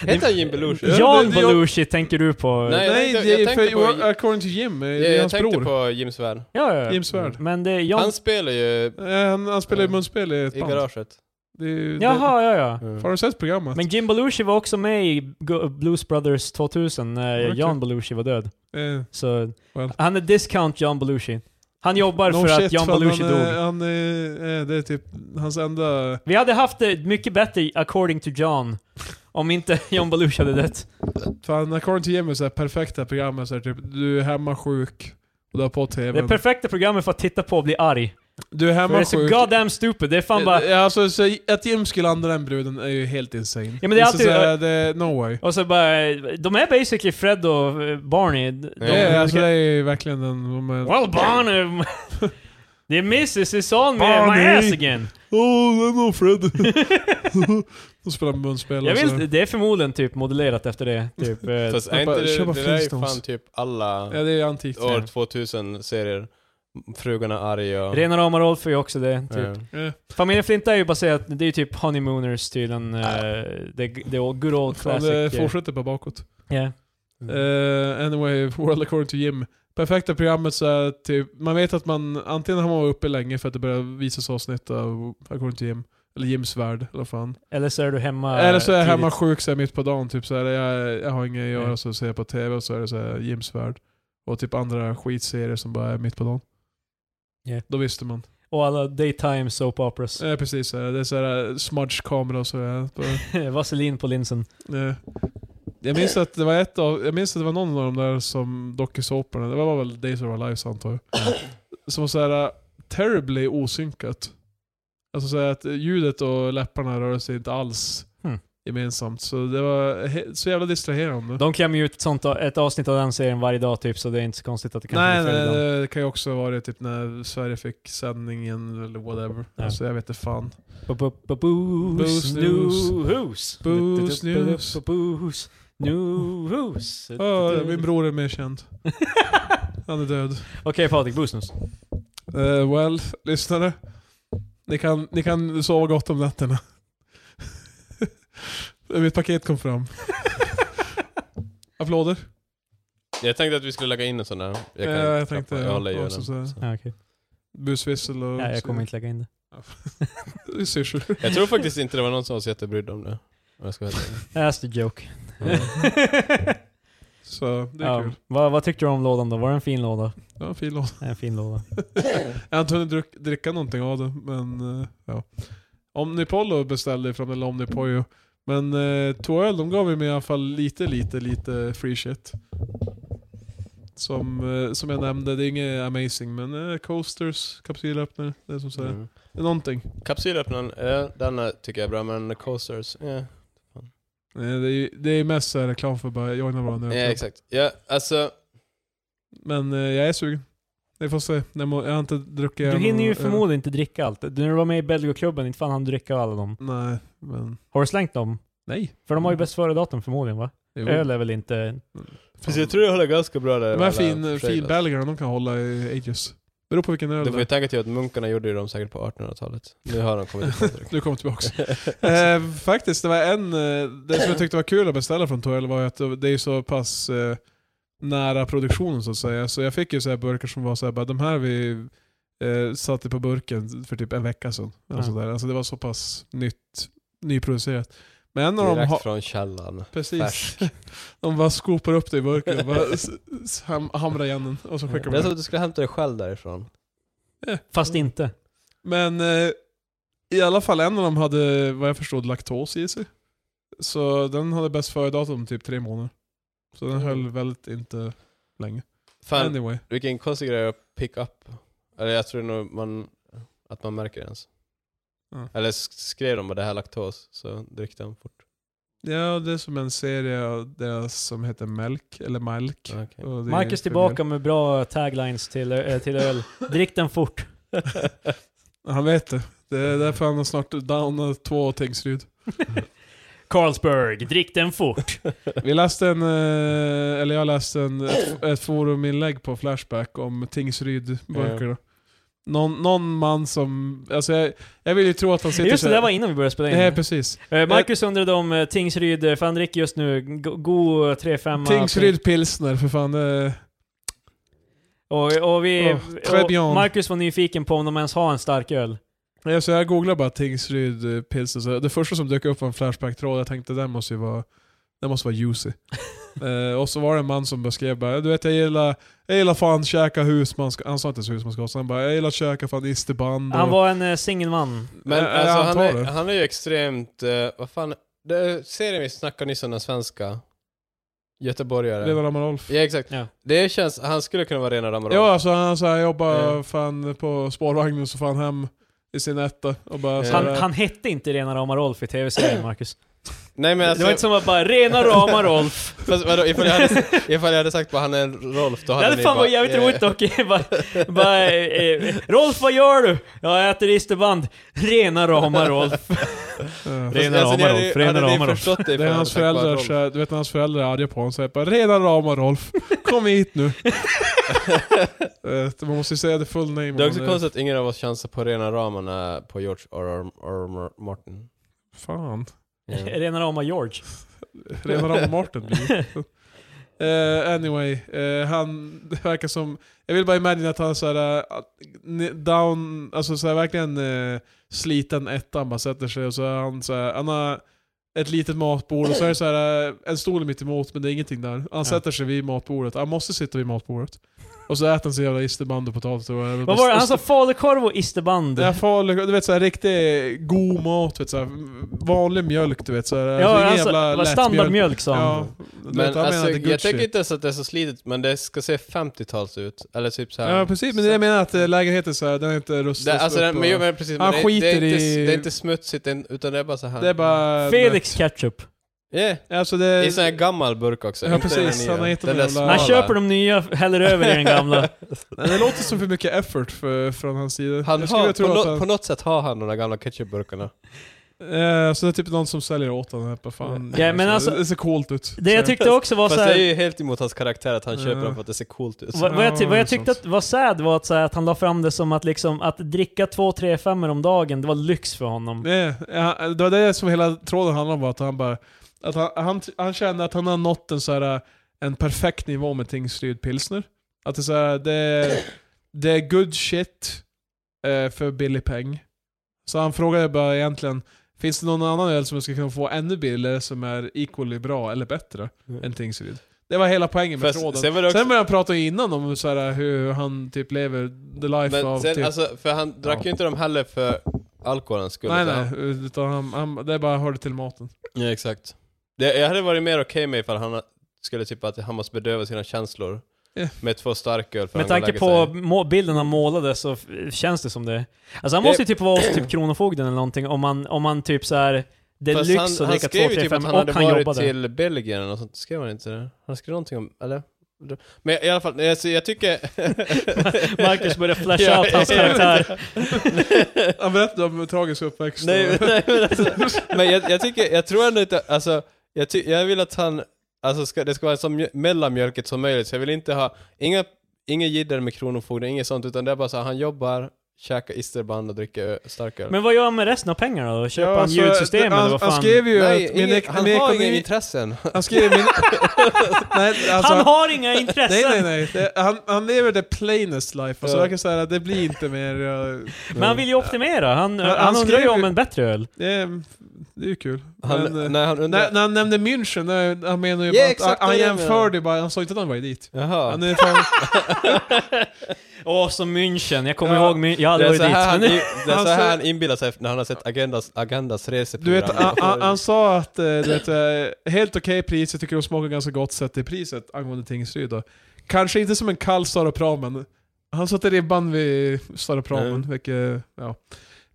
C: Heter han Jim Belushi?
B: Ja,
A: Jan
B: det- det- jag-
A: Belushi tänker du på?
C: Nej, jag
B: Nej,
C: tänkte-
B: det är
C: jag tänkte
B: för,
C: på-
B: according to Jim, eh,
C: Ja,
B: det är
C: jag
B: hans
C: tänkte
B: bror.
C: på Jim Svärd.
A: Ja, ja, ja.
B: Jim Svärd.
A: Men det är Jan...
C: Han spelar ju
B: Eh, Han, han spelar ju
C: Ja.
B: munspel i ett
C: i
B: band.
C: garaget. Mm.
B: Det är ju- det-
A: Jaha, ja, ja.
B: Har du sett programmet?
A: Men Jim Belushi var också med i Go- Blues Brothers 2000 när
B: Okej.
A: Jan Belushi var död.
B: Eh,
A: Så
B: Well.
A: han är discount Jan Belushi. Han jobbar
B: no
A: för
B: shit,
A: att Jan
B: fan,
A: Belushi
B: han, eh,
A: dog.
B: Han, eh, eh, det är typ hans enda...
A: Vi hade haft det mycket bättre according to John om inte John Belushi hade dött.
B: Fan, according to Jim är så här perfekta programmet. Så här, typ, du är hemma sjuk och du har på
A: Det är
B: tvn.
A: perfekta programmet för att titta på och bli arg.
B: du är
A: För det är
B: hemma
A: så
B: sjuk.
A: goddamn stupid. Det är fan bara...
B: Eh, Alltså, så att Jim skulle andra den bruden är ju helt insane.
A: Ja, men det är
B: Så
A: alltid-
B: så här, det är no way.
A: Och så bara... De är basically Fred och eh, Barney. De,
C: Ja,
B: Ja,
A: de-
B: alltså, det är ju verkligen en... de är-
A: Well, Barney... The missus is on me, my
B: Barney.
A: ass again.
B: Oh, det är nog Fred. De spelar munspel alltså.
A: Jag
B: och så.
A: vill, det är förmodligen typ modellerat efter det. Typ, eh,
C: Fast är
B: Jag bara,
C: inte det,
B: köpa
C: det där är ju
B: Flintstones.
C: fan typ alla
B: Ja, det är ju antikt.
C: år 2000-serier. Frugorna arg och...
A: Rena rama Rolf är ju också det. Typ.
C: Ja.
B: Eh,
A: Familjen Flinta är ju baserat, det är ju typ Honeymooners tydligen. Uh, the, the good old
B: Fan,
A: classic.
B: det
A: eh, Mm.
B: fortsätter bara bakåt.
A: ja.
B: Eh, anyway, World According to Jim. Perfekta programmet så är typ, man vet att man antingen har man varit uppe länge för att det börjar visas avsnitt av According to Jim. Eller Jims värld, eller vad fan.
A: Eller så är du hemma
B: eller så är jag
A: tidigt.
B: hemma sjuk så här, mitt på dagen, typ så här, jag, jag har inget att göra
A: typ. Mm.
B: så ser jag på TV och så är det så här, Jims värld. Och typ andra skitserier som bara är mitt på dagen.
A: Ja.
B: Då visste man.
A: Och alla daytime soap operas.
B: Eh, precis, så här, det är så här smudge-kamera och så. Här, på,
A: Vaselin på linsen.
B: Nej. Eh, Jag minns att det var ett av, jag minns att det var någon av de där som dokusåporna, det var väl Days of Our Lives antar jag. Som var såhär äh, terribly osynkat. Alltså såhär att ljudet och läpparna rörde sig inte alls
A: Hmm.
B: gemensamt. Så det var he- så jävla distraherande.
A: De klämmer ju ut ett, sånt, ett avsnitt av den serien varje dag typ, så det är inte så konstigt att det kanske
B: Nej,
A: blir
B: nej,
A: följd av.
B: det kan ju också vara det typ när Sverige fick sändningen eller whatever.
A: Ja.
B: Alltså jag vet inte fan.
A: Bo- bo- bo- Boos,
B: Boos, news.
A: news.
B: Boos, news.
A: Boos, news.
B: Ah, min bror är mer känd. Han är död.
A: Okej Patrik, boos news.
B: Eh, well, lyssnare. Ni kan, ni kan sova gott om nätterna. Mitt paket kom fram. Applåder.
C: Jag tänkte att vi skulle lägga in en sån där. Jag,
B: Ja,
C: kan
B: jag
C: klappa.
B: tänkte-
C: jag håller i
B: ja,
C: öronen.
B: så- så-
C: Så.
A: Ja, okej.
B: Busvissel och...
A: Nej, jag kommer inte lägga in det.
B: Syrsor.
C: Jag tror faktiskt inte det var någon som var så jättebrydd om det. Om jag ska vara helt ärlig.
A: That's the joke.
B: Så det är
A: Ja,
B: kul.
A: vad, vad tyckte du om lådan då? Var det en fin låda?
B: Det var en fin låt.
A: En fin låda.
B: Jag har inte hunnit druck, dricka någonting av det, men eh, ja. Omnipollo beställde jag från, eller Omnipojo. Men uh, Toöl, de gav ju mig i alla fall lite, lite, lite free shit. Som, eh, som jag nämnde, det är inget amazing, men eh, coasters, kapsylöppnare, det är som sådär.
C: Mm.
B: Det är någonting.
C: Kapsylöppnaren, eh, den eh, tycker jag är bra, men coasters, eh.
B: Eh, det, är, ju- det är mest så här reklam för bara joina våran
C: Ja,
B: öppna.
C: exakt. Ja, alltså,
B: Men eh, jag är sugen. Vi får se. Jag må- jag har inte druckit
A: Du
B: än,
A: hinner ju
B: och-
A: förmodligen inte dricka allt. Du, när du var med i Belgoklubben, inte fan han dricka alla dem.
B: Nej, men...
A: Har du slängt dem?
B: Nej.
A: För de har ju bäst före-datum förmodligen va?
B: Mm. Jo.
A: Öl är väl inte...
C: Precis, jag tror det håller ganska bra där.
B: De här
C: Eh, alla
B: fin,
C: trailers.
B: fin belgarna, de kan hålla i ages. Beror på vilken öl
C: Du får
B: det
C: ju
B: är.
C: tänka till att munkarna gjorde ju dem säkert på 1800-talet. Nu har de kommit ifrån
B: Nu kommer tillbaka. eh, faktiskt, det var en... eh, Det som jag tyckte var kul att beställa från Toel var ju att det är så pass eh, nära produktionen så att säga. Så jag fick ju så här burkar som var så här, bara de här vi eh, satte på burken för typ en vecka sedan.
A: Ja.
B: Eller sånt där. Alltså det var så pass nytt, nyproducerat. Men en av dem
C: Direkt
B: har...
C: från källan.
B: Precis.
C: Färsk.
B: De bara skopar upp det i burken och bara s- s- ham- hamrar igen den och så
A: Ja.
B: skickar
C: Det
B: de
C: är som
B: det.
C: att du skulle hämta dig själv därifrån.
A: Fast
B: Mm.
A: inte.
B: Men eh, i alla fall en av dem hade, vad jag förstod, laktos i sig. Så den hade bäst före-datum typ tre månader. Så den höll
A: Mm.
B: väldigt inte länge.
C: Fan,
B: Anyway.
C: vilken konstig grej att pick up. Eller jag tror nog man, att man märker det ens.
B: Ja.
C: Eller sk- skrev de bara det här är laktos, så drick den fort.
B: Ja, det är som en serie av deras som heter Melk, eller Malk.
C: Okay.
B: Och det är
A: Marcus
B: för
A: tillbaka med bra taglines till, ö- till öl. Drick den fort.
B: mjölk. Han vet det. Det är därför han har snart downat två Tingsryd.
A: Carlsberg, drick den fort.
B: Vi läste en, eh, eller jag läste en, ett, ett foruminlägg på Flashback om Tingsryd-burkarna. Någon, någon man som, alltså jag, jag vill ju tro att han sitter
A: Just det,
B: så-
A: där var innan vi började spela in.
B: Nej precis.
A: Eh, Marcus undrade om eh, Tingsryd, eh, för han dricker just nu go- god 3-5.
B: Tingsryd pilsner för fan. Det,
A: Och, och vi...
B: Åh, très bien.
A: och Marcus var nyfiken på om de ens har en stark öl.
B: ja, så alltså jag googlade bara Tingsryd eh, pilsner, så det första som dök upp var en Flashback-tråd. Jag tänkte den måste ju vara, den måste vara juicy. eh, och så var det en man som beskrev bara, du vet jag gillar, jag gillar fan käka husmanskost, han sa inte ens husmanskost, han bara jag gillar käka fan isterband.
A: Han
B: och-
A: var en eh, singelman.
C: Men
B: Eh,
C: alltså,
B: jag
C: han,
B: antar
C: är,
B: det.
C: han är ju extremt, eh, vad fan, det är serien vi snackade nyss om den svenska, göteborgare.
B: Redan Amarolf.
C: Ja exakt.
A: Ja.
C: Det känns, han skulle kunna vara rena ramadan.
B: Ja, alltså han så här, jobbar
C: Eh.
B: fan på spårvagnen så får han hem i sin etta och bara så
A: Han,
B: här,
A: han hette inte Rena Rama Rolf i tv-serien, Marcus.
C: Nej men
A: det var
C: alltså,
A: inte som att bara Rena Rama Rolf.
C: fast, vadå, ifall, jag hade, ifall jag hade sagt att han är en Rolf, då
A: Det
C: hade
A: hade
C: ni
A: fan
C: bara, Eh,
A: varit jävligt
C: "Yeah."
A: roligt dock. bara, bara, eh, eh, Rolf, vad gör du? Ja, jag äter isterband. Rena Rama Rolf.
B: eh,
A: Rena
C: Alltså, ni
A: rama
C: hade-
A: Rolf, rena
C: hade ni
A: rama Rolf.
C: förstått det
B: Det
C: ifall
B: är
C: jag
B: hans
C: hade sagt bara
B: föräldrar,
C: Rolf?
B: så här, du vet när hans föräldrar är arga på honom så här, bara redan ramar Rolf, kom hit nu. Eh, Man måste ju säga det full name.
C: Det är
B: om
C: också
B: man
C: konstigt att ingen av oss chansar på rena ramarna på George R.R. R. Martin.
B: Fan.
C: Ja. Mm.
A: Rena Rama George.
B: Redan ramar Martin blir Eh, Anyway, eh, han det verkar som... Jag vill bara imagine att han såhär... down, alltså såhär verkligen eh, sliten ettan bara sätter sig och så är han såhär... Han har ett litet matbord och så är det såhär eh, en stol mitt emot men det är ingenting där. Han sätter sig vid matbordet. Han måste sitta vid matbordet. Och så äter han så jävla isterband och potatis och
A: Vad var det? Han sa falukorv och isterband.
B: det är farlig, du vet såhär riktig god mat, vet, såhär, vanlig mjölk du vet. Såhär,
A: Ja,
B: alltså, ingen
A: alltså,
B: jävla
A: vad
B: lättmjölk.
A: standardmjölk sa han.
B: Ja, du
C: Men
B: vet, han
C: alltså,
B: menade
C: jag
B: Gucci.
C: tänker inte ens att det är så slitet, men det ska se 50-tals ut. Eller typ såhär...
B: Ja precis, men jag menar att eh, lägenheten så här, den är inte rustad.
C: det, alltså,
B: upp
C: den,
B: och-
C: men, jo, men precis,
B: Han
C: men det, det, är
B: skiter
C: inte,
B: i-
C: det är inte smutsigt, det är- utan det är bara så här.
B: det är bara...
A: Felix ketchup.
C: Yeah.
B: Alltså
C: Det är
B: det...
C: en sån här gammal burk också.
B: Ja,
C: inte den
B: precis.
C: nya.
B: Han har gett dem
C: Den där
B: jävla-
C: smala.
A: Han köper de nya, häller över i den gamla.
B: Nej, det låter som för mycket effort för, från hans sida.
C: Han
B: jag skulle
C: har, på,
B: tro att
C: nå-
B: han...
C: på något sätt har han de där gamla ketchupburkarna.
B: Eh, så det är typ någon som säljer åt honom. Vad fan.
A: Ja, men alltså-
B: det, det ser coolt ut.
A: Det jag
B: Så-
A: tyckte också var
C: Fast
A: så
C: det är
A: här,
C: ju helt emot hans karaktär att han
B: Ja.
C: köper dem för att det ser coolt ut.
A: vad, vad, jag, ty- vad
B: Ja,
A: jag
B: det är
A: tyckte
B: sant.
A: att var sad var att, så här, att han la fram det som att, liksom, att dricka två, tre femmor om dagen, det var lyx för honom.
B: Nej, ja, det var det som hela tråden handlade om, var att han bara... Att han, han, han kände att han har nått en, så här, en perfekt nivå med Tingsryd pilsner. Att det är, så här, det, är- det är good shit eh, för billig peng. Så han frågade bara egentligen, finns det någon annan öl som jag ska kunna få ännu billigare som är equally bra eller bättre
C: Mm.
B: än Tingsryd? Det var hela poängen med
C: Fast,
B: tråden. Sen,
C: sen var det också,
B: började han prata innan om så här, hur han typ lever the life
C: men
B: av...
C: sen,
B: typ,
C: alltså, för han drack ju inte dem heller för alkoholens skull.
B: nej
C: utan
B: nej, utan han, han, det är bara hörde till maten.
C: Ja, exakt. Det, jag hade varit mer okej med ifall han skulle typ att han måste bedöva sina känslor
B: Ja.
C: med två starköl för
A: Med
C: att han går
A: tanke
C: och lägger
A: på
C: sig.
A: må- bilden han målade så f- känns det som det. Alltså han måste ju typ vara hos typ Kronofogden eller någonting om man, om man typ så här det är
C: Fast
A: lyx att
C: han, han
A: dricka två,
C: skrev ju
A: tre
C: typ att
A: femmor
C: han
A: och
C: hade
A: han
C: varit
A: jobbade.
C: till Belgien eller något sånt. Skrev han inte det? Han skrev någonting om, eller? Men i alla fall, alltså, jag tycker...
A: Marcus börjar flasha out hans karaktär.
B: Han berättade om tragisk uppväxt.
C: nej,
B: och-
C: nej, men alltså, men jag, jag tycker, jag tror ändå inte, alltså, jag, ty, jag vill att han, alltså ska, det ska vara så mjö- mellanmjölket som möjligt, så jag vill inte ha, inga, inget jidder med kronofogden, inget sånt, utan det är bara så här, han jobbar, käkar isterband och dricker ö- starköl.
A: Men vad gör han med resten av pengarna då? Köper han
B: så-
A: ljudsystem
B: alltså, han,
A: eller vad fan?
B: Han skrev ju
C: nej,
B: att min,
C: inget,
B: ek-
C: han
B: min
C: har inga
B: ekonomi...
C: intressen.
B: Han skrev min... nej, alltså,
A: han har inga intressen!
B: Nej, nej, nej. Det, han, han lever the plainest life. Alltså, Och så
C: Ja.
B: verkar det så här, det blir inte mer... ja,
A: Men han vill ju optimera, han,
B: Han-
A: han,
B: han
A: undrar ju
B: skrev
A: om
B: ju-
A: en bättre öl.
B: Det är, det är ju kul.
C: Han,
B: Men, eh,
C: nej, han undrar...
B: när, när han nämnde München, när- han menar ju
C: Ja,
B: bara
C: exakt
B: att han,
C: vad
B: han
C: jag menar.
B: jämförde ju bara, han sa inte att han var i dit.
C: Jaha.
B: Han är fan,
A: Åh, som München, jag kommer
B: Ja,
A: ihåg München, jag har
C: det
A: aldrig
C: är
A: varit
C: så
A: dit.
C: här han,
A: Men
C: i- det är så
B: Alltså-
C: här han inbillar sig när han har sett Agendas, Agendas
B: du
C: reseprogram.
B: vet, han, han, han sa att eh, du vet, eh, helt okej pris, jag tycker de smakar ganska gott sett till priset angående Tingsryd då. Kanske inte som en kall Sara Pramen. Han satte ribban vid Sara Pramen,
C: Mm.
B: vilket, ja.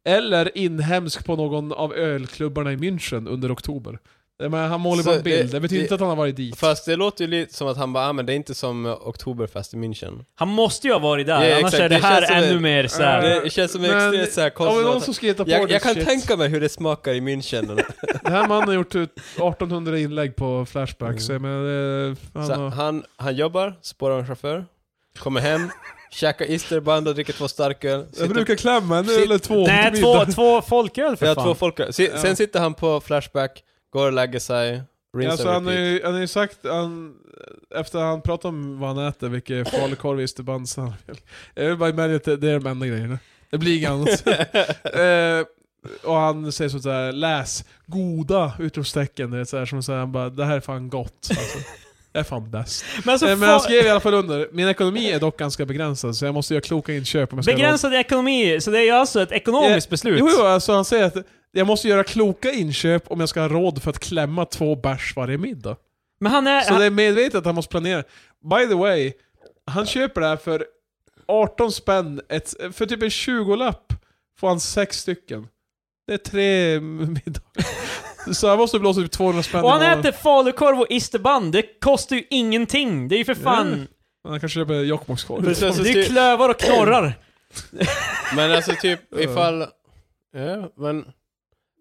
B: Eller inhemsk på någon av ölklubbarna i München under oktober. Jag menar, han målar ju
C: Så
B: bara en bild,
C: det-
B: det, betyder
C: det-
B: inte att han har varit dit.
C: Fast det låter ju lite som att han bara, ah, men det är inte som eh, Oktoberfest i München.
A: han måste ju ha varit där,
C: Ja,
A: annars
C: exakt,
A: är det,
C: det
A: här
C: känns som
A: ännu
C: det-
A: mer såhär...
B: Ja,
C: Det känns som
B: Men-
C: extremt såhär
B: Om det är någon
C: konstigt.
B: som ska hitta på
C: Jag,
B: det
C: jag kan
B: shit.
C: tänka mig hur det smakar i München.
B: Den här mannen har gjort ut 1800 inlägg på Flashback,
C: Mm.
B: så jag menar, eh, han
C: så
B: har...
C: han, han jobbar, spårar en chaufför, kommer hem, käkar isterband och dricker två starköl.
B: Jag
C: sitter-
B: brukar klämma en eller två
A: Nej,
B: till
A: två,
B: middag.
A: två folköl för
C: ja,
A: fan.
C: två folk, si,
B: Ja.
C: Sen sitter han på Flashback, går och lägger sig, rinse
B: Alltså,
C: and
B: han, har
C: repeat.
B: ju, han har ju sagt, han, efter han pratat om vad han äter, vilket falukorv, isterband, så han Jag vill bara märka att det, det är de enda grejerna. Det blir inget annat. eh, och han säger sådär, läs goda! Utropstecken. Det är sådär, som såhär, han bara, det här är fan gott. Alltså. Det är fan bäst.
A: Men alltså,
B: Eh, Men han
A: fa-
B: skrev i alla fall under, min ekonomi är dock ganska begränsad så jag måste göra kloka inköp om jag ska ha råd
A: begränsad ekonomi, så det är ju alltså ett ekonomiskt beslut.
B: Jo, jo, alltså han säger att jag måste göra kloka inköp om jag ska ha råd för att klämma två bärs varje middag.
A: Men han är...
B: Så
A: Han,
B: det är medvetet att han måste planera. By the way, han köper det här för 18 spänn, ett, för typ en 20-lapp får han sex stycken. Det är tre middagar. Så han måste blåsa upp 200 spänn
A: och han
B: i månaden.
A: äter falukorv och isterband, det kostar ju ingenting. Det är ju för fan...
B: Han kanske köper
C: Det
B: Jokkmokkskorv.
C: känns så
A: Det är ju
C: styr-
A: klövar och knorrar.
C: Men alltså typ ifall... Ja, men...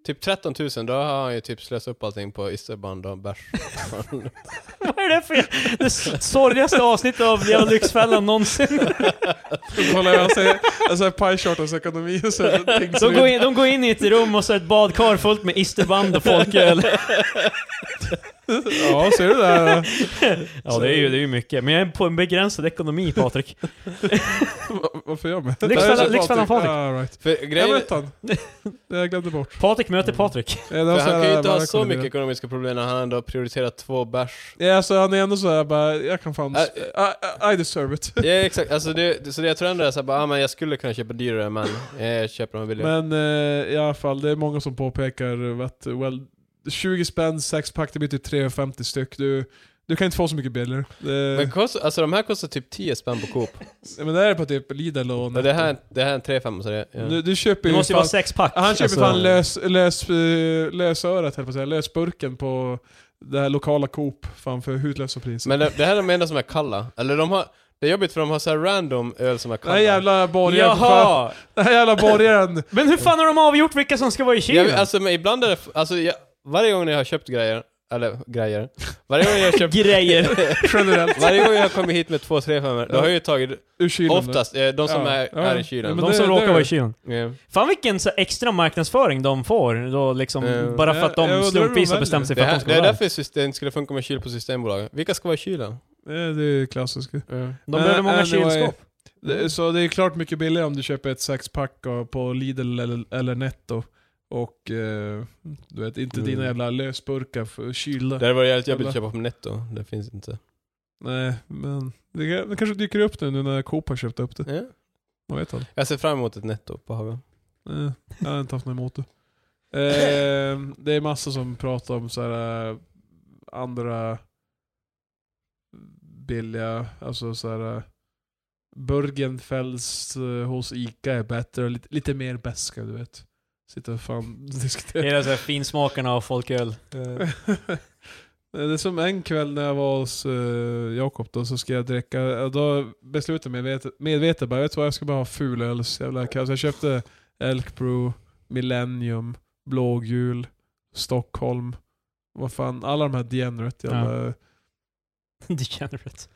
C: Typ 13 000, då har han ju typ slösat upp allting på isterband och bärs.
A: Vad är det för det sorgligaste avsnittet av Leva Lyxfällan någonsin?
B: Kollar jag säger, jag säger pie charters ekonomi och så tänker
A: De går, in, de går in i ett rum och så är ett badkar fullt med isterband och folköl.
B: Ja, ser du det här?
A: Ja, det är ju, det är ju mycket. Men jag är på en begränsad ekonomi, Patrik.
B: Varför gör jag mig?
A: Lyxfällan- Lyxfällan Patrik.
B: Ah, right.
C: För
B: Jag
C: grejen,
B: vet han. Det jag glömde bort.
A: Patrik möter Patrik.
B: Ja, det
C: för
B: var så
C: han kan
B: här,
C: ju inte
B: bara,
C: ha
B: jag
C: så
B: kollar
C: mycket
B: vidare.
C: ekonomiska problem när han ändå prioriterar två bärs.
B: Ja, alltså han är ändå så här, bara, jag kan fan...
C: Äh,
B: I, I, I deserve it.
C: Ja exakt, alltså det, så det jag tror ändå är såhär bara, ah, men jag skulle kunna köpa dyrare men eh, jag köper dem billigare.
B: Men eh, i alla fall, det är många som påpekar att well, 20 spänn, sexpack, det blir typ 3,50 styck. Du, du kan inte få så mycket billigare. Det,
C: Men,
B: men,
C: kost, alltså de här kostar typ 10 spänn på Coop.
B: men det här är på typ Lidl och
C: Men
B: Netto.
C: det här, det här är en 3-5 så det, ja.
B: du, du köper
A: Det
B: ju
A: måste ju
B: fan...
A: vara sexpack.
B: Han köper
A: Alltså,
B: fan lös, lös, eh, lösörat, höll på att säga. Lösburken på det här lokala Coop, fan för hutlösa priser.
C: Men det, det här är de enda som är kalla. Eller de har, det är jobbigt för de har såhär random öl som är
B: Den
C: kalla.
B: här jävla borgaren, för fan.
A: Jaha!
B: Den här jävla borgaren.
A: Men hur fan har de avgjort vilka som ska vara i
C: jag,
A: kylen?
C: alltså men ibland är det, alltså jag, varje gång när jag har köpt grejer, eller grejer, varje gång jag har köpt
A: Grejer.
B: Generellt.
C: Varje gång jag har kommit hit med två 3-5 då har jag ju tagit,
B: Ur kylen.
C: oftast, eh, de som
B: Ja.
C: är,
B: Ja.
C: är i
B: Ja,
C: kylen.
B: men
A: De
B: det-
A: som råkar
B: det-
A: vara i kylen.
C: Ja.
A: Fan vilken så extra marknadsföring de får, då liksom,
C: Eh,
A: bara för att
B: jag- jag
A: de
B: undrar
A: slumpvis
B: hur de
A: har bestämt sig för
C: Det,
A: att de
C: här,
A: ska
C: det
A: vara
C: är
A: där.
C: därför system skulle funka med kyl på Systembolaget. Vilka ska vara i kylen?
B: Ja, det är ju klassiskt.
A: De
B: Men
A: behöver många
B: Eh, anyway,
A: kylskåp. Mm.
B: Det- Så det är klart mycket billigare om du köper ett sexpack av- på Lidl eller, eller Netto. Och eh, du vet, inte
C: Mm.
B: dina jävla lösburkar för kylda.
C: Det hade varit jävligt jobbigt
B: Eller?
C: att köpa på Netto. Det finns inte.
B: Nej, men det, kan- det kanske dyker upp nu, nu när Coop har köpt upp det.
C: Ja.
B: Vad vet han?
C: Jag ser fram emot ett Netto på Haga.
B: Nej, Eh, jag har inte haft något emot det. Eh, det är massa som pratar om så här eh, andra billiga, alltså så här eh, Burgenfels eh, hos Ica är bättre, och lite, lite mer beska du vet. Sitter och fan och diskuterar.
A: Hela så här finsmakarna av folköl.
B: Eh, Det är som en kväll när jag var hos uh, Jakob då, så ska jag dricka. och Då beslutade jag medvetet, medvetet bara, vet du vad, jag ska bara ha fulöls jävla kaos. Jag köpte Elk Brew, Millennium, Blågul, Stockholm. Vad fan, alla de här Degenerate jävla...
A: Degenerate.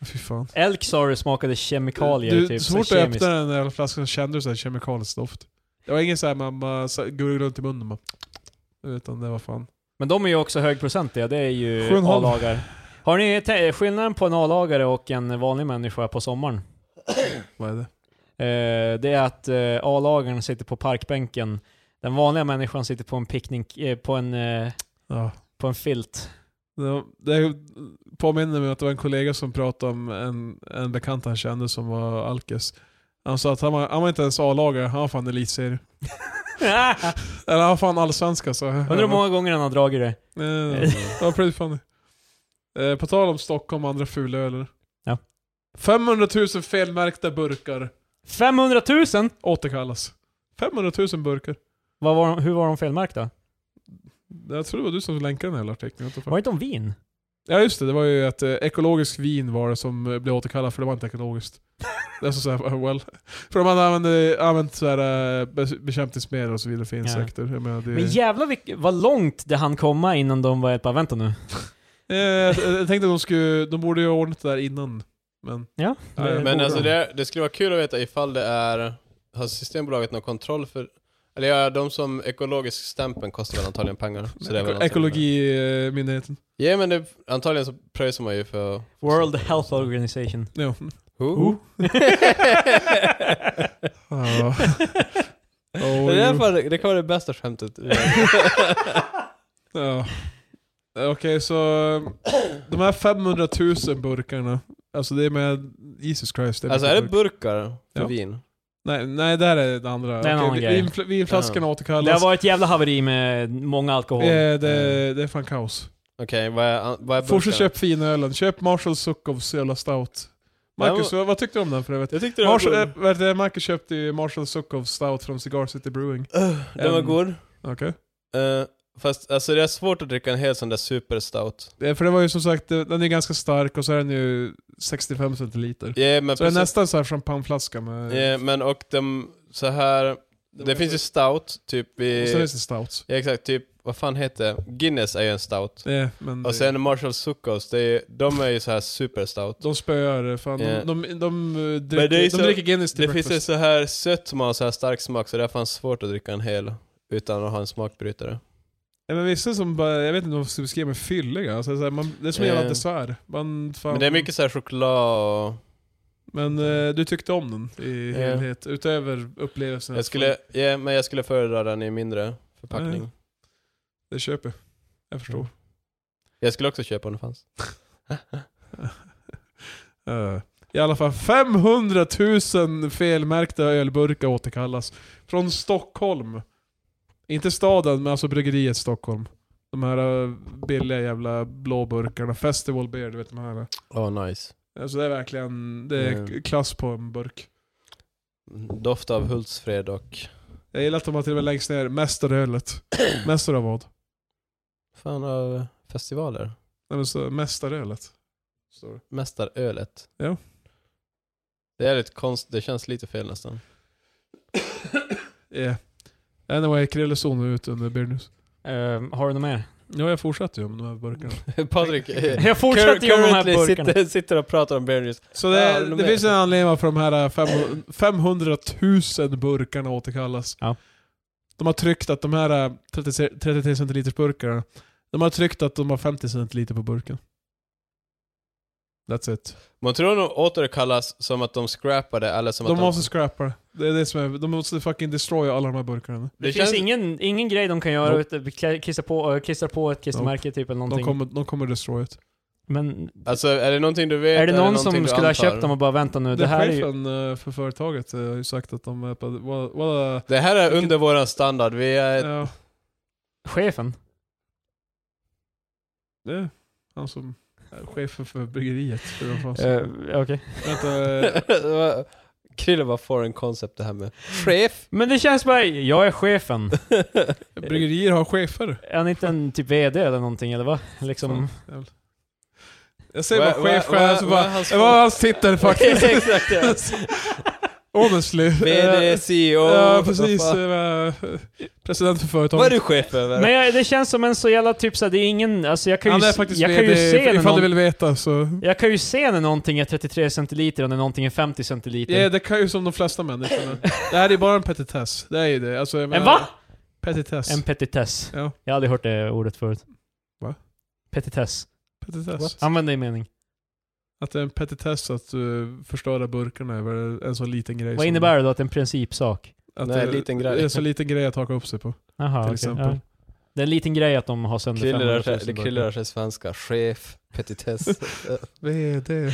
B: Fy fan.
A: Elk sa du smakade kemikalier,
B: du,
A: typ.
B: så
A: så här
B: fort jag
A: kemiskt.
B: öppnade den där jävla flaskan så kände du såhär kemikaliskt doft. Det var ingen såhär man bara så- gurglade runt i munnen bara. Utan det var fan.
A: Men de är ju också högprocentiga, det är ju
B: 7,5.
A: A-lagare. Har ni te- skillnaden på en A-lagare och en vanlig människa på sommaren?
B: Vad är det?
A: Eh, det är att eh, A-lagaren sitter på parkbänken. Den vanliga människan sitter på en picknick, eh, på en, eh,
B: Ja.
A: på en filt.
B: Det, det påminner mig att det var en kollega som pratade om en, en bekant han kände som var alkis. Han sa att han var, han var inte ens A-lagare, han var fan elitserie. Eller han var fan allsvenska så.
A: Undrar hur många gånger han har dragit det.
B: Eh, Det var pretty funny. Eh, på tal om Stockholm och andra fulöler.
A: Ja.
B: 500 000 felmärkta burkar
A: 500 000!
B: återkallas. 500 000 burkar.
A: Vad var de, hur var de felmärkta?
B: Jag tror det var du som länkade den här hela artikeln. jag vet inte
A: Var det
B: fan.
A: inte om vin?
B: Ja just det, det var ju att eh, ekologisk vin var det som eh, blev återkallat för det var inte ekologiskt. det är så såhär, well. För de hade använt, använt så här, eh, be- bekämpningsmedel och så vidare för insekter. Jag menar, det,
A: Men jävlar vilk, vad långt det hann komma innan de var ett bara vänta nu.
B: eh, jag, jag tänkte att de, skulle, de borde ju ha ordnat det där innan. Men
A: Ja.
B: Ja,
A: det-
C: Men
B: borde
C: alltså
B: de.
C: det, det skulle vara kul att veta ifall det är, har Systembolaget någon kontroll för, eller ja, de som ekologisk stämpeln kostar väl antagligen pengar. Så det är
B: eko- eh,
C: väl någonting
B: ekologimyndigheten.
C: där. Ja men det, antagligen så pröjsar man ju för...
A: World Health Organization.
B: Ja.
C: Who?
B: Who? Ja.
C: Det,
B: Oh,
C: är
B: you.
C: därför, det kan vara det bästa skämtet.
B: Ja. Okej, så eh, de här 500 000 burkarna, alltså det är med Jesus Christ.
C: alltså
B: mycket
C: är det
B: burkar.
C: burkar för
B: Ja.
C: vin?
B: Nej, nej, det här är det andra.
A: Det är en
B: Okej,
A: annan
B: vi-
A: grej.
B: vinfl- Vinflaskorna återkallas.
A: Det har varit ett jävla haveri med många alkohol.
B: Eh,
A: Mm.
B: det, det är fan kaos.
C: Okej, vad är, an- vad är
B: Forsa
C: burkar?
B: köp finölen. Köp Marshall Sukovs jävla stout. Marcus,
C: Ja,
B: vad, vad tyckte du om den för övrigt?
C: Jag tyckte den
B: Marshall,
C: var
B: äh,
C: god.
B: vad heter det? Marcus köpte ju Marshall Sukovs stout från Cigar City Brewing.
C: Den var
B: en-
C: god.
B: Okej.
C: Eh, fast alltså det är svårt att dricka en hel sån där superstout.
B: Eh, För det var ju som sagt, eh, den är ganska stark och så är den ju 65 centiliter.
C: Ja men
B: Så det är
C: precis.
B: nästan så här champagneflaska med...
C: Ja, men och de, så här, det,
B: var-
C: finns ju stout, typ
B: Och
C: i...
B: sen finns det stouts.
C: Ja, exakt, typ, vad fan heter det? Guinness är ju en stout.
B: Eh, men
C: Och sen Marshall Sucos, det är, ju- de är ju så här superstout.
B: de spöar eh, fan.
C: Ja.
B: De, de, de, eh,
C: Men det är ju
B: dricker,
C: så-
B: de dricker Guinness till
C: Det finns ju
B: breakfast.
C: så här sött som har så här stark smak, så det är fan svårt att dricka en hel utan att ha en smakbrytare.
B: Ja, men vissa som bara, jag vet inte om jag ska beskriva mig fylliga. Alltså, så här, man, det är som en
C: Eh.
B: jävla dessert. Man, fan,
C: Men det är mycket så här choklad och...
B: Men eh, du tyckte om den i
C: Ja.
B: helhet, utöver upplevelsen.
C: Jag
B: att
C: skulle, ja, men jag skulle föredra den i mindre förpackning.
B: Mm. Det köper jag. Jag förstår.
C: Jag skulle också köpa om det fanns. Mm.
B: Eh, I alla fall 500 000 felmärkta ölburkar återkallas. Från Stockholm. Inte staden, men alltså bryggeriet Stockholm. De här eh, billiga jävla blåburkarna. Festival beer, du vet de här.
C: Åh, nice.
B: Alltså det är verkligen det är
C: Mm.
B: k- klass på en burk.
C: Doft av Hultsfred och...
B: Jag gillar att de har till och med längst ner, mästerölet. Mästare av vad?
C: Fan av festivaler.
B: Nej men så, mästerölet. Står det.
C: Mästarölet.
B: Ja.
C: Det är lite konst, det känns lite fel nästan.
B: Yeah. Anyway, Krille såg nu ut under Beer News.
A: Eh, har du något mer?
B: Ja, jag fortsatte ju om de här burkarna.
C: Mm. Patrik, eh,
A: Jag fortsätter ju med de här
C: currently
A: burkarna.
C: sitter, sitter och pratar om Bear News.
B: Så det,
C: Ja, de
B: det
C: är-
B: finns en anledning varför de här eh, fem- 500 000 burkarna återkallas.
A: Ja.
B: De har tryckt att de här 30 33 centiliters burkarna, de har tryckt att de har 50 centiliter på burken. That's it.
C: Man tror de återkallas som att de scrappade eller som
B: de
C: att
B: måste scrappa det. Det är det som är, de måste fucking destroya alla de här burkarna.
A: Det, finns ingen, ingen grej de kan göra
B: Nope.
A: utan vi kla- klistra på, eh, klistra på ett klistermärke typ eller
B: De
A: någonting.
B: kommer, de kommer destroya det.
A: Men
C: Alltså är det någonting du vet?
A: är det någon
C: någonting
A: som
C: du
A: skulle ha
C: antar?
A: köpt dem och bara vänta nu, det
B: Det
A: här är ju...
B: chefen eh, för företaget eh, har ju sagt att de är på... Well, well,
C: Det här är under våran standard, vi är... ett-
B: ja,
A: Chefen?
B: det är han som
C: Eh.
B: är chefen för bryggeriet. eller vad fan som-
A: Eh, Okej.
B: Vänta, eh,
C: Krille var foreign concept det här med chef.
A: Men det känns bara, jag är chefen.
B: Bryggerier har chefer.
A: Är han inte en typ VD eller någonting eller vad? Liksom...
B: Jag säger bara
C: Mm. Vad- vad-
B: chef själv,
C: vad-
B: så
C: vad
B: bara...
C: är hans
B: Det var hans titel faktiskt.
C: Exakt ja.
B: Honestly. Eh,
C: VD, CEO.
B: Ja,
C: E vad
B: precis.
C: eh, fan.
B: Eh, President för företaget.
C: Vad är du chef över?
A: Men jag, det känns som en så jävla typ såhär, det är ingen, alltså jag kan ju,
B: Han är
A: s-
B: faktiskt
A: jag kan ju
B: VD,
A: se när
B: ifall
A: någon,
B: du vill veta så...
A: Jag kan ju se när någonting är 33 centiliter och när någonting är 50 centiliter.
B: Ja, det kan ju som de flesta människorna. det här är bara en petitess. Det är ju det. Alltså, jag
A: en
B: menar-
A: va?
B: Petitess.
A: En petitess.
B: Ja.
A: Jag har aldrig hört det ordet förut.
B: Va?
A: Petitess.
B: petitess.
A: Använd det i mening.
B: Att det är en petitess att uh, förstöra burkarna över en så liten grej.
A: Vad
B: som-
A: innebär det då att en principsak?
B: Att
C: Nej, liten grej.
B: Det är en så liten grej att haka upp sig på.
A: Jaha,
B: Till
A: okej,
B: exempel.
A: ja. Det är en liten grej att de har sönder
C: Krille
A: 500
C: rör sig-
A: 000
C: Det kryllar
A: burkar.
C: sig svenska. Chef, petitess.
B: VD.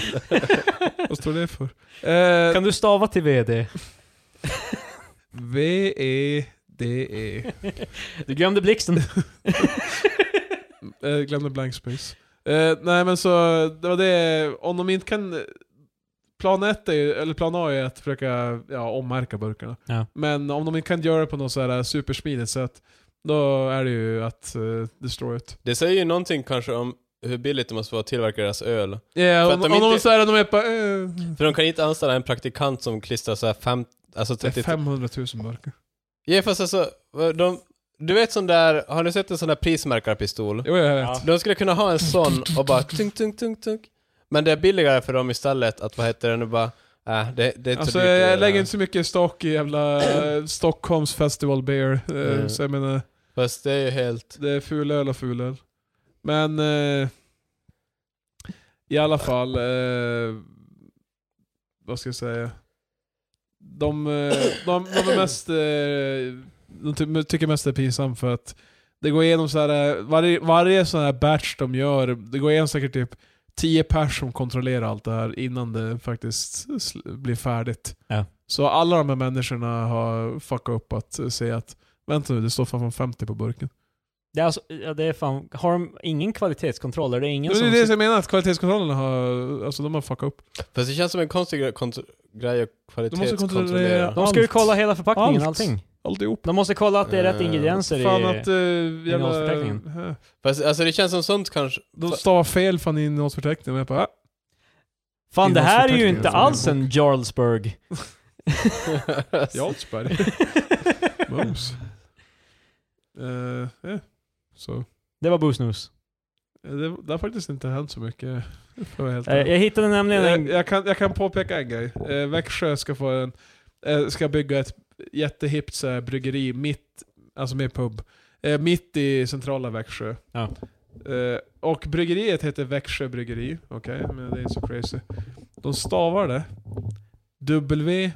B: Vad står det för? Eh,
A: Kan du stava till VD?
B: E V-E-D-E.
A: Du glömde blixten.
B: Eh, glömde blank space. Eh, nej men så, det var det, om de inte kan... Plan ett är ju, eller plan A är att försöka ja, ommärka burkarna.
A: Ja.
B: Men om de inte kan göra det på något så här supersmidigt sätt, då är det ju att uh, destroy it.
C: Det säger ju någonting kanske om hur billigt det måste vara att tillverka deras öl.
B: Yeah,
C: För
B: om,
C: att de
B: om de
C: inte-
B: säger att de är på eh,
C: För de kan inte anställa en praktikant som klistrar så här fem, alltså
B: det är
C: 30...
B: 500 000 burkar.
C: Ja fast alltså, de, du vet sån där, har ni sett en sån där prismärkarpistol?
B: Jo, jag vet.
A: Ja.
C: De skulle kunna ha en sån och bara tung, tung, tung, tung. Men det är billigare för dem istället att, vad heter det nu bara, äh, det, det är inte
B: Alltså
C: så eh, dyrt att
B: jag
C: göra.
B: lägger inte så mycket stock i jävla eh, Stockholms festival beer. eh,
C: Mm.
B: Så jag menar,
C: Fast det är ju helt...
B: det är fulöl och fulöl. Men eh, i alla fall, eh, vad ska jag säga? De, eh, de, de är mest, eh, de ty- tycker mest det är pinsamt för att det går igenom så här, eh, varje, varje sån här batch de gör, det går igenom säkert typ 10 pers som kontrollerar allt det här innan det faktiskt sl- blir färdigt.
A: Ja.
B: Så alla de här människorna har fuckat upp att eh, se att vänta nu, det står fan 50 på burken.
A: Det är, alltså, ja, det är fan, har de ingen kvalitetskontroll? Är det ingen
B: det
A: som...
B: är det som jag menar, att kvalitetskontrollen har, alltså de har fuckat upp.
C: Fast det känns som en konstig gre- kont- grej att
B: kontrollera-
C: kvalitetskontrollera.
A: de ska ju
B: allt.
A: kolla hela förpackningen,
B: Allt.
A: allting.
B: Alltihop.
A: De måste kolla att det är rätt
C: Eh,
A: ingredienser
B: Fan
A: i...
B: att... eh, jävla,
A: innehållsförteckningen.
B: eh,
C: Fast alltså det känns som sånt kanske...
B: de stavar fel fan i innehållsförteckningen. men Jag bara, ah,
A: Fan det här är ju
B: innehållsförteckningen
A: inte
B: som är
A: alls en Jarlsberg.
B: Jarlsberg. Mums. Eh, eh, Så.
A: Det var Boosnus.
B: eh, Det, det har faktiskt inte hänt så mycket. för att vara helt
A: Eh,
B: ärlig.
A: Jag hittade nämligen
B: jag,
A: en...
B: jag, kan, jag kan påpeka en grej. Eh, Växjö ska, få en, eh, ska bygga ett jättehippt så här, bryggeri mitt, alltså med pub, eh, mitt i centrala Växjö.
A: Ja.
B: Eh, och bryggeriet heter Växjö bryggeri, okej, men det är inte så crazy. De stavar det E W-E-X-I-Ö.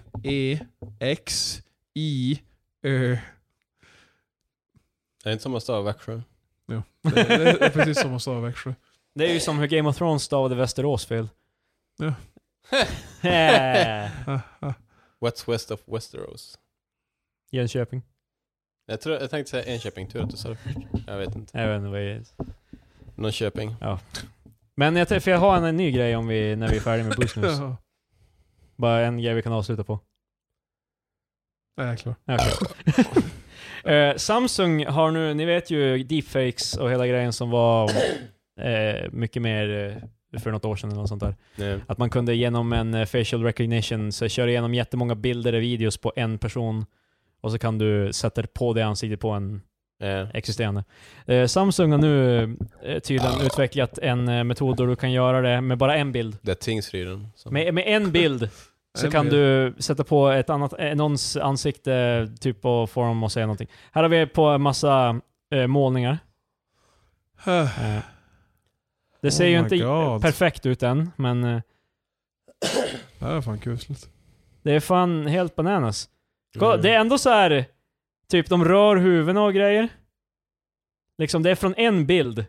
C: Är det inte som man stavar Växjö?
B: Det, det är precis som man stavar Växjö.
A: Det är ju som hur Game of Thrones stavade Västerås fel.
B: Ja.
A: Eh,
B: Ah, ah.
C: What's west of Westeros?
A: Jönköping.
C: Jag, tror, jag tänkte säga Enköping, tur att du sa det först. Jag vet inte.
A: Jag vet inte vad det är.
C: Någon Köping.
A: Men jag, t- för jag har en, en ny grej om vi, när vi är färdiga med Boosnus.
B: Jaha.
A: Bara en grej vi kan avsluta på.
B: Nej, jag är klar.
A: Ja, okej. Eh, Samsung har nu, ni vet ju deepfakes och hela grejen som var eh, mycket mer eh, för något år sedan eller något sånt där.
C: Nej.
A: Att man kunde genom en eh, facial recognition så köra igenom jättemånga bilder och videos på en person och så kan du sätta på det ansiktet på en
C: Eh,
A: existerande. Eh, Samsung har nu eh, tydligen utvecklat en eh, metod där du kan göra det med bara en bild.
C: Det är Tingsryden. som-
A: Med, med en bild så
B: En
A: kan
B: bild.
A: du sätta på ett annat, eh, någons ansikte typ och få dem att säga någonting. Här har vi på en massa eh, målningar.
B: Ah.
A: Eh, det ser
B: Oh
A: ju
B: my
A: inte
B: God.
A: perfekt ut än, men eh,
B: Det här är fan kusligt.
A: det är fan helt bananas. Kolla, Det är ändå så här typ de rör huvudena och grejer. Liksom det är från en bild.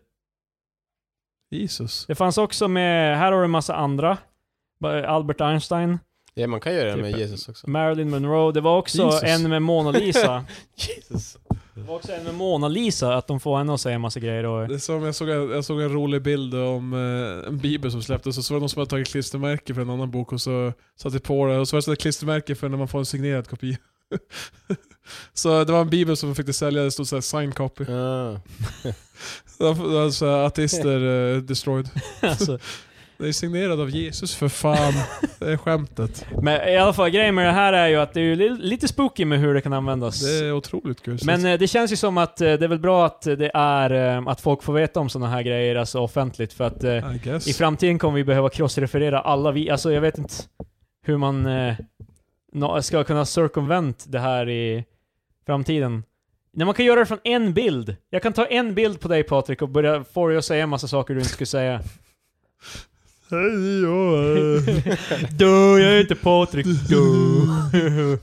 B: Jesus.
A: Det fanns också med, här har du en massa andra. Bara Albert Einstein,
C: Ja, man kan göra det med
A: Typ-
C: Jesus också.
A: Marilyn Monroe. Det var också
B: Jesus.
A: en med Mona Lisa.
C: Jesus.
A: Det var också en med Mona Lisa, att de får henne att säga massa grejer och...
B: Det är som jag, såg, jag såg en rolig bild om eh, en bibel som släpptes och så var det någon som hade tagit klistermärke för en annan bok och så satte på det och så var det sådär klistermärke för när man får en signerad kopia. så det var en bibel som fick det sälja, det stod såhär 'sign copy'.
A: Mm.
C: Ah.
B: Alltså ateister eh, destroyed.
A: Alltså.
B: Det är signerad av Jesus för fan. Det är skämtet.
A: Men i alla fall, grejen med det här är ju att det är ju li- lite spooky med hur det kan användas.
B: Det är otroligt gusigt.
A: Men eh, det känns ju som att eh, det är väl bra att eh, det är eh, att folk får veta om sådana här grejer, alltså offentligt, för att eh,
B: I guess.
A: i framtiden kommer vi behöva crossreferera alla vi, alltså jag vet inte hur man eh, nå- ska kunna circumvent det här i framtiden. När man kan göra det från en bild. Jag kan ta en bild på dig Patrik och börja få dig att säga en massa saker du inte skulle säga.
B: Hej, jag är-
A: Du, jag är inte Patrik. Du.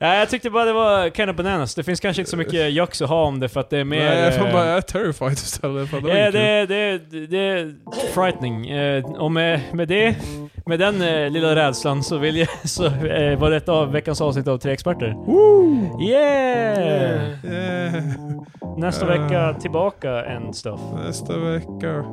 A: Nej, jag tyckte bara det var kind of bananas. Det finns kanske inte så mycket jox att ha om det för att det är mer...
B: Nej, jag, får
A: eh,
B: bara, jag är terrified istället. Fan, det var
A: eh,
B: inget kul.
A: det, det, det, det är frightening. Eh, och med, med det, med den eh, lilla rädslan så vill jag, så eh, var detta av veckans avsnitt av Tre Experter. Yeah!
B: Eh,
A: Nästa vecka tillbaka en stuff.
B: nästa vecka.